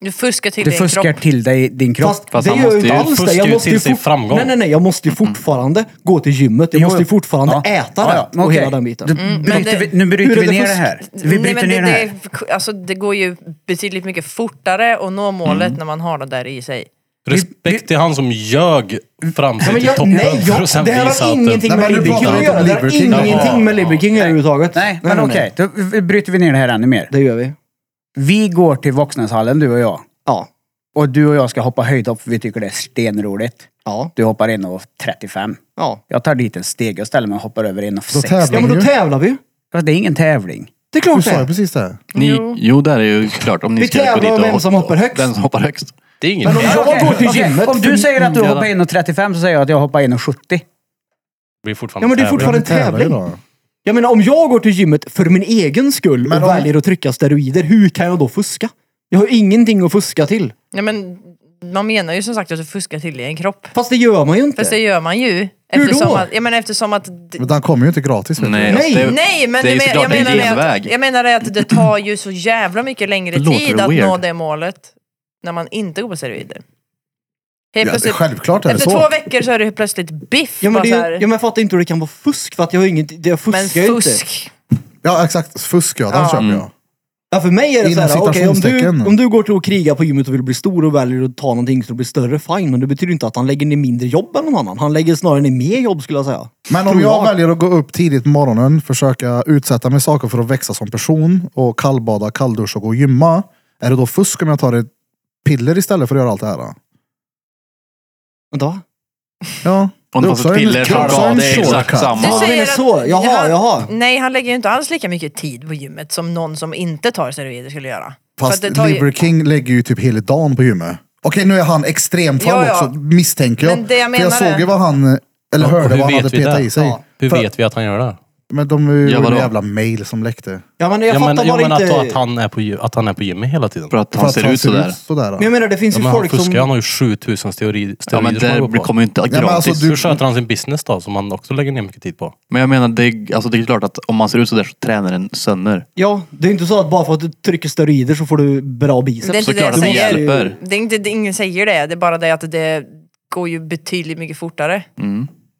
Du fuskar till
Du
din
fuskar
kropp.
till dig din kropp.
Fast
det
han
gör jag
måste
inte
ju-
alls det.
fuskar
Jag
ju
måste
till
ju
sig
fort-
framgång.
Nej, nej, nej. Jag måste ju fortfarande gå till gymmet. Jag
Jo,
måste ju
jo.
fortfarande
Ja.
äta
Ja, ja,
rätt
men
och
okej.
hela den biten.
Du,
Mm, men det-
bryter vi, nu
hur är
bryter
det
vi ner
fusk?
det här. Vi
Nej,
bryter
men
ner
det,
det här.
det, alltså, det går ju betydligt mycket fortare att nå målet
Mm.
när man har det där i sig.
Respekt till han som ljög fram
Nej,
sig
men
till
jag,
toppen
nej,
för att sen
jag, det här
visa
har
att eh,
ingenting
Nej,
med
men du
Liber King
pratar
att
inte
göra.
om
Det har
Liber King.
ingenting med Liber King överhuvudtaget.
Nej, men
nej.
okej. Då vi- bryter vi ner det här ännu mer.
Det gör vi.
Vi går till Voxnäshallen du och jag.
Ja.
Och du och jag ska hoppa höjdhopp för vi tycker det är stenroligt.
Ja.
Du hoppar 1,35.
Ja.
Jag tar dit en steg och ställer mig och hoppar över 1,60.
tävlar
Ja, men då tävlar vi.
Fast Det är ingen tävling.
Det är
Du
klart
sa ju
det.
precis det.
Ni, jo. där är ju klart om ni
Vi
ska gå
tävlar
dit
om
och
vem som hoppar högst.
Den som hoppar högst.
Det är ingen
Jag
Okej,
går till
okej.
gymmet.
Om du säger att du
Mm.
hoppar 1,35 så säger jag att jag hoppar 1,70.
Det är fortfarande
Ja, men det är
tävling.
fortfarande en
Tävlar ju
tävling.
då.
Jag menar, om jag går till gymmet för min egen skull
Men
och
om-
väljer att trycka steroider, hur kan jag då fuska? Jag har ingenting att fuska till.
Ja, men, man menar ju som sagt att du fuskar till din kropp.
Fast det gör man ju inte.
Fast det gör man ju.
Hur
Eftersom
då?
Att, ja, men eftersom att... d-
Men den kommer ju inte gratis. Vet
Nej,
nej.
Nej,
Alltså, det,
Nej, men
det är
du
ju
men, jag,
såklart en
menar det
genväg.
att, jag menar det att det tar ju så jävla mycket längre
Låter
tid
det
att nå
weird?
det målet när man inte går på steroider.
Ja,
Helt
det-
plötsligt,
självklart är det
efter
så.
två veckor så är det plötsligt biff.
Ja men,
bara
det,
så här.
ja, men jag fattar inte hur det kan vara fusk för att jag har inget, det jag fuskar
men
ju inte.
fusk.
Ja exakt, fusk ja, den
Ja.
köper
Mm.
jag.
Ja, för mig är det
Inom
såhär, okej om, du,
citationstecken.
om du går till att kriga på gymmet och vill bli stor och väljer att ta någonting som blir större, fine. Men det betyder inte att han lägger ner mindre jobb än någon annan. Han lägger snarare ner mer jobb skulle jag säga.
Men om
Tror
jag väljer att gå upp tidigt på morgonen, försöka utsätta mig saker för att växa som person och kallbada, kallduscha och gå och gymma. Är det då fusk om jag tar ett piller istället för att göra allt det här? då?
Vänta va?
Ja.
Om
Det är
du tar
också
ett
en-
piller
det är
för
också
dag,
en
det är exakt
shortcut.
samma.
Ja, men så. Jaha,
han,
jaha.
Nej, han lägger ju inte alls lika mycket tid på gymmet som någon som inte tar steroider skulle göra. För att
Fast
det tar ju-
Liver King lägger ju typ hela dagen på gymmet. Okej, nu är han extremfall
Ja, ja.
också, misstänker jag.
Men det jag
För jag
menar är-
såg ju vad han, eller
Ja, och
hörde
hur
vad han
vet
hade
vi
petat
det?
i sig.
Ja.
Hur
För-
vet vi att han gör det?
Men de är ju
Ja, vadå?
jävla mail som läckte.
Ja men jag
Ja,
fattar
men, ja,
bara
men
inte.
att, att, han är på, gy- att han är på gymmet hela tiden.
För att
För
han
att
ser ut sådär.
sådär.
Men jag menar det finns
Ja,
ju
men han
folk
fuskar,
som...
han har ju 7000 steroider
Ja men
som han går
det
på.
kommer ju inte gratis.
men alltså, du-
Hur sköter han sin business då, som han också lägger ner mycket tid på?
Men jag menar, det, är- alltså, det är klart att om man ser ut sådär så tränar den sönder.
Ja, det är inte så att bara för att du trycker steroider så får du bra biceps.
Det är inte det
Såklart
jag
att det
säger.
hjälper.
Det är inte, det, ingen säger det, det är bara det att det går ju betydligt mycket fortare.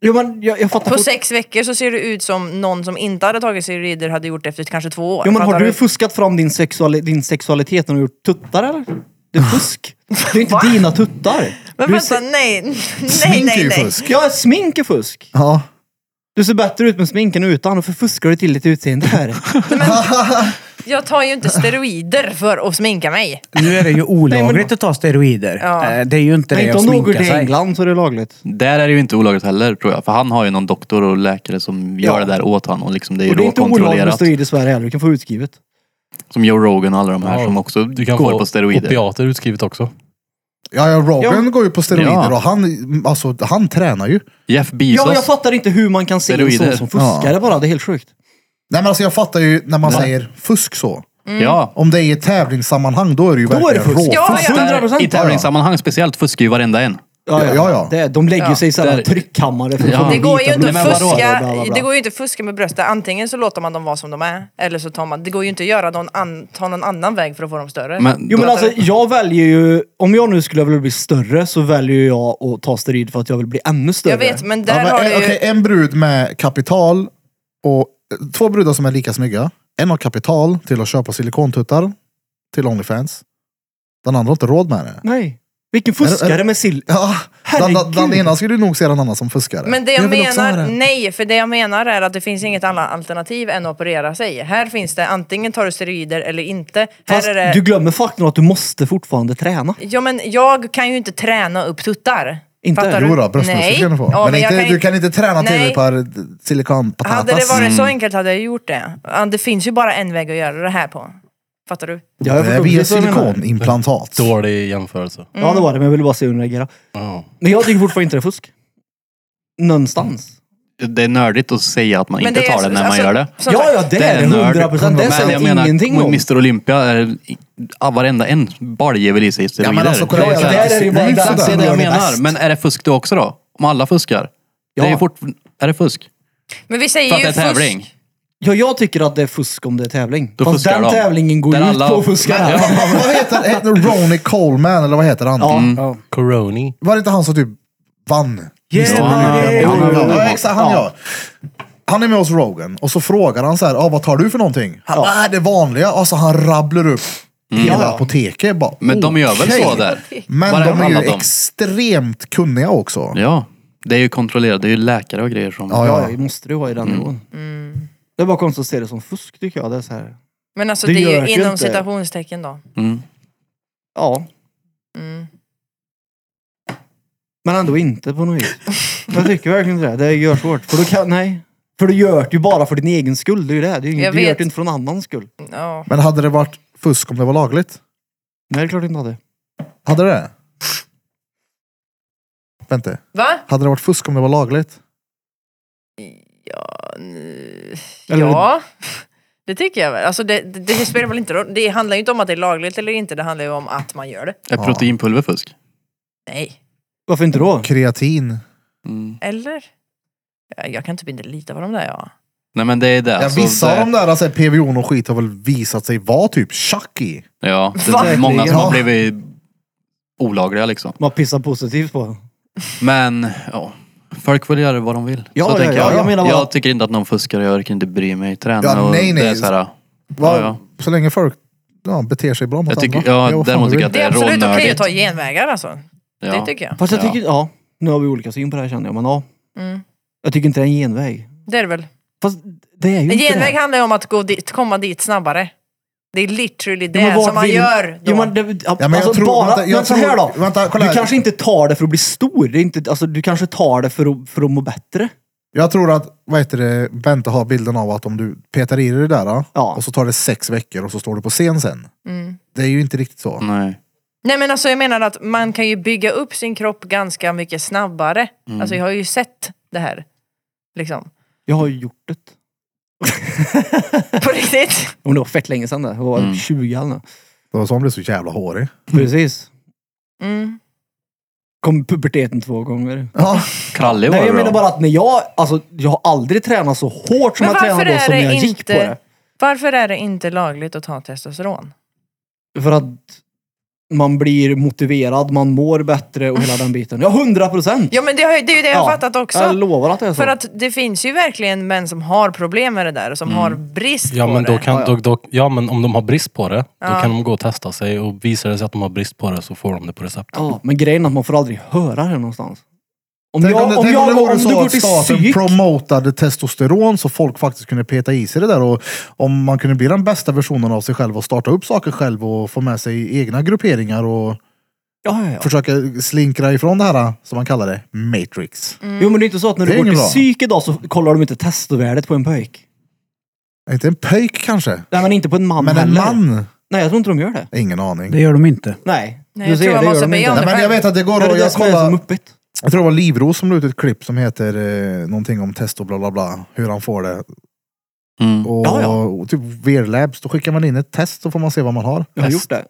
Jo men jag, jag fattar
På
fort-
sex veckor så ser det ut som någon som inte hade tagit steroider hade gjort det efter kanske två år.
Jo men
Fattar
har du fuskat fram din, sexuali- din sexualitet när du har gjort tuttar eller? Det är fusk. Det är inte dina tuttar.
Men
Du
vänta,
ser-
nej, nej,
Smink är
nej,
ju
nej.
fusk.
Ja, smink är fusk.
Ja.
Du ser bättre ut med sminken utan. Varför fuskar du till ditt utseende här?
Jag tar ju inte steroider för att sminka mig.
Nu är det ju olagligt att ta steroider.
Ja.
Eh, Det är ju inte
Nej,
det
inte
att
om något
sminka
i
sig.
England så är det lagligt.
Där är det ju inte olagligt heller tror jag. För han har ju någon doktor och läkare som gör
Ja.
det där åt han. Och liksom det är ju
Och det är inte olagligt med
råkontrollerat.
steroider i Sverige heller. Du kan få utskrivet.
Som Joe Rogan och alla de här
Ja,
som också
Du kan
går
få
på steroider.
opiater utskrivet också.
Ja, ja, Rogan går ju på steroider
Ja.
och han, alltså, han tränar ju.
Jeff
Ja, men jag
Bezos.
fattar inte hur man kan se en
Steroider.
sån som fuskare bara. Det är helt sjukt.
Nej men alltså jag fattar ju när man säger fusk så.
Ja.
Om det är i ett tävlingssammanhang då är det ju
är det
verkligen
fusk.
råfusk.
Ja, ja.
Hundra procent.
I tävlingssammanhang speciellt fuskar ju varenda en.
Ja, ja, ja.
Det, de lägger
Ja,
sig i sådana
där-
tryckkammare. För att
Ja.
få
Det
dit
går ju
dem.
inte
Men
att
vadå?
fuska,
Bla, bla, bla.
det går ju inte att fuska med brösten. Antingen så låter man dem vara som de är, eller så tar man... Det går ju inte att göra någon an, ta någon annan väg för att få dem större.
Men,
Jo men alltså jag väljer ju, om jag nu skulle vilja bli större så väljer jag att ta steroid för att jag vill bli ännu större.
jag vet, men där
Ja, men,
eh,
har du
en,
ju...
okej, en brud med kapital och eh, två brudar som är lika snygga. En har kapital till att köpa silikontuttar till Onlyfans. Den andra har inte råd med det.
Nej. Vilken
Är det-
fuskare
är-
med sill.
Ja, den, den, den
Herregud.
ena skulle du nog se den andra som fuskare.
Men det jag,
vill också ha
menar,
det.
nej, för det jag menar är att det finns inget annat alternativ än att operera sig. Här finns det antingen tar du steroider eller inte.
Fast
här är det, Mm.
du glömmer faktorn att du måste fortfarande träna.
Ja men jag kan ju inte träna upp tuttar.
Inte?
Fattar
Jo.
du?
Jo då, bröstmuskel
Nej.
kan du få.
Ja,
men
men jag
inte,
kan
du
inte-
kan inte Mm. träna
Nej.
till ett par silikonpatatas.
Hade det varit så enkelt hade jag gjort det. Ja, Det finns ju bara en väg att göra det här på. Fattar du?
Ja, jag
det är
förstår
via
precis vad du menar.
silikonimplantat.
Dålig jämförelse.
Ja, det var det. Men jag ville bara se hur den reagerade.
Ja.
Men jag tycker fortfarande inte det är fusk. Någonstans.
Det är nördigt att säga att man
Men
inte
är
tar det när
alltså-
man gör det.
som
ja,
sagt,
ja, det är det. Hundra procent. Det
Men jag
säger jag
menar,
ingenting om.
Mr Olympia är ah, varenda en baljjävel i sig
Ja,
steroider.
men alltså, kolla,
Det är
jag-
så här-
där är det ju bara-
Nej,
där-
Exakt det
sådär.
är det jag
gör det
menar.
bäst.
Men är det fusk det också då? Om alla fuskar? Det är,
Ja.
fort, är det fusk?
Men vi
För
säger
att det
ju
är tävling?
fusk.
Ja, jag tycker att det är fusk om det är tävling.
Då
Fast
fuskar
den
de.
tävlingen går
Där
ut
alla-
på att fuska.
Men-
Ja.
Vad heter, heter Ronnie Coleman eller vad heter han? Mm.
Ja.
Ja.
Coroni.
Var det inte han som typ vann?
Yeah,
Ja,
yeah.
ja, exakt, han ja. Han är med hos Rogan och så frågar han så här, ah, vad tar du för någonting? Han bara, "Ah, det vanliga. Alltså han rabblar upp hela apoteket. Bara,
Men de gör väl
"Okej."
så där?
Men
Varenda
de är
en av
ju
dem.
extremt kunniga också.
Ja. Det är ju kontrollerat. Det är ju läkare och grejer som...
Ja, ja.
Ja, det måste du ha i den nivån.
Mm.
Det är bara konstigt att se det som fusk tycker jag. Det är så här.
Men alltså
Det
det,
gör
är
det ju
ju inom
inte.
citationstecken då.
Mm.
Ja,
Mm.
men ändå inte på något vis. Jag tycker verkligen inte det. Det gör svårt. För, då kan, nej. för du gör det ju bara för din egen skull. Det är ju det. det är ju,
Jag
du gör
vet.
det inte för någon annans skull.
Ja.
Men hade det varit fusk om det var lagligt?
Nej, det är klart inte hade.
Hade det? Vänta.
Va?
Hade det varit fusk om det var lagligt?
Ja, n-
Eller-
ja. det tycker jag väl. Alltså det, det, det spelar väl inte roll. Det handlar ju inte om att det är lagligt eller inte, det handlar ju om att man gör det.
Är proteinpulver fusk?
Nej.
Varför inte då?
Kreatin.
Mm.
Eller? Ja, Jag kan typ inte lita på dem där ja.
Nej men det är det.
Ja,
Alltså,
vissa av de
det-
där alltså, PVO och skit har väl visat sig vara typ tjack i.
Ja, det
Va?
är många som har
Ja.
blivit olagliga liksom.
Man pissar positivt på.
Men, ja. Folk får göra vad de vill.
Ja,
så
ja,
tänker
ja,
jag.
jag menar bara-
jag tycker inte att någon fuskar och jag orkar inte bry mig. Träna
Ja,
och
nej, nej.
det är så här,
Va?
Ja,
Så länge folk ja, beter sig bra mot
Jag tycker-
andra.
ja,
Det är vad fan
däremot
du
tycker
vill.
jag
Det är
Det är
absolut okej
rånördigt.
att ta genvägar alltså.
ja.
Det tycker jag.
Fast jag
Ja.
tycker, ja. Nu har vi olika syn på det här känner jag, men ja.
Mm.
Jag tycker inte det är en genväg.
Det är det väl.
Fast det är ju
En
inte det.
genväg handlar ju om att gå dit, komma dit snabbare. Det är literally det
Ja, men vart
som man
vill-
gör då.
Jo, men det, ja,
men jag
alltså
tror-
bara,
vänta, jag
men så här
tror-
då.
vänta, kolla
du
här.
kanske inte tar det för att bli stor. Det är inte, alltså, du kanske tar det för att, för att må bättre.
Jag tror att, vad heter det, Bente har bilden av att om du petar i dig det där
Ja.
och så tar det sex veckor och så står du på scen sen.
Mm.
Det är ju inte riktigt så.
Nej.
Nej men alltså jag menar att man kan ju bygga upp sin kropp ganska mycket snabbare. Alltså jag har ju sett det här. Liksom.
Jag har ju gjort det.
På riktigt.
Om det var fett länge sedan det. Det
Mm.
var 20 eller nåt.
Det var så han blev så jävla hårig.
Precis.
Mm.
Kom puberteten två gånger.
Ja,
Krallig var
Nej,
det
jag
då.
menar bara att när jag, alltså, jag har aldrig tränat så hårt som
Men
jag
varför
tränade då
är
som
det
när jag gick på
inte-
det.
Varför är det inte lagligt att ta testosteron?
För att man blir motiverad, man mår bättre och hela den biten. Ja, 100 procent!
Ja men det, har, ju- det är ju det jag har fattat också.
Jag lovar att det är så.
För att det finns ju verkligen män som har problem med det där och som har brist
Ja
på
men,
det.
då kan, då, då, ja men om de har brist på det, då
Ja.
kan de gå och testa sig och visar det sig att de har brist på det så får de det på recept.
Ja, men grejen är att man får aldrig höra det någonstans. Om
tänk
jag,
om det,
om
tänk
jag,
om det vore
om du
så
går
att
till
staten
psyk,
promotade testosteron så folk faktiskt kunde peta i sig det där och om man kunde bli den bästa versionen av sig själv och starta upp saker själv och få med sig egna grupperingar och
ja, ja, ja.
försöka slinkra ifrån det här som man kallar det, matrix.
Mm.
Jo men det är inte så att när
Det är
du går till
inget bra.
psyk idag så kollar de inte testovärdet på en pojk.
Inte en pöjk kanske,
Nej men inte på en man
men en
heller.
man?
Nej jag tror inte de gör det.
Ingen aning.
Det gör de inte.
Nej.
Nej, jag tror man
det gör
måste
de
be
inte.
om
Nej,
det.
men jag vet att det går
Det är
att...
det
Jag
som är så
kollade,
muppigt.
Jag tror det var Livros som la ut ett klipp som heter eh, någonting om test och bla bla bla. Hur han får det.
Mm.
Och,
Ja, ja.
och typ VR-labs, då skickar man in ett test så får man se vad man har.
Jag har gjort det.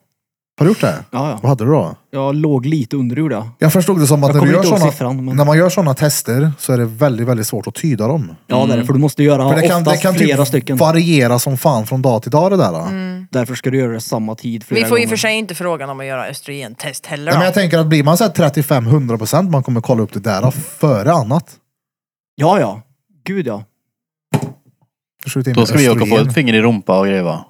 Har du gjort det?
Ja, ja.
Vad hade du då?
Jag låg lite under gjorde jag.
Jag förstod det som att
Jag
när, du
kommer
gör
inte ihåg
såna,
siffran, men-
när man gör sådana tester så är det väldigt, väldigt svårt att tyda dem.
Ja det är det, för du måste göra
För det kan, det
oftast
kan
flera
typ
stycken.
variera som fan från dag till dag det där. då.
Därför ska du göra det samma tid flera
Vi får ju
gånger.
för sig inte frågan om att göra östrogentest heller
Nej,
då.
men jag tänker att blir man 35-100% man kommer kolla upp det där före annat.
Ja ja. Gud ja.
Jag skjuter in
Då ska vi åka på
östrogen.
ett finger i rumpa och grejer va?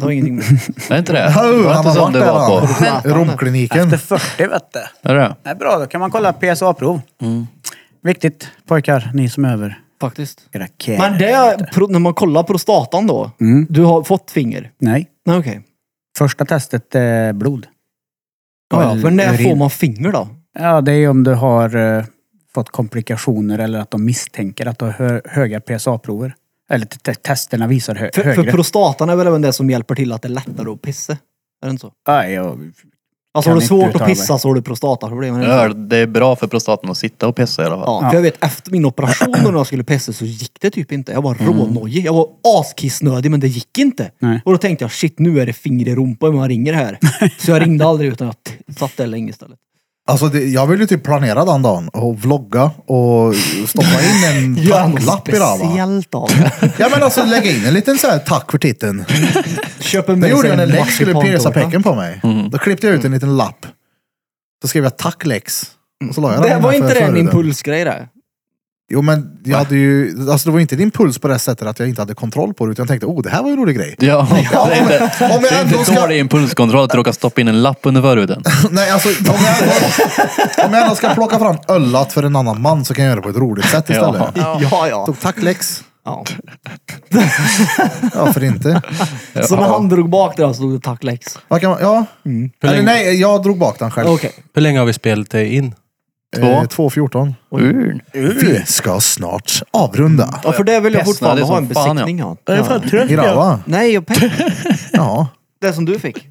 Det har ingenting med...
Är inte det?
Ja,
Det var
han
inte
har
som
varit
det
där
var på.
han. Romkliniken.
Efter 40 vet du.
Är det?
Nej, bra, då kan man kolla PSA-prov. Viktigt pojkar, ni som är över.
Faktiskt.
Era care.
Men det, pro- när man kollar prostatan då.
Mm.
Du har fått finger?
Nej.
Nej okej.
Första testet är blod.
Ja, ja,
Eller
men när
urin.
får man finger då?
Ja, det är om du har eh, fått komplikationer eller att de misstänker att du har hö höga PSA-prover. Eller te- te- testerna visar hö
För, för
högre.
prostatan är väl även det som hjälper till att det är lättare att pissa? Är det inte så?
Ja, jag-
Alltså
Kan
har du
inte
svårt
uttala
att
mig.
pissa så har du prostataproblem. är det
Jag
inte så?
hör, det är bra för prostatan att sitta och pissa i alla fall.
Ja, för jag vet efter min operation när jag skulle pissa så gick det typ inte. Jag var rånojig. Jag var askissnödig men det gick inte.
Nej.
Och då tänkte jag shit nu är det finger i rumpan om jag ringer här. Så jag ringde aldrig utan jag t- satt där länge istället.
Alltså det, jag vill ju typ planera den dagen och vlogga och stoppa in en tacklapp i den. va?
speciellt av
Ja men alltså lägga in en liten så här tack för titeln.
Köp en
Det gjorde
sån
jag när
här
Lex skulle
marsipantårta.
pierca pecken på mig.
Mm.
Då klippte jag ut en liten lapp. Så skrev jag tack Lex. Och så la jag
Det
den
var
innanför
inte det en
förhuden.
impulsgrej det?
Jo men jag hade ju, alltså det var inte en impuls på det sättet att jag inte hade kontroll på det utan jag tänkte oh det här var ju en rolig grej.
Ja, det är inte,
Om
det
jag
är
ändå
inte
ska,
dålig impulskontroll att råka stoppa in en lapp under förhuden.
nej alltså om jag ändå, om jag ändå ska plocka fram öllat för en annan man så kan jag göra det på ett roligt sätt istället.
Ja, ja.
Så, tack Lex.
ja.
Varför inte?
Så när han drog bak det där så stod det tack Lex.
Vad kan man, ja. Eller nej, jag drog bak den själv.
Mm. Okej.
Hur länge har vi spelat det in?
Eh, 2.14.
Urn.
Vi ska snart avrunda.
Ja, för det vill jag
Pessnade
fortfarande ha
som fan,
en besiktning av.
Grava.
Nej, jag pe-
Ja,
det som du fick.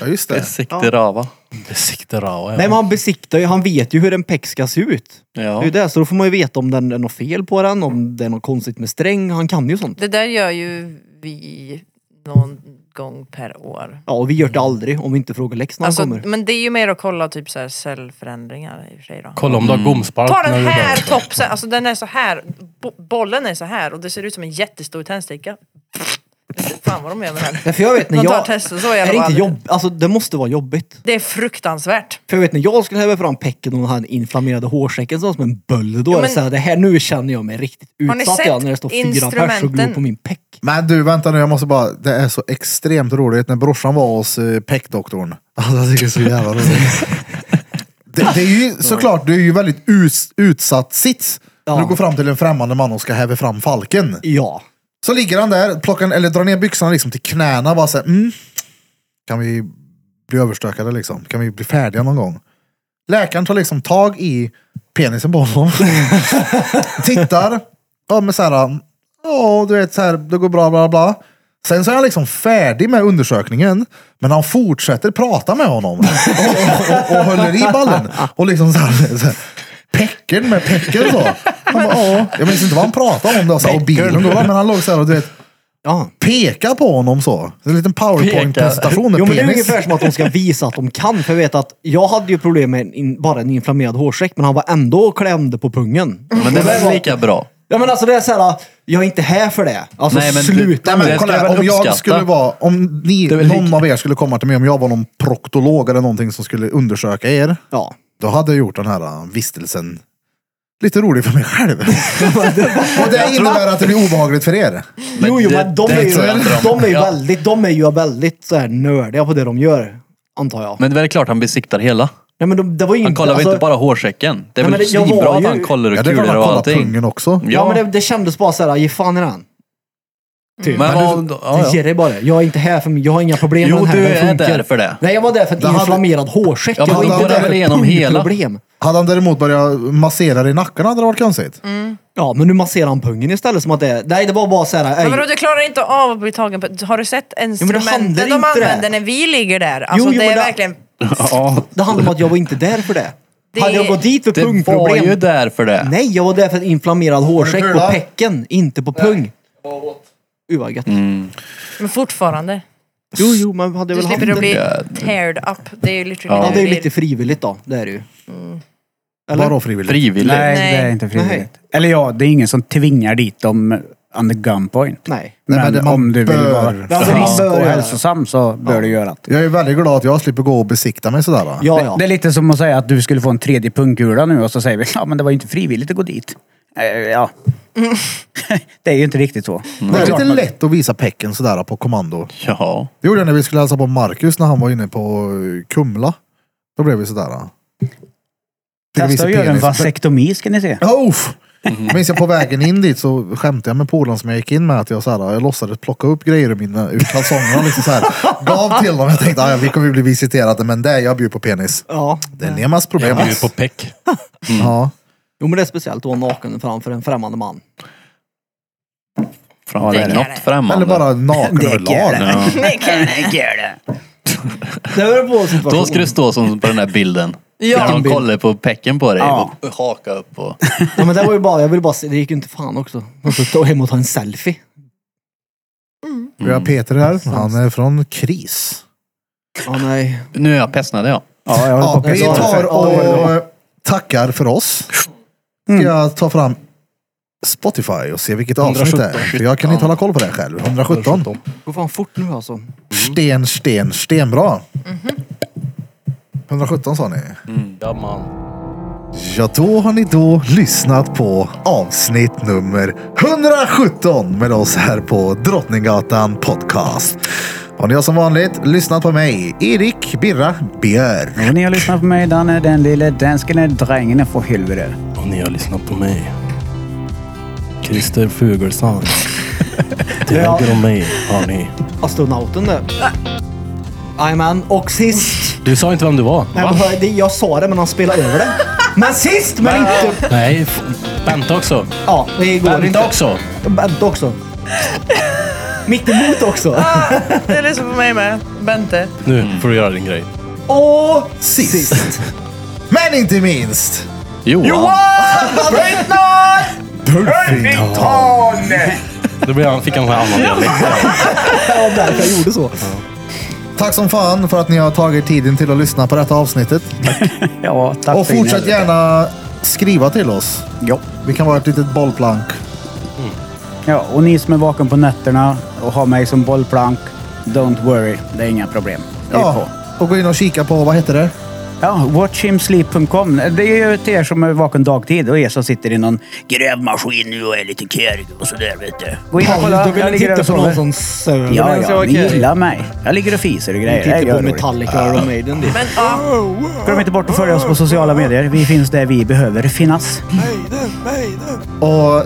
ja just det.
Sikte rava.
Sikte rava.
Nej, men han besiktar ju. Han vet ju hur en peck ska se ut. Det är
Ja.
ju det, så då får man ju veta om den är något fel på den, om det är något konstigt med sträng. Han kan ju sånt.
Det där gör ju vi någon gång per år.
Ja, och vi gör
Mm.
det aldrig om vi inte frågar Lex när
Alltså,
han kommer.
men det är ju mer att kolla typ så här cellförändringar i och för sig då.
Kolla om du har gomspark.
Ta
när
den
du är
här
där.
topsen, alltså den är så här. Bo bollen är så här och det ser ut som en jättestor tändsticka. Fan vad de gör med den.
Ja, för jag vet när
De tar
jag...
tester så
Är
jävla
det inte
aldrig.
jobb... Alltså det måste vara jobbigt.
Det är fruktansvärt.
För jag vet när jag skulle häva fram pecken och han inflammerade hårsäcken så var det som en böld. Då
Jo,
är det
men-
såhär, det här nu känner jag mig riktigt
Har ni
utsatt
sett
jag, när det står fyra pers och glor
instrumenten?
på min peck.
Men du, vänta nu, jag måste bara, det är så extremt roligt när brorsan var hos eh, peckdoktorn. Alltså jag tycker det är så jävla roligt. Det, det är ju såklart, du är ju väldigt us, utsatt sits. När
Ja.
du går fram till en främmande man och ska häva fram falken.
Ja.
Så ligger han där, plockar, eller drar ner byxorna liksom till knäna bara såhär, mm. Kan vi bli överstökade liksom? Kan vi bli färdiga någon gång? Läkaren tar liksom tag i penisen på honom. Tittar. Ja men såhär, ja du vet såhär, det går bra bla bla. Sen så är han liksom färdig med undersökningen, men han fortsätter prata med honom. Och, och, och, och håller i ballen. Och liksom såhär, såhär pecken med pecken så. Han bara, ja. Jag minns inte vad han pratade om då, såhär, och bilen då, men han låg såhär och du vet,
Ja.
peka på honom så. En liten powerpoint-presentation
Jo
med
men det är
penis.
ungefär som att de ska visa att de kan. För jag vet att jag hade ju problem med en, in- bara en inflammerad hårsäck men han var ändå och klämde på pungen.
Men det är väl lika bra.
Ja men alltså det är såhär, jag är inte här för det. Alltså
Nej, men du-
sluta
Nej,
med
Det ska
men, kolla,
jag
här,
väl
om jag
uppskatta.
skulle vara, om ni,
är väl
någon
lika-
av er skulle komma till mig, om jag var någon proktolog eller någonting som skulle undersöka er,
Ja.
då hade jag gjort den här äh, vistelsen lite rolig för mig själv. Och det innebär att det blir obehagligt för er.
jo, jo,
det-
men de
det
är ju,
tror jag inte om.
de är ju
Ja.
väldigt, de är ju väldigt så här nördiga på det de gör. Antar jag.
Men det är väl klart han besiktar hela.
nej, men de, det var ju
Han
inte-
kollar väl
alltså-
inte bara hårsäcken? Det är väl
Nej, men det- jag
svinbra
var
att
ju-
han kollar
Ja,
och
det är klart
kulor
att
och
kolla
allting.
pungen också.
Ja, men det, det kändes bara såhär, ge fan i den. Typ.
Men
Men
vad- ja, ja.
Ge dig bara. Jag är inte här för jag har inga problem
Jo,
med den här.
du
den
är
funkar.
där för det.
Nej, jag var där för att
hade-
inflammerad hårsäck.
Ja, men
jag var
han hade
inte där
väl
för
igenom hela.
pungproblem.
Hade han däremot börjat massera dig i nacken hade det varit konstigt.
Ja, men nu masserar han pungen istället som att det är... Nej, det var bara såhär...
Men
ej.
vadå, du klarar inte av att bli tagen på... Har du sett instrumenten
handlar
de
inte det.
använder när vi ligger där? Alltså
jo,
det är
men det-
verkligen...
Det handlar om att jag var inte där för det.
Det-
Hade jag gått dit för
Det var
pungproblem...
ju där för det.
Nej, jag var där för en inflammerad hårsäck på
pulat?
pecken, inte på pung. Uh, vad gött.
Mm.
Men fortfarande.
Jo, jo, man hade
Du
väl haft
slipper att
det.
bli teared up. Det är ju literally
Ja,
det
det är
du
ju
vill.
lite frivilligt då. Det är det ju. Eller?
Vadå frivilligt?
Frivilligt.
Nej,
Nej.
det är inte
Nej.
Mm. frivilligt. Eller ja, det är ingen som tvingar dit dem under gunpoint.
Nej.
Men,
Nej, men det-
om du vill
bör.
vara
Ja, men man
frisk
bör
och
göra det.
hälsosam så bör du göra det.
Jag är väldigt glad att jag slipper gå och besikta mig sådär. va?
Ja, ja.
Det är lite som att säga att du skulle få en tredje pungkula nu och så säger vi ja men det var ju inte frivilligt att gå dit. Eh, Ja. det är ju inte riktigt så.
Det är lite lätt att visa pecken sådär på kommando.
Ja.
Det gjorde jag när vi skulle hälsa på Marcus när han var inne på eh, Kumla. Då blev vi sådär. äh,
Testa att göra en vasektomi ska ni se.
Oh, Minns jag på vägen in dit så skämtade jag med polaren som jag gick in med att jag, så här, jag låtsades plocka upp grejer ur, mina, ur kalsongerna. Liksom så här, gav till dem. Jag tänkte att vi kommer bli visiterade men det, jag bjuder på penis.
Ja.
Det är Nemas problem.
Jag bjuder på peck.
Ja.
Jo men det är speciellt att vara naken framför en främmande man.
Framför
det är
något
det.
Mm.
främmande.
Eller bara naken
Det gör
överlag.
det.
Nej, kan-
Det gör det.
Det beror på situationen.
Då ska du stå som på den här bilden.
Ja.
Där de kollar på pecken på dig
Ja.
och haka upp och...
Ja, men det var ju bara, jag ville bara se, det gick ju inte fan också. Man får stå hemma och ta en selfie.
Vi har Peter här. Han är från KRIS.
Ja nej.
Nu är jag pessnade jag.
Ja, jag
Ja,
håller på
vi
att
tar
pissa.
och tackar för oss. Ska jag ta fram Spotify och se vilket avsnitt det är. För jag kan inte hålla koll på det här själv. 117.
Gå fan fort nu alltså.
Mm. Sten, sten, stenbra. 117 sa ni.
Ja, man.
Ja, då har ni då lyssnat på avsnitt nummer 117 med oss här på Drottninggatan Podcast. Och ni har som vanligt lyssnat på mig, Erik Birra Björn.
Och ni har lyssnat på mig, Danne, den lille dansken, drängen, för helvete.
Och ni har lyssnat på mig. Christer Fuglesang. Till
Ja.
höger om mig har ni.
Astronauten där. Jajamän. Och sist.
Du sa inte vem du var.
Nej, men det- jag sa det men han spelade över det. Men sist men inte.
Nej, f- Bente också.
Ja, det går
Bente
inte.
också.
Bent också. Mitt emot också.
Ah.
Det är så på mig med. Bente.
Nu får du göra din grej.
Och
Sist. Men inte minst,
Johan!
Då blir han, fick han en annan dialekt.
det var därför jag gjorde så.
tack som fan för att ni har tagit tiden till att lyssna på detta avsnittet.
Ja, tack
Och
för
fortsätt
inlägget.
gärna skriva till oss.
Ja.
Vi kan vara ett litet bollplank.
ja, och ni som är vaken på nätterna och har mig som bollplank, don't worry, det är inga problem. Det är
Ja,
på.
och gå in och kika på, vad heter det?
Ja, watchhimsleep.com. Det är ju till er som är vaken dagtid och er som sitter i någon grävmaskin nu och är lite kärg och sådär vet du. Gå in och
Då
kolla.
vill
Jag
jag
ligger där
titta
och
på någon som
sover.
söver.
Ja,
Den ska
ja,
vara
ni
okej.
gillar mig. Jag ligger och fiser och grejer. Det Ah. är
Titta på
roligt.
Metallica och Iron Maiden. dit.
Men ja,
Glöm inte bort att följa oss på sociala medier. Vi finns där vi behöver finnas.
Mm.
Och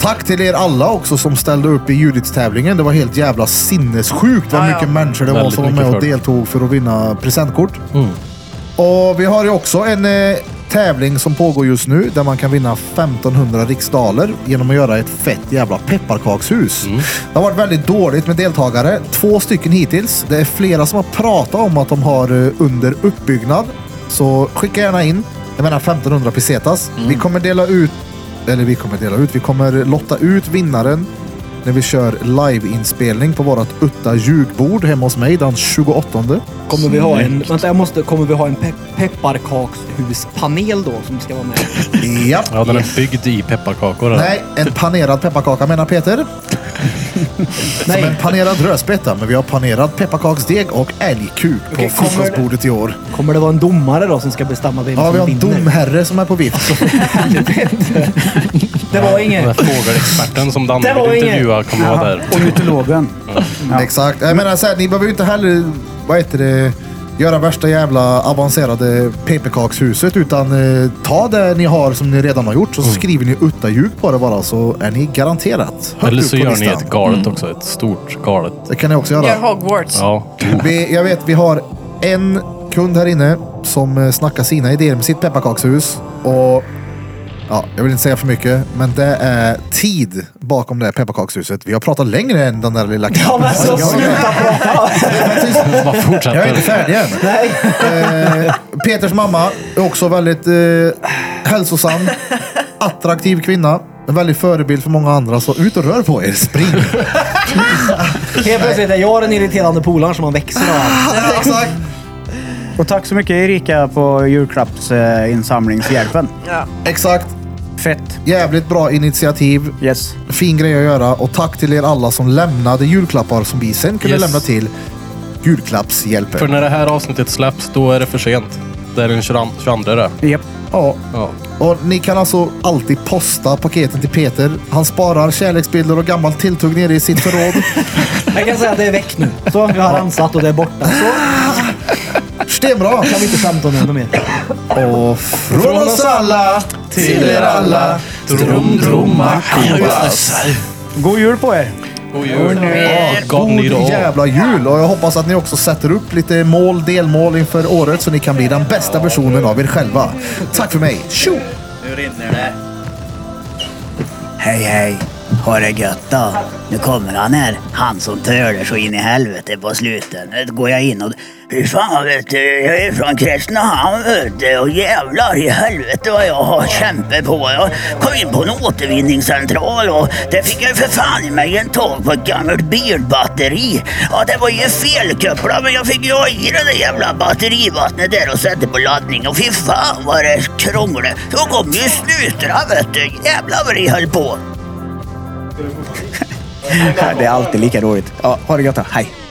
tack till er alla också som ställde upp i Judits-tävlingen. Det var helt jävla sinnessjukt vad
Ja, ja.
mycket människor det var
Väldigt
som var
mycket
med och
folk.
deltog för att vinna presentkort. Och vi har ju också en eh, tävling som pågår just nu där man kan vinna 1500 riksdaler genom att göra ett fett jävla pepparkakshus. Det har varit väldigt dåligt med deltagare. Två stycken hittills. Det är flera som har pratat om att de har eh, under uppbyggnad. Så skicka gärna in. Jag menar 1500 pesetas. Vi kommer dela ut, eller vi kommer dela ut, vi kommer lotta ut vinnaren när vi kör liveinspelning på vårt Utta ljugbord hemma hos mig den 28.
Kommer vi ha en, vänta, jag måste, kommer vi ha en pe pepparkakshuspanel då som ska vara med?
Japp.
Ja, den är byggd i pepparkakor. eller?
Nej, en panerad pepparkaka menar Peter. Som en panerad rödspätta, men vi har panerad pepparkaksdeg och älgkuk på
Okej, kommer
frukostbordet i år.
Kommer det vara en domare då som ska bestämma vem
Ja,
som
vi har en
vinner?
domherre som är på vift.
Det var
Den här
inget.
fågelexperten som Danne
Det var
vill
ingen-
intervjua kommer vara där.
Ornitologen.
Exakt. Jag menar, så här, ni behöver ju inte heller, vad heter det, göra värsta jävla avancerade pepparkakshuset, utan eh, ta det ni har som ni redan har gjort, så
Mm.
skriver ni utta ljug på det bara, så är ni garanterat högt
Eller
upp
så
på
gör ni
listan.
ett galet också. Ett stort galet.
Det kan ni också göra.
gör Hogwarts.
Ja.
Vi, jag vet, vi har en kund här inne som eh, snackar sina idéer med sitt pepparkakshus. Och ja, jag vill inte säga för mycket, men det är tid bakom det här pepparkakshuset. Vi har pratat längre än den där lilla
Ja, men så sluta prata!
Bara
Jag är inte
fortsätter.
färdig än.
Nej.
Eh, Peters mamma är också väldigt eh, hälsosam, attraktiv kvinna. En väldigt förebild för många andra, så ut och rör på er. Spring!
Helt plötsligt är jag den irriterande polaren som man växer av.
Exakt.
Och tack så mycket Erika på julklappsinsamlingshjälpen.
Ja.
Exakt.
Fett.
Jävligt bra initiativ.
Yes.
fin grej att göra och tack till er alla som lämnade julklappar som vi sen kunde
Yes.
lämna till julklappshjälpen.
För när det här avsnittet släpps, då är det för sent. Det är den 22 det.
Japp.
Ja.
Ja.
Och ni kan alltså alltid posta paketen till Peter. Han sparar kärleksbilder och gammalt tilltugg nere i sitt förråd.
Jag kan säga att det är väck nu. Så, vi har rensat och det är borta. Så
Stenbra!
kan vi inte skämta om det ännu mer.
Och från oss alla
till er alla. Drum, drumma,
God jul på er!
God jul! God
God
ny dag!
jävla jul! Och jag hoppas att ni också sätter upp lite mål, delmål inför året så ni kan bli den bästa versionen av er själva. Tack för mig! Tjo!
Hej hej! Ha det gött då. Nu kommer han här. Han som töler så in i helvete på slutet. Nu går jag in och... Fy fan vet du, jag är från Kristinehamn vet du. Och jävlar i helvete vad jag har kämpat på. Jag kom in på en återvinningscentral och där fick jag ju för fan i mig en tag på ett gammalt bilbatteri. Ja, det var ju felkopplat men jag fick ju ha i det där jävla batterivattnet där och sätta på laddning. Och fy fan vad det krånglade. Så kom ju snutarna vet du. Jävlar vad det höll på.
Det är alltid lika roligt. Ja, ha det gött då. Hej!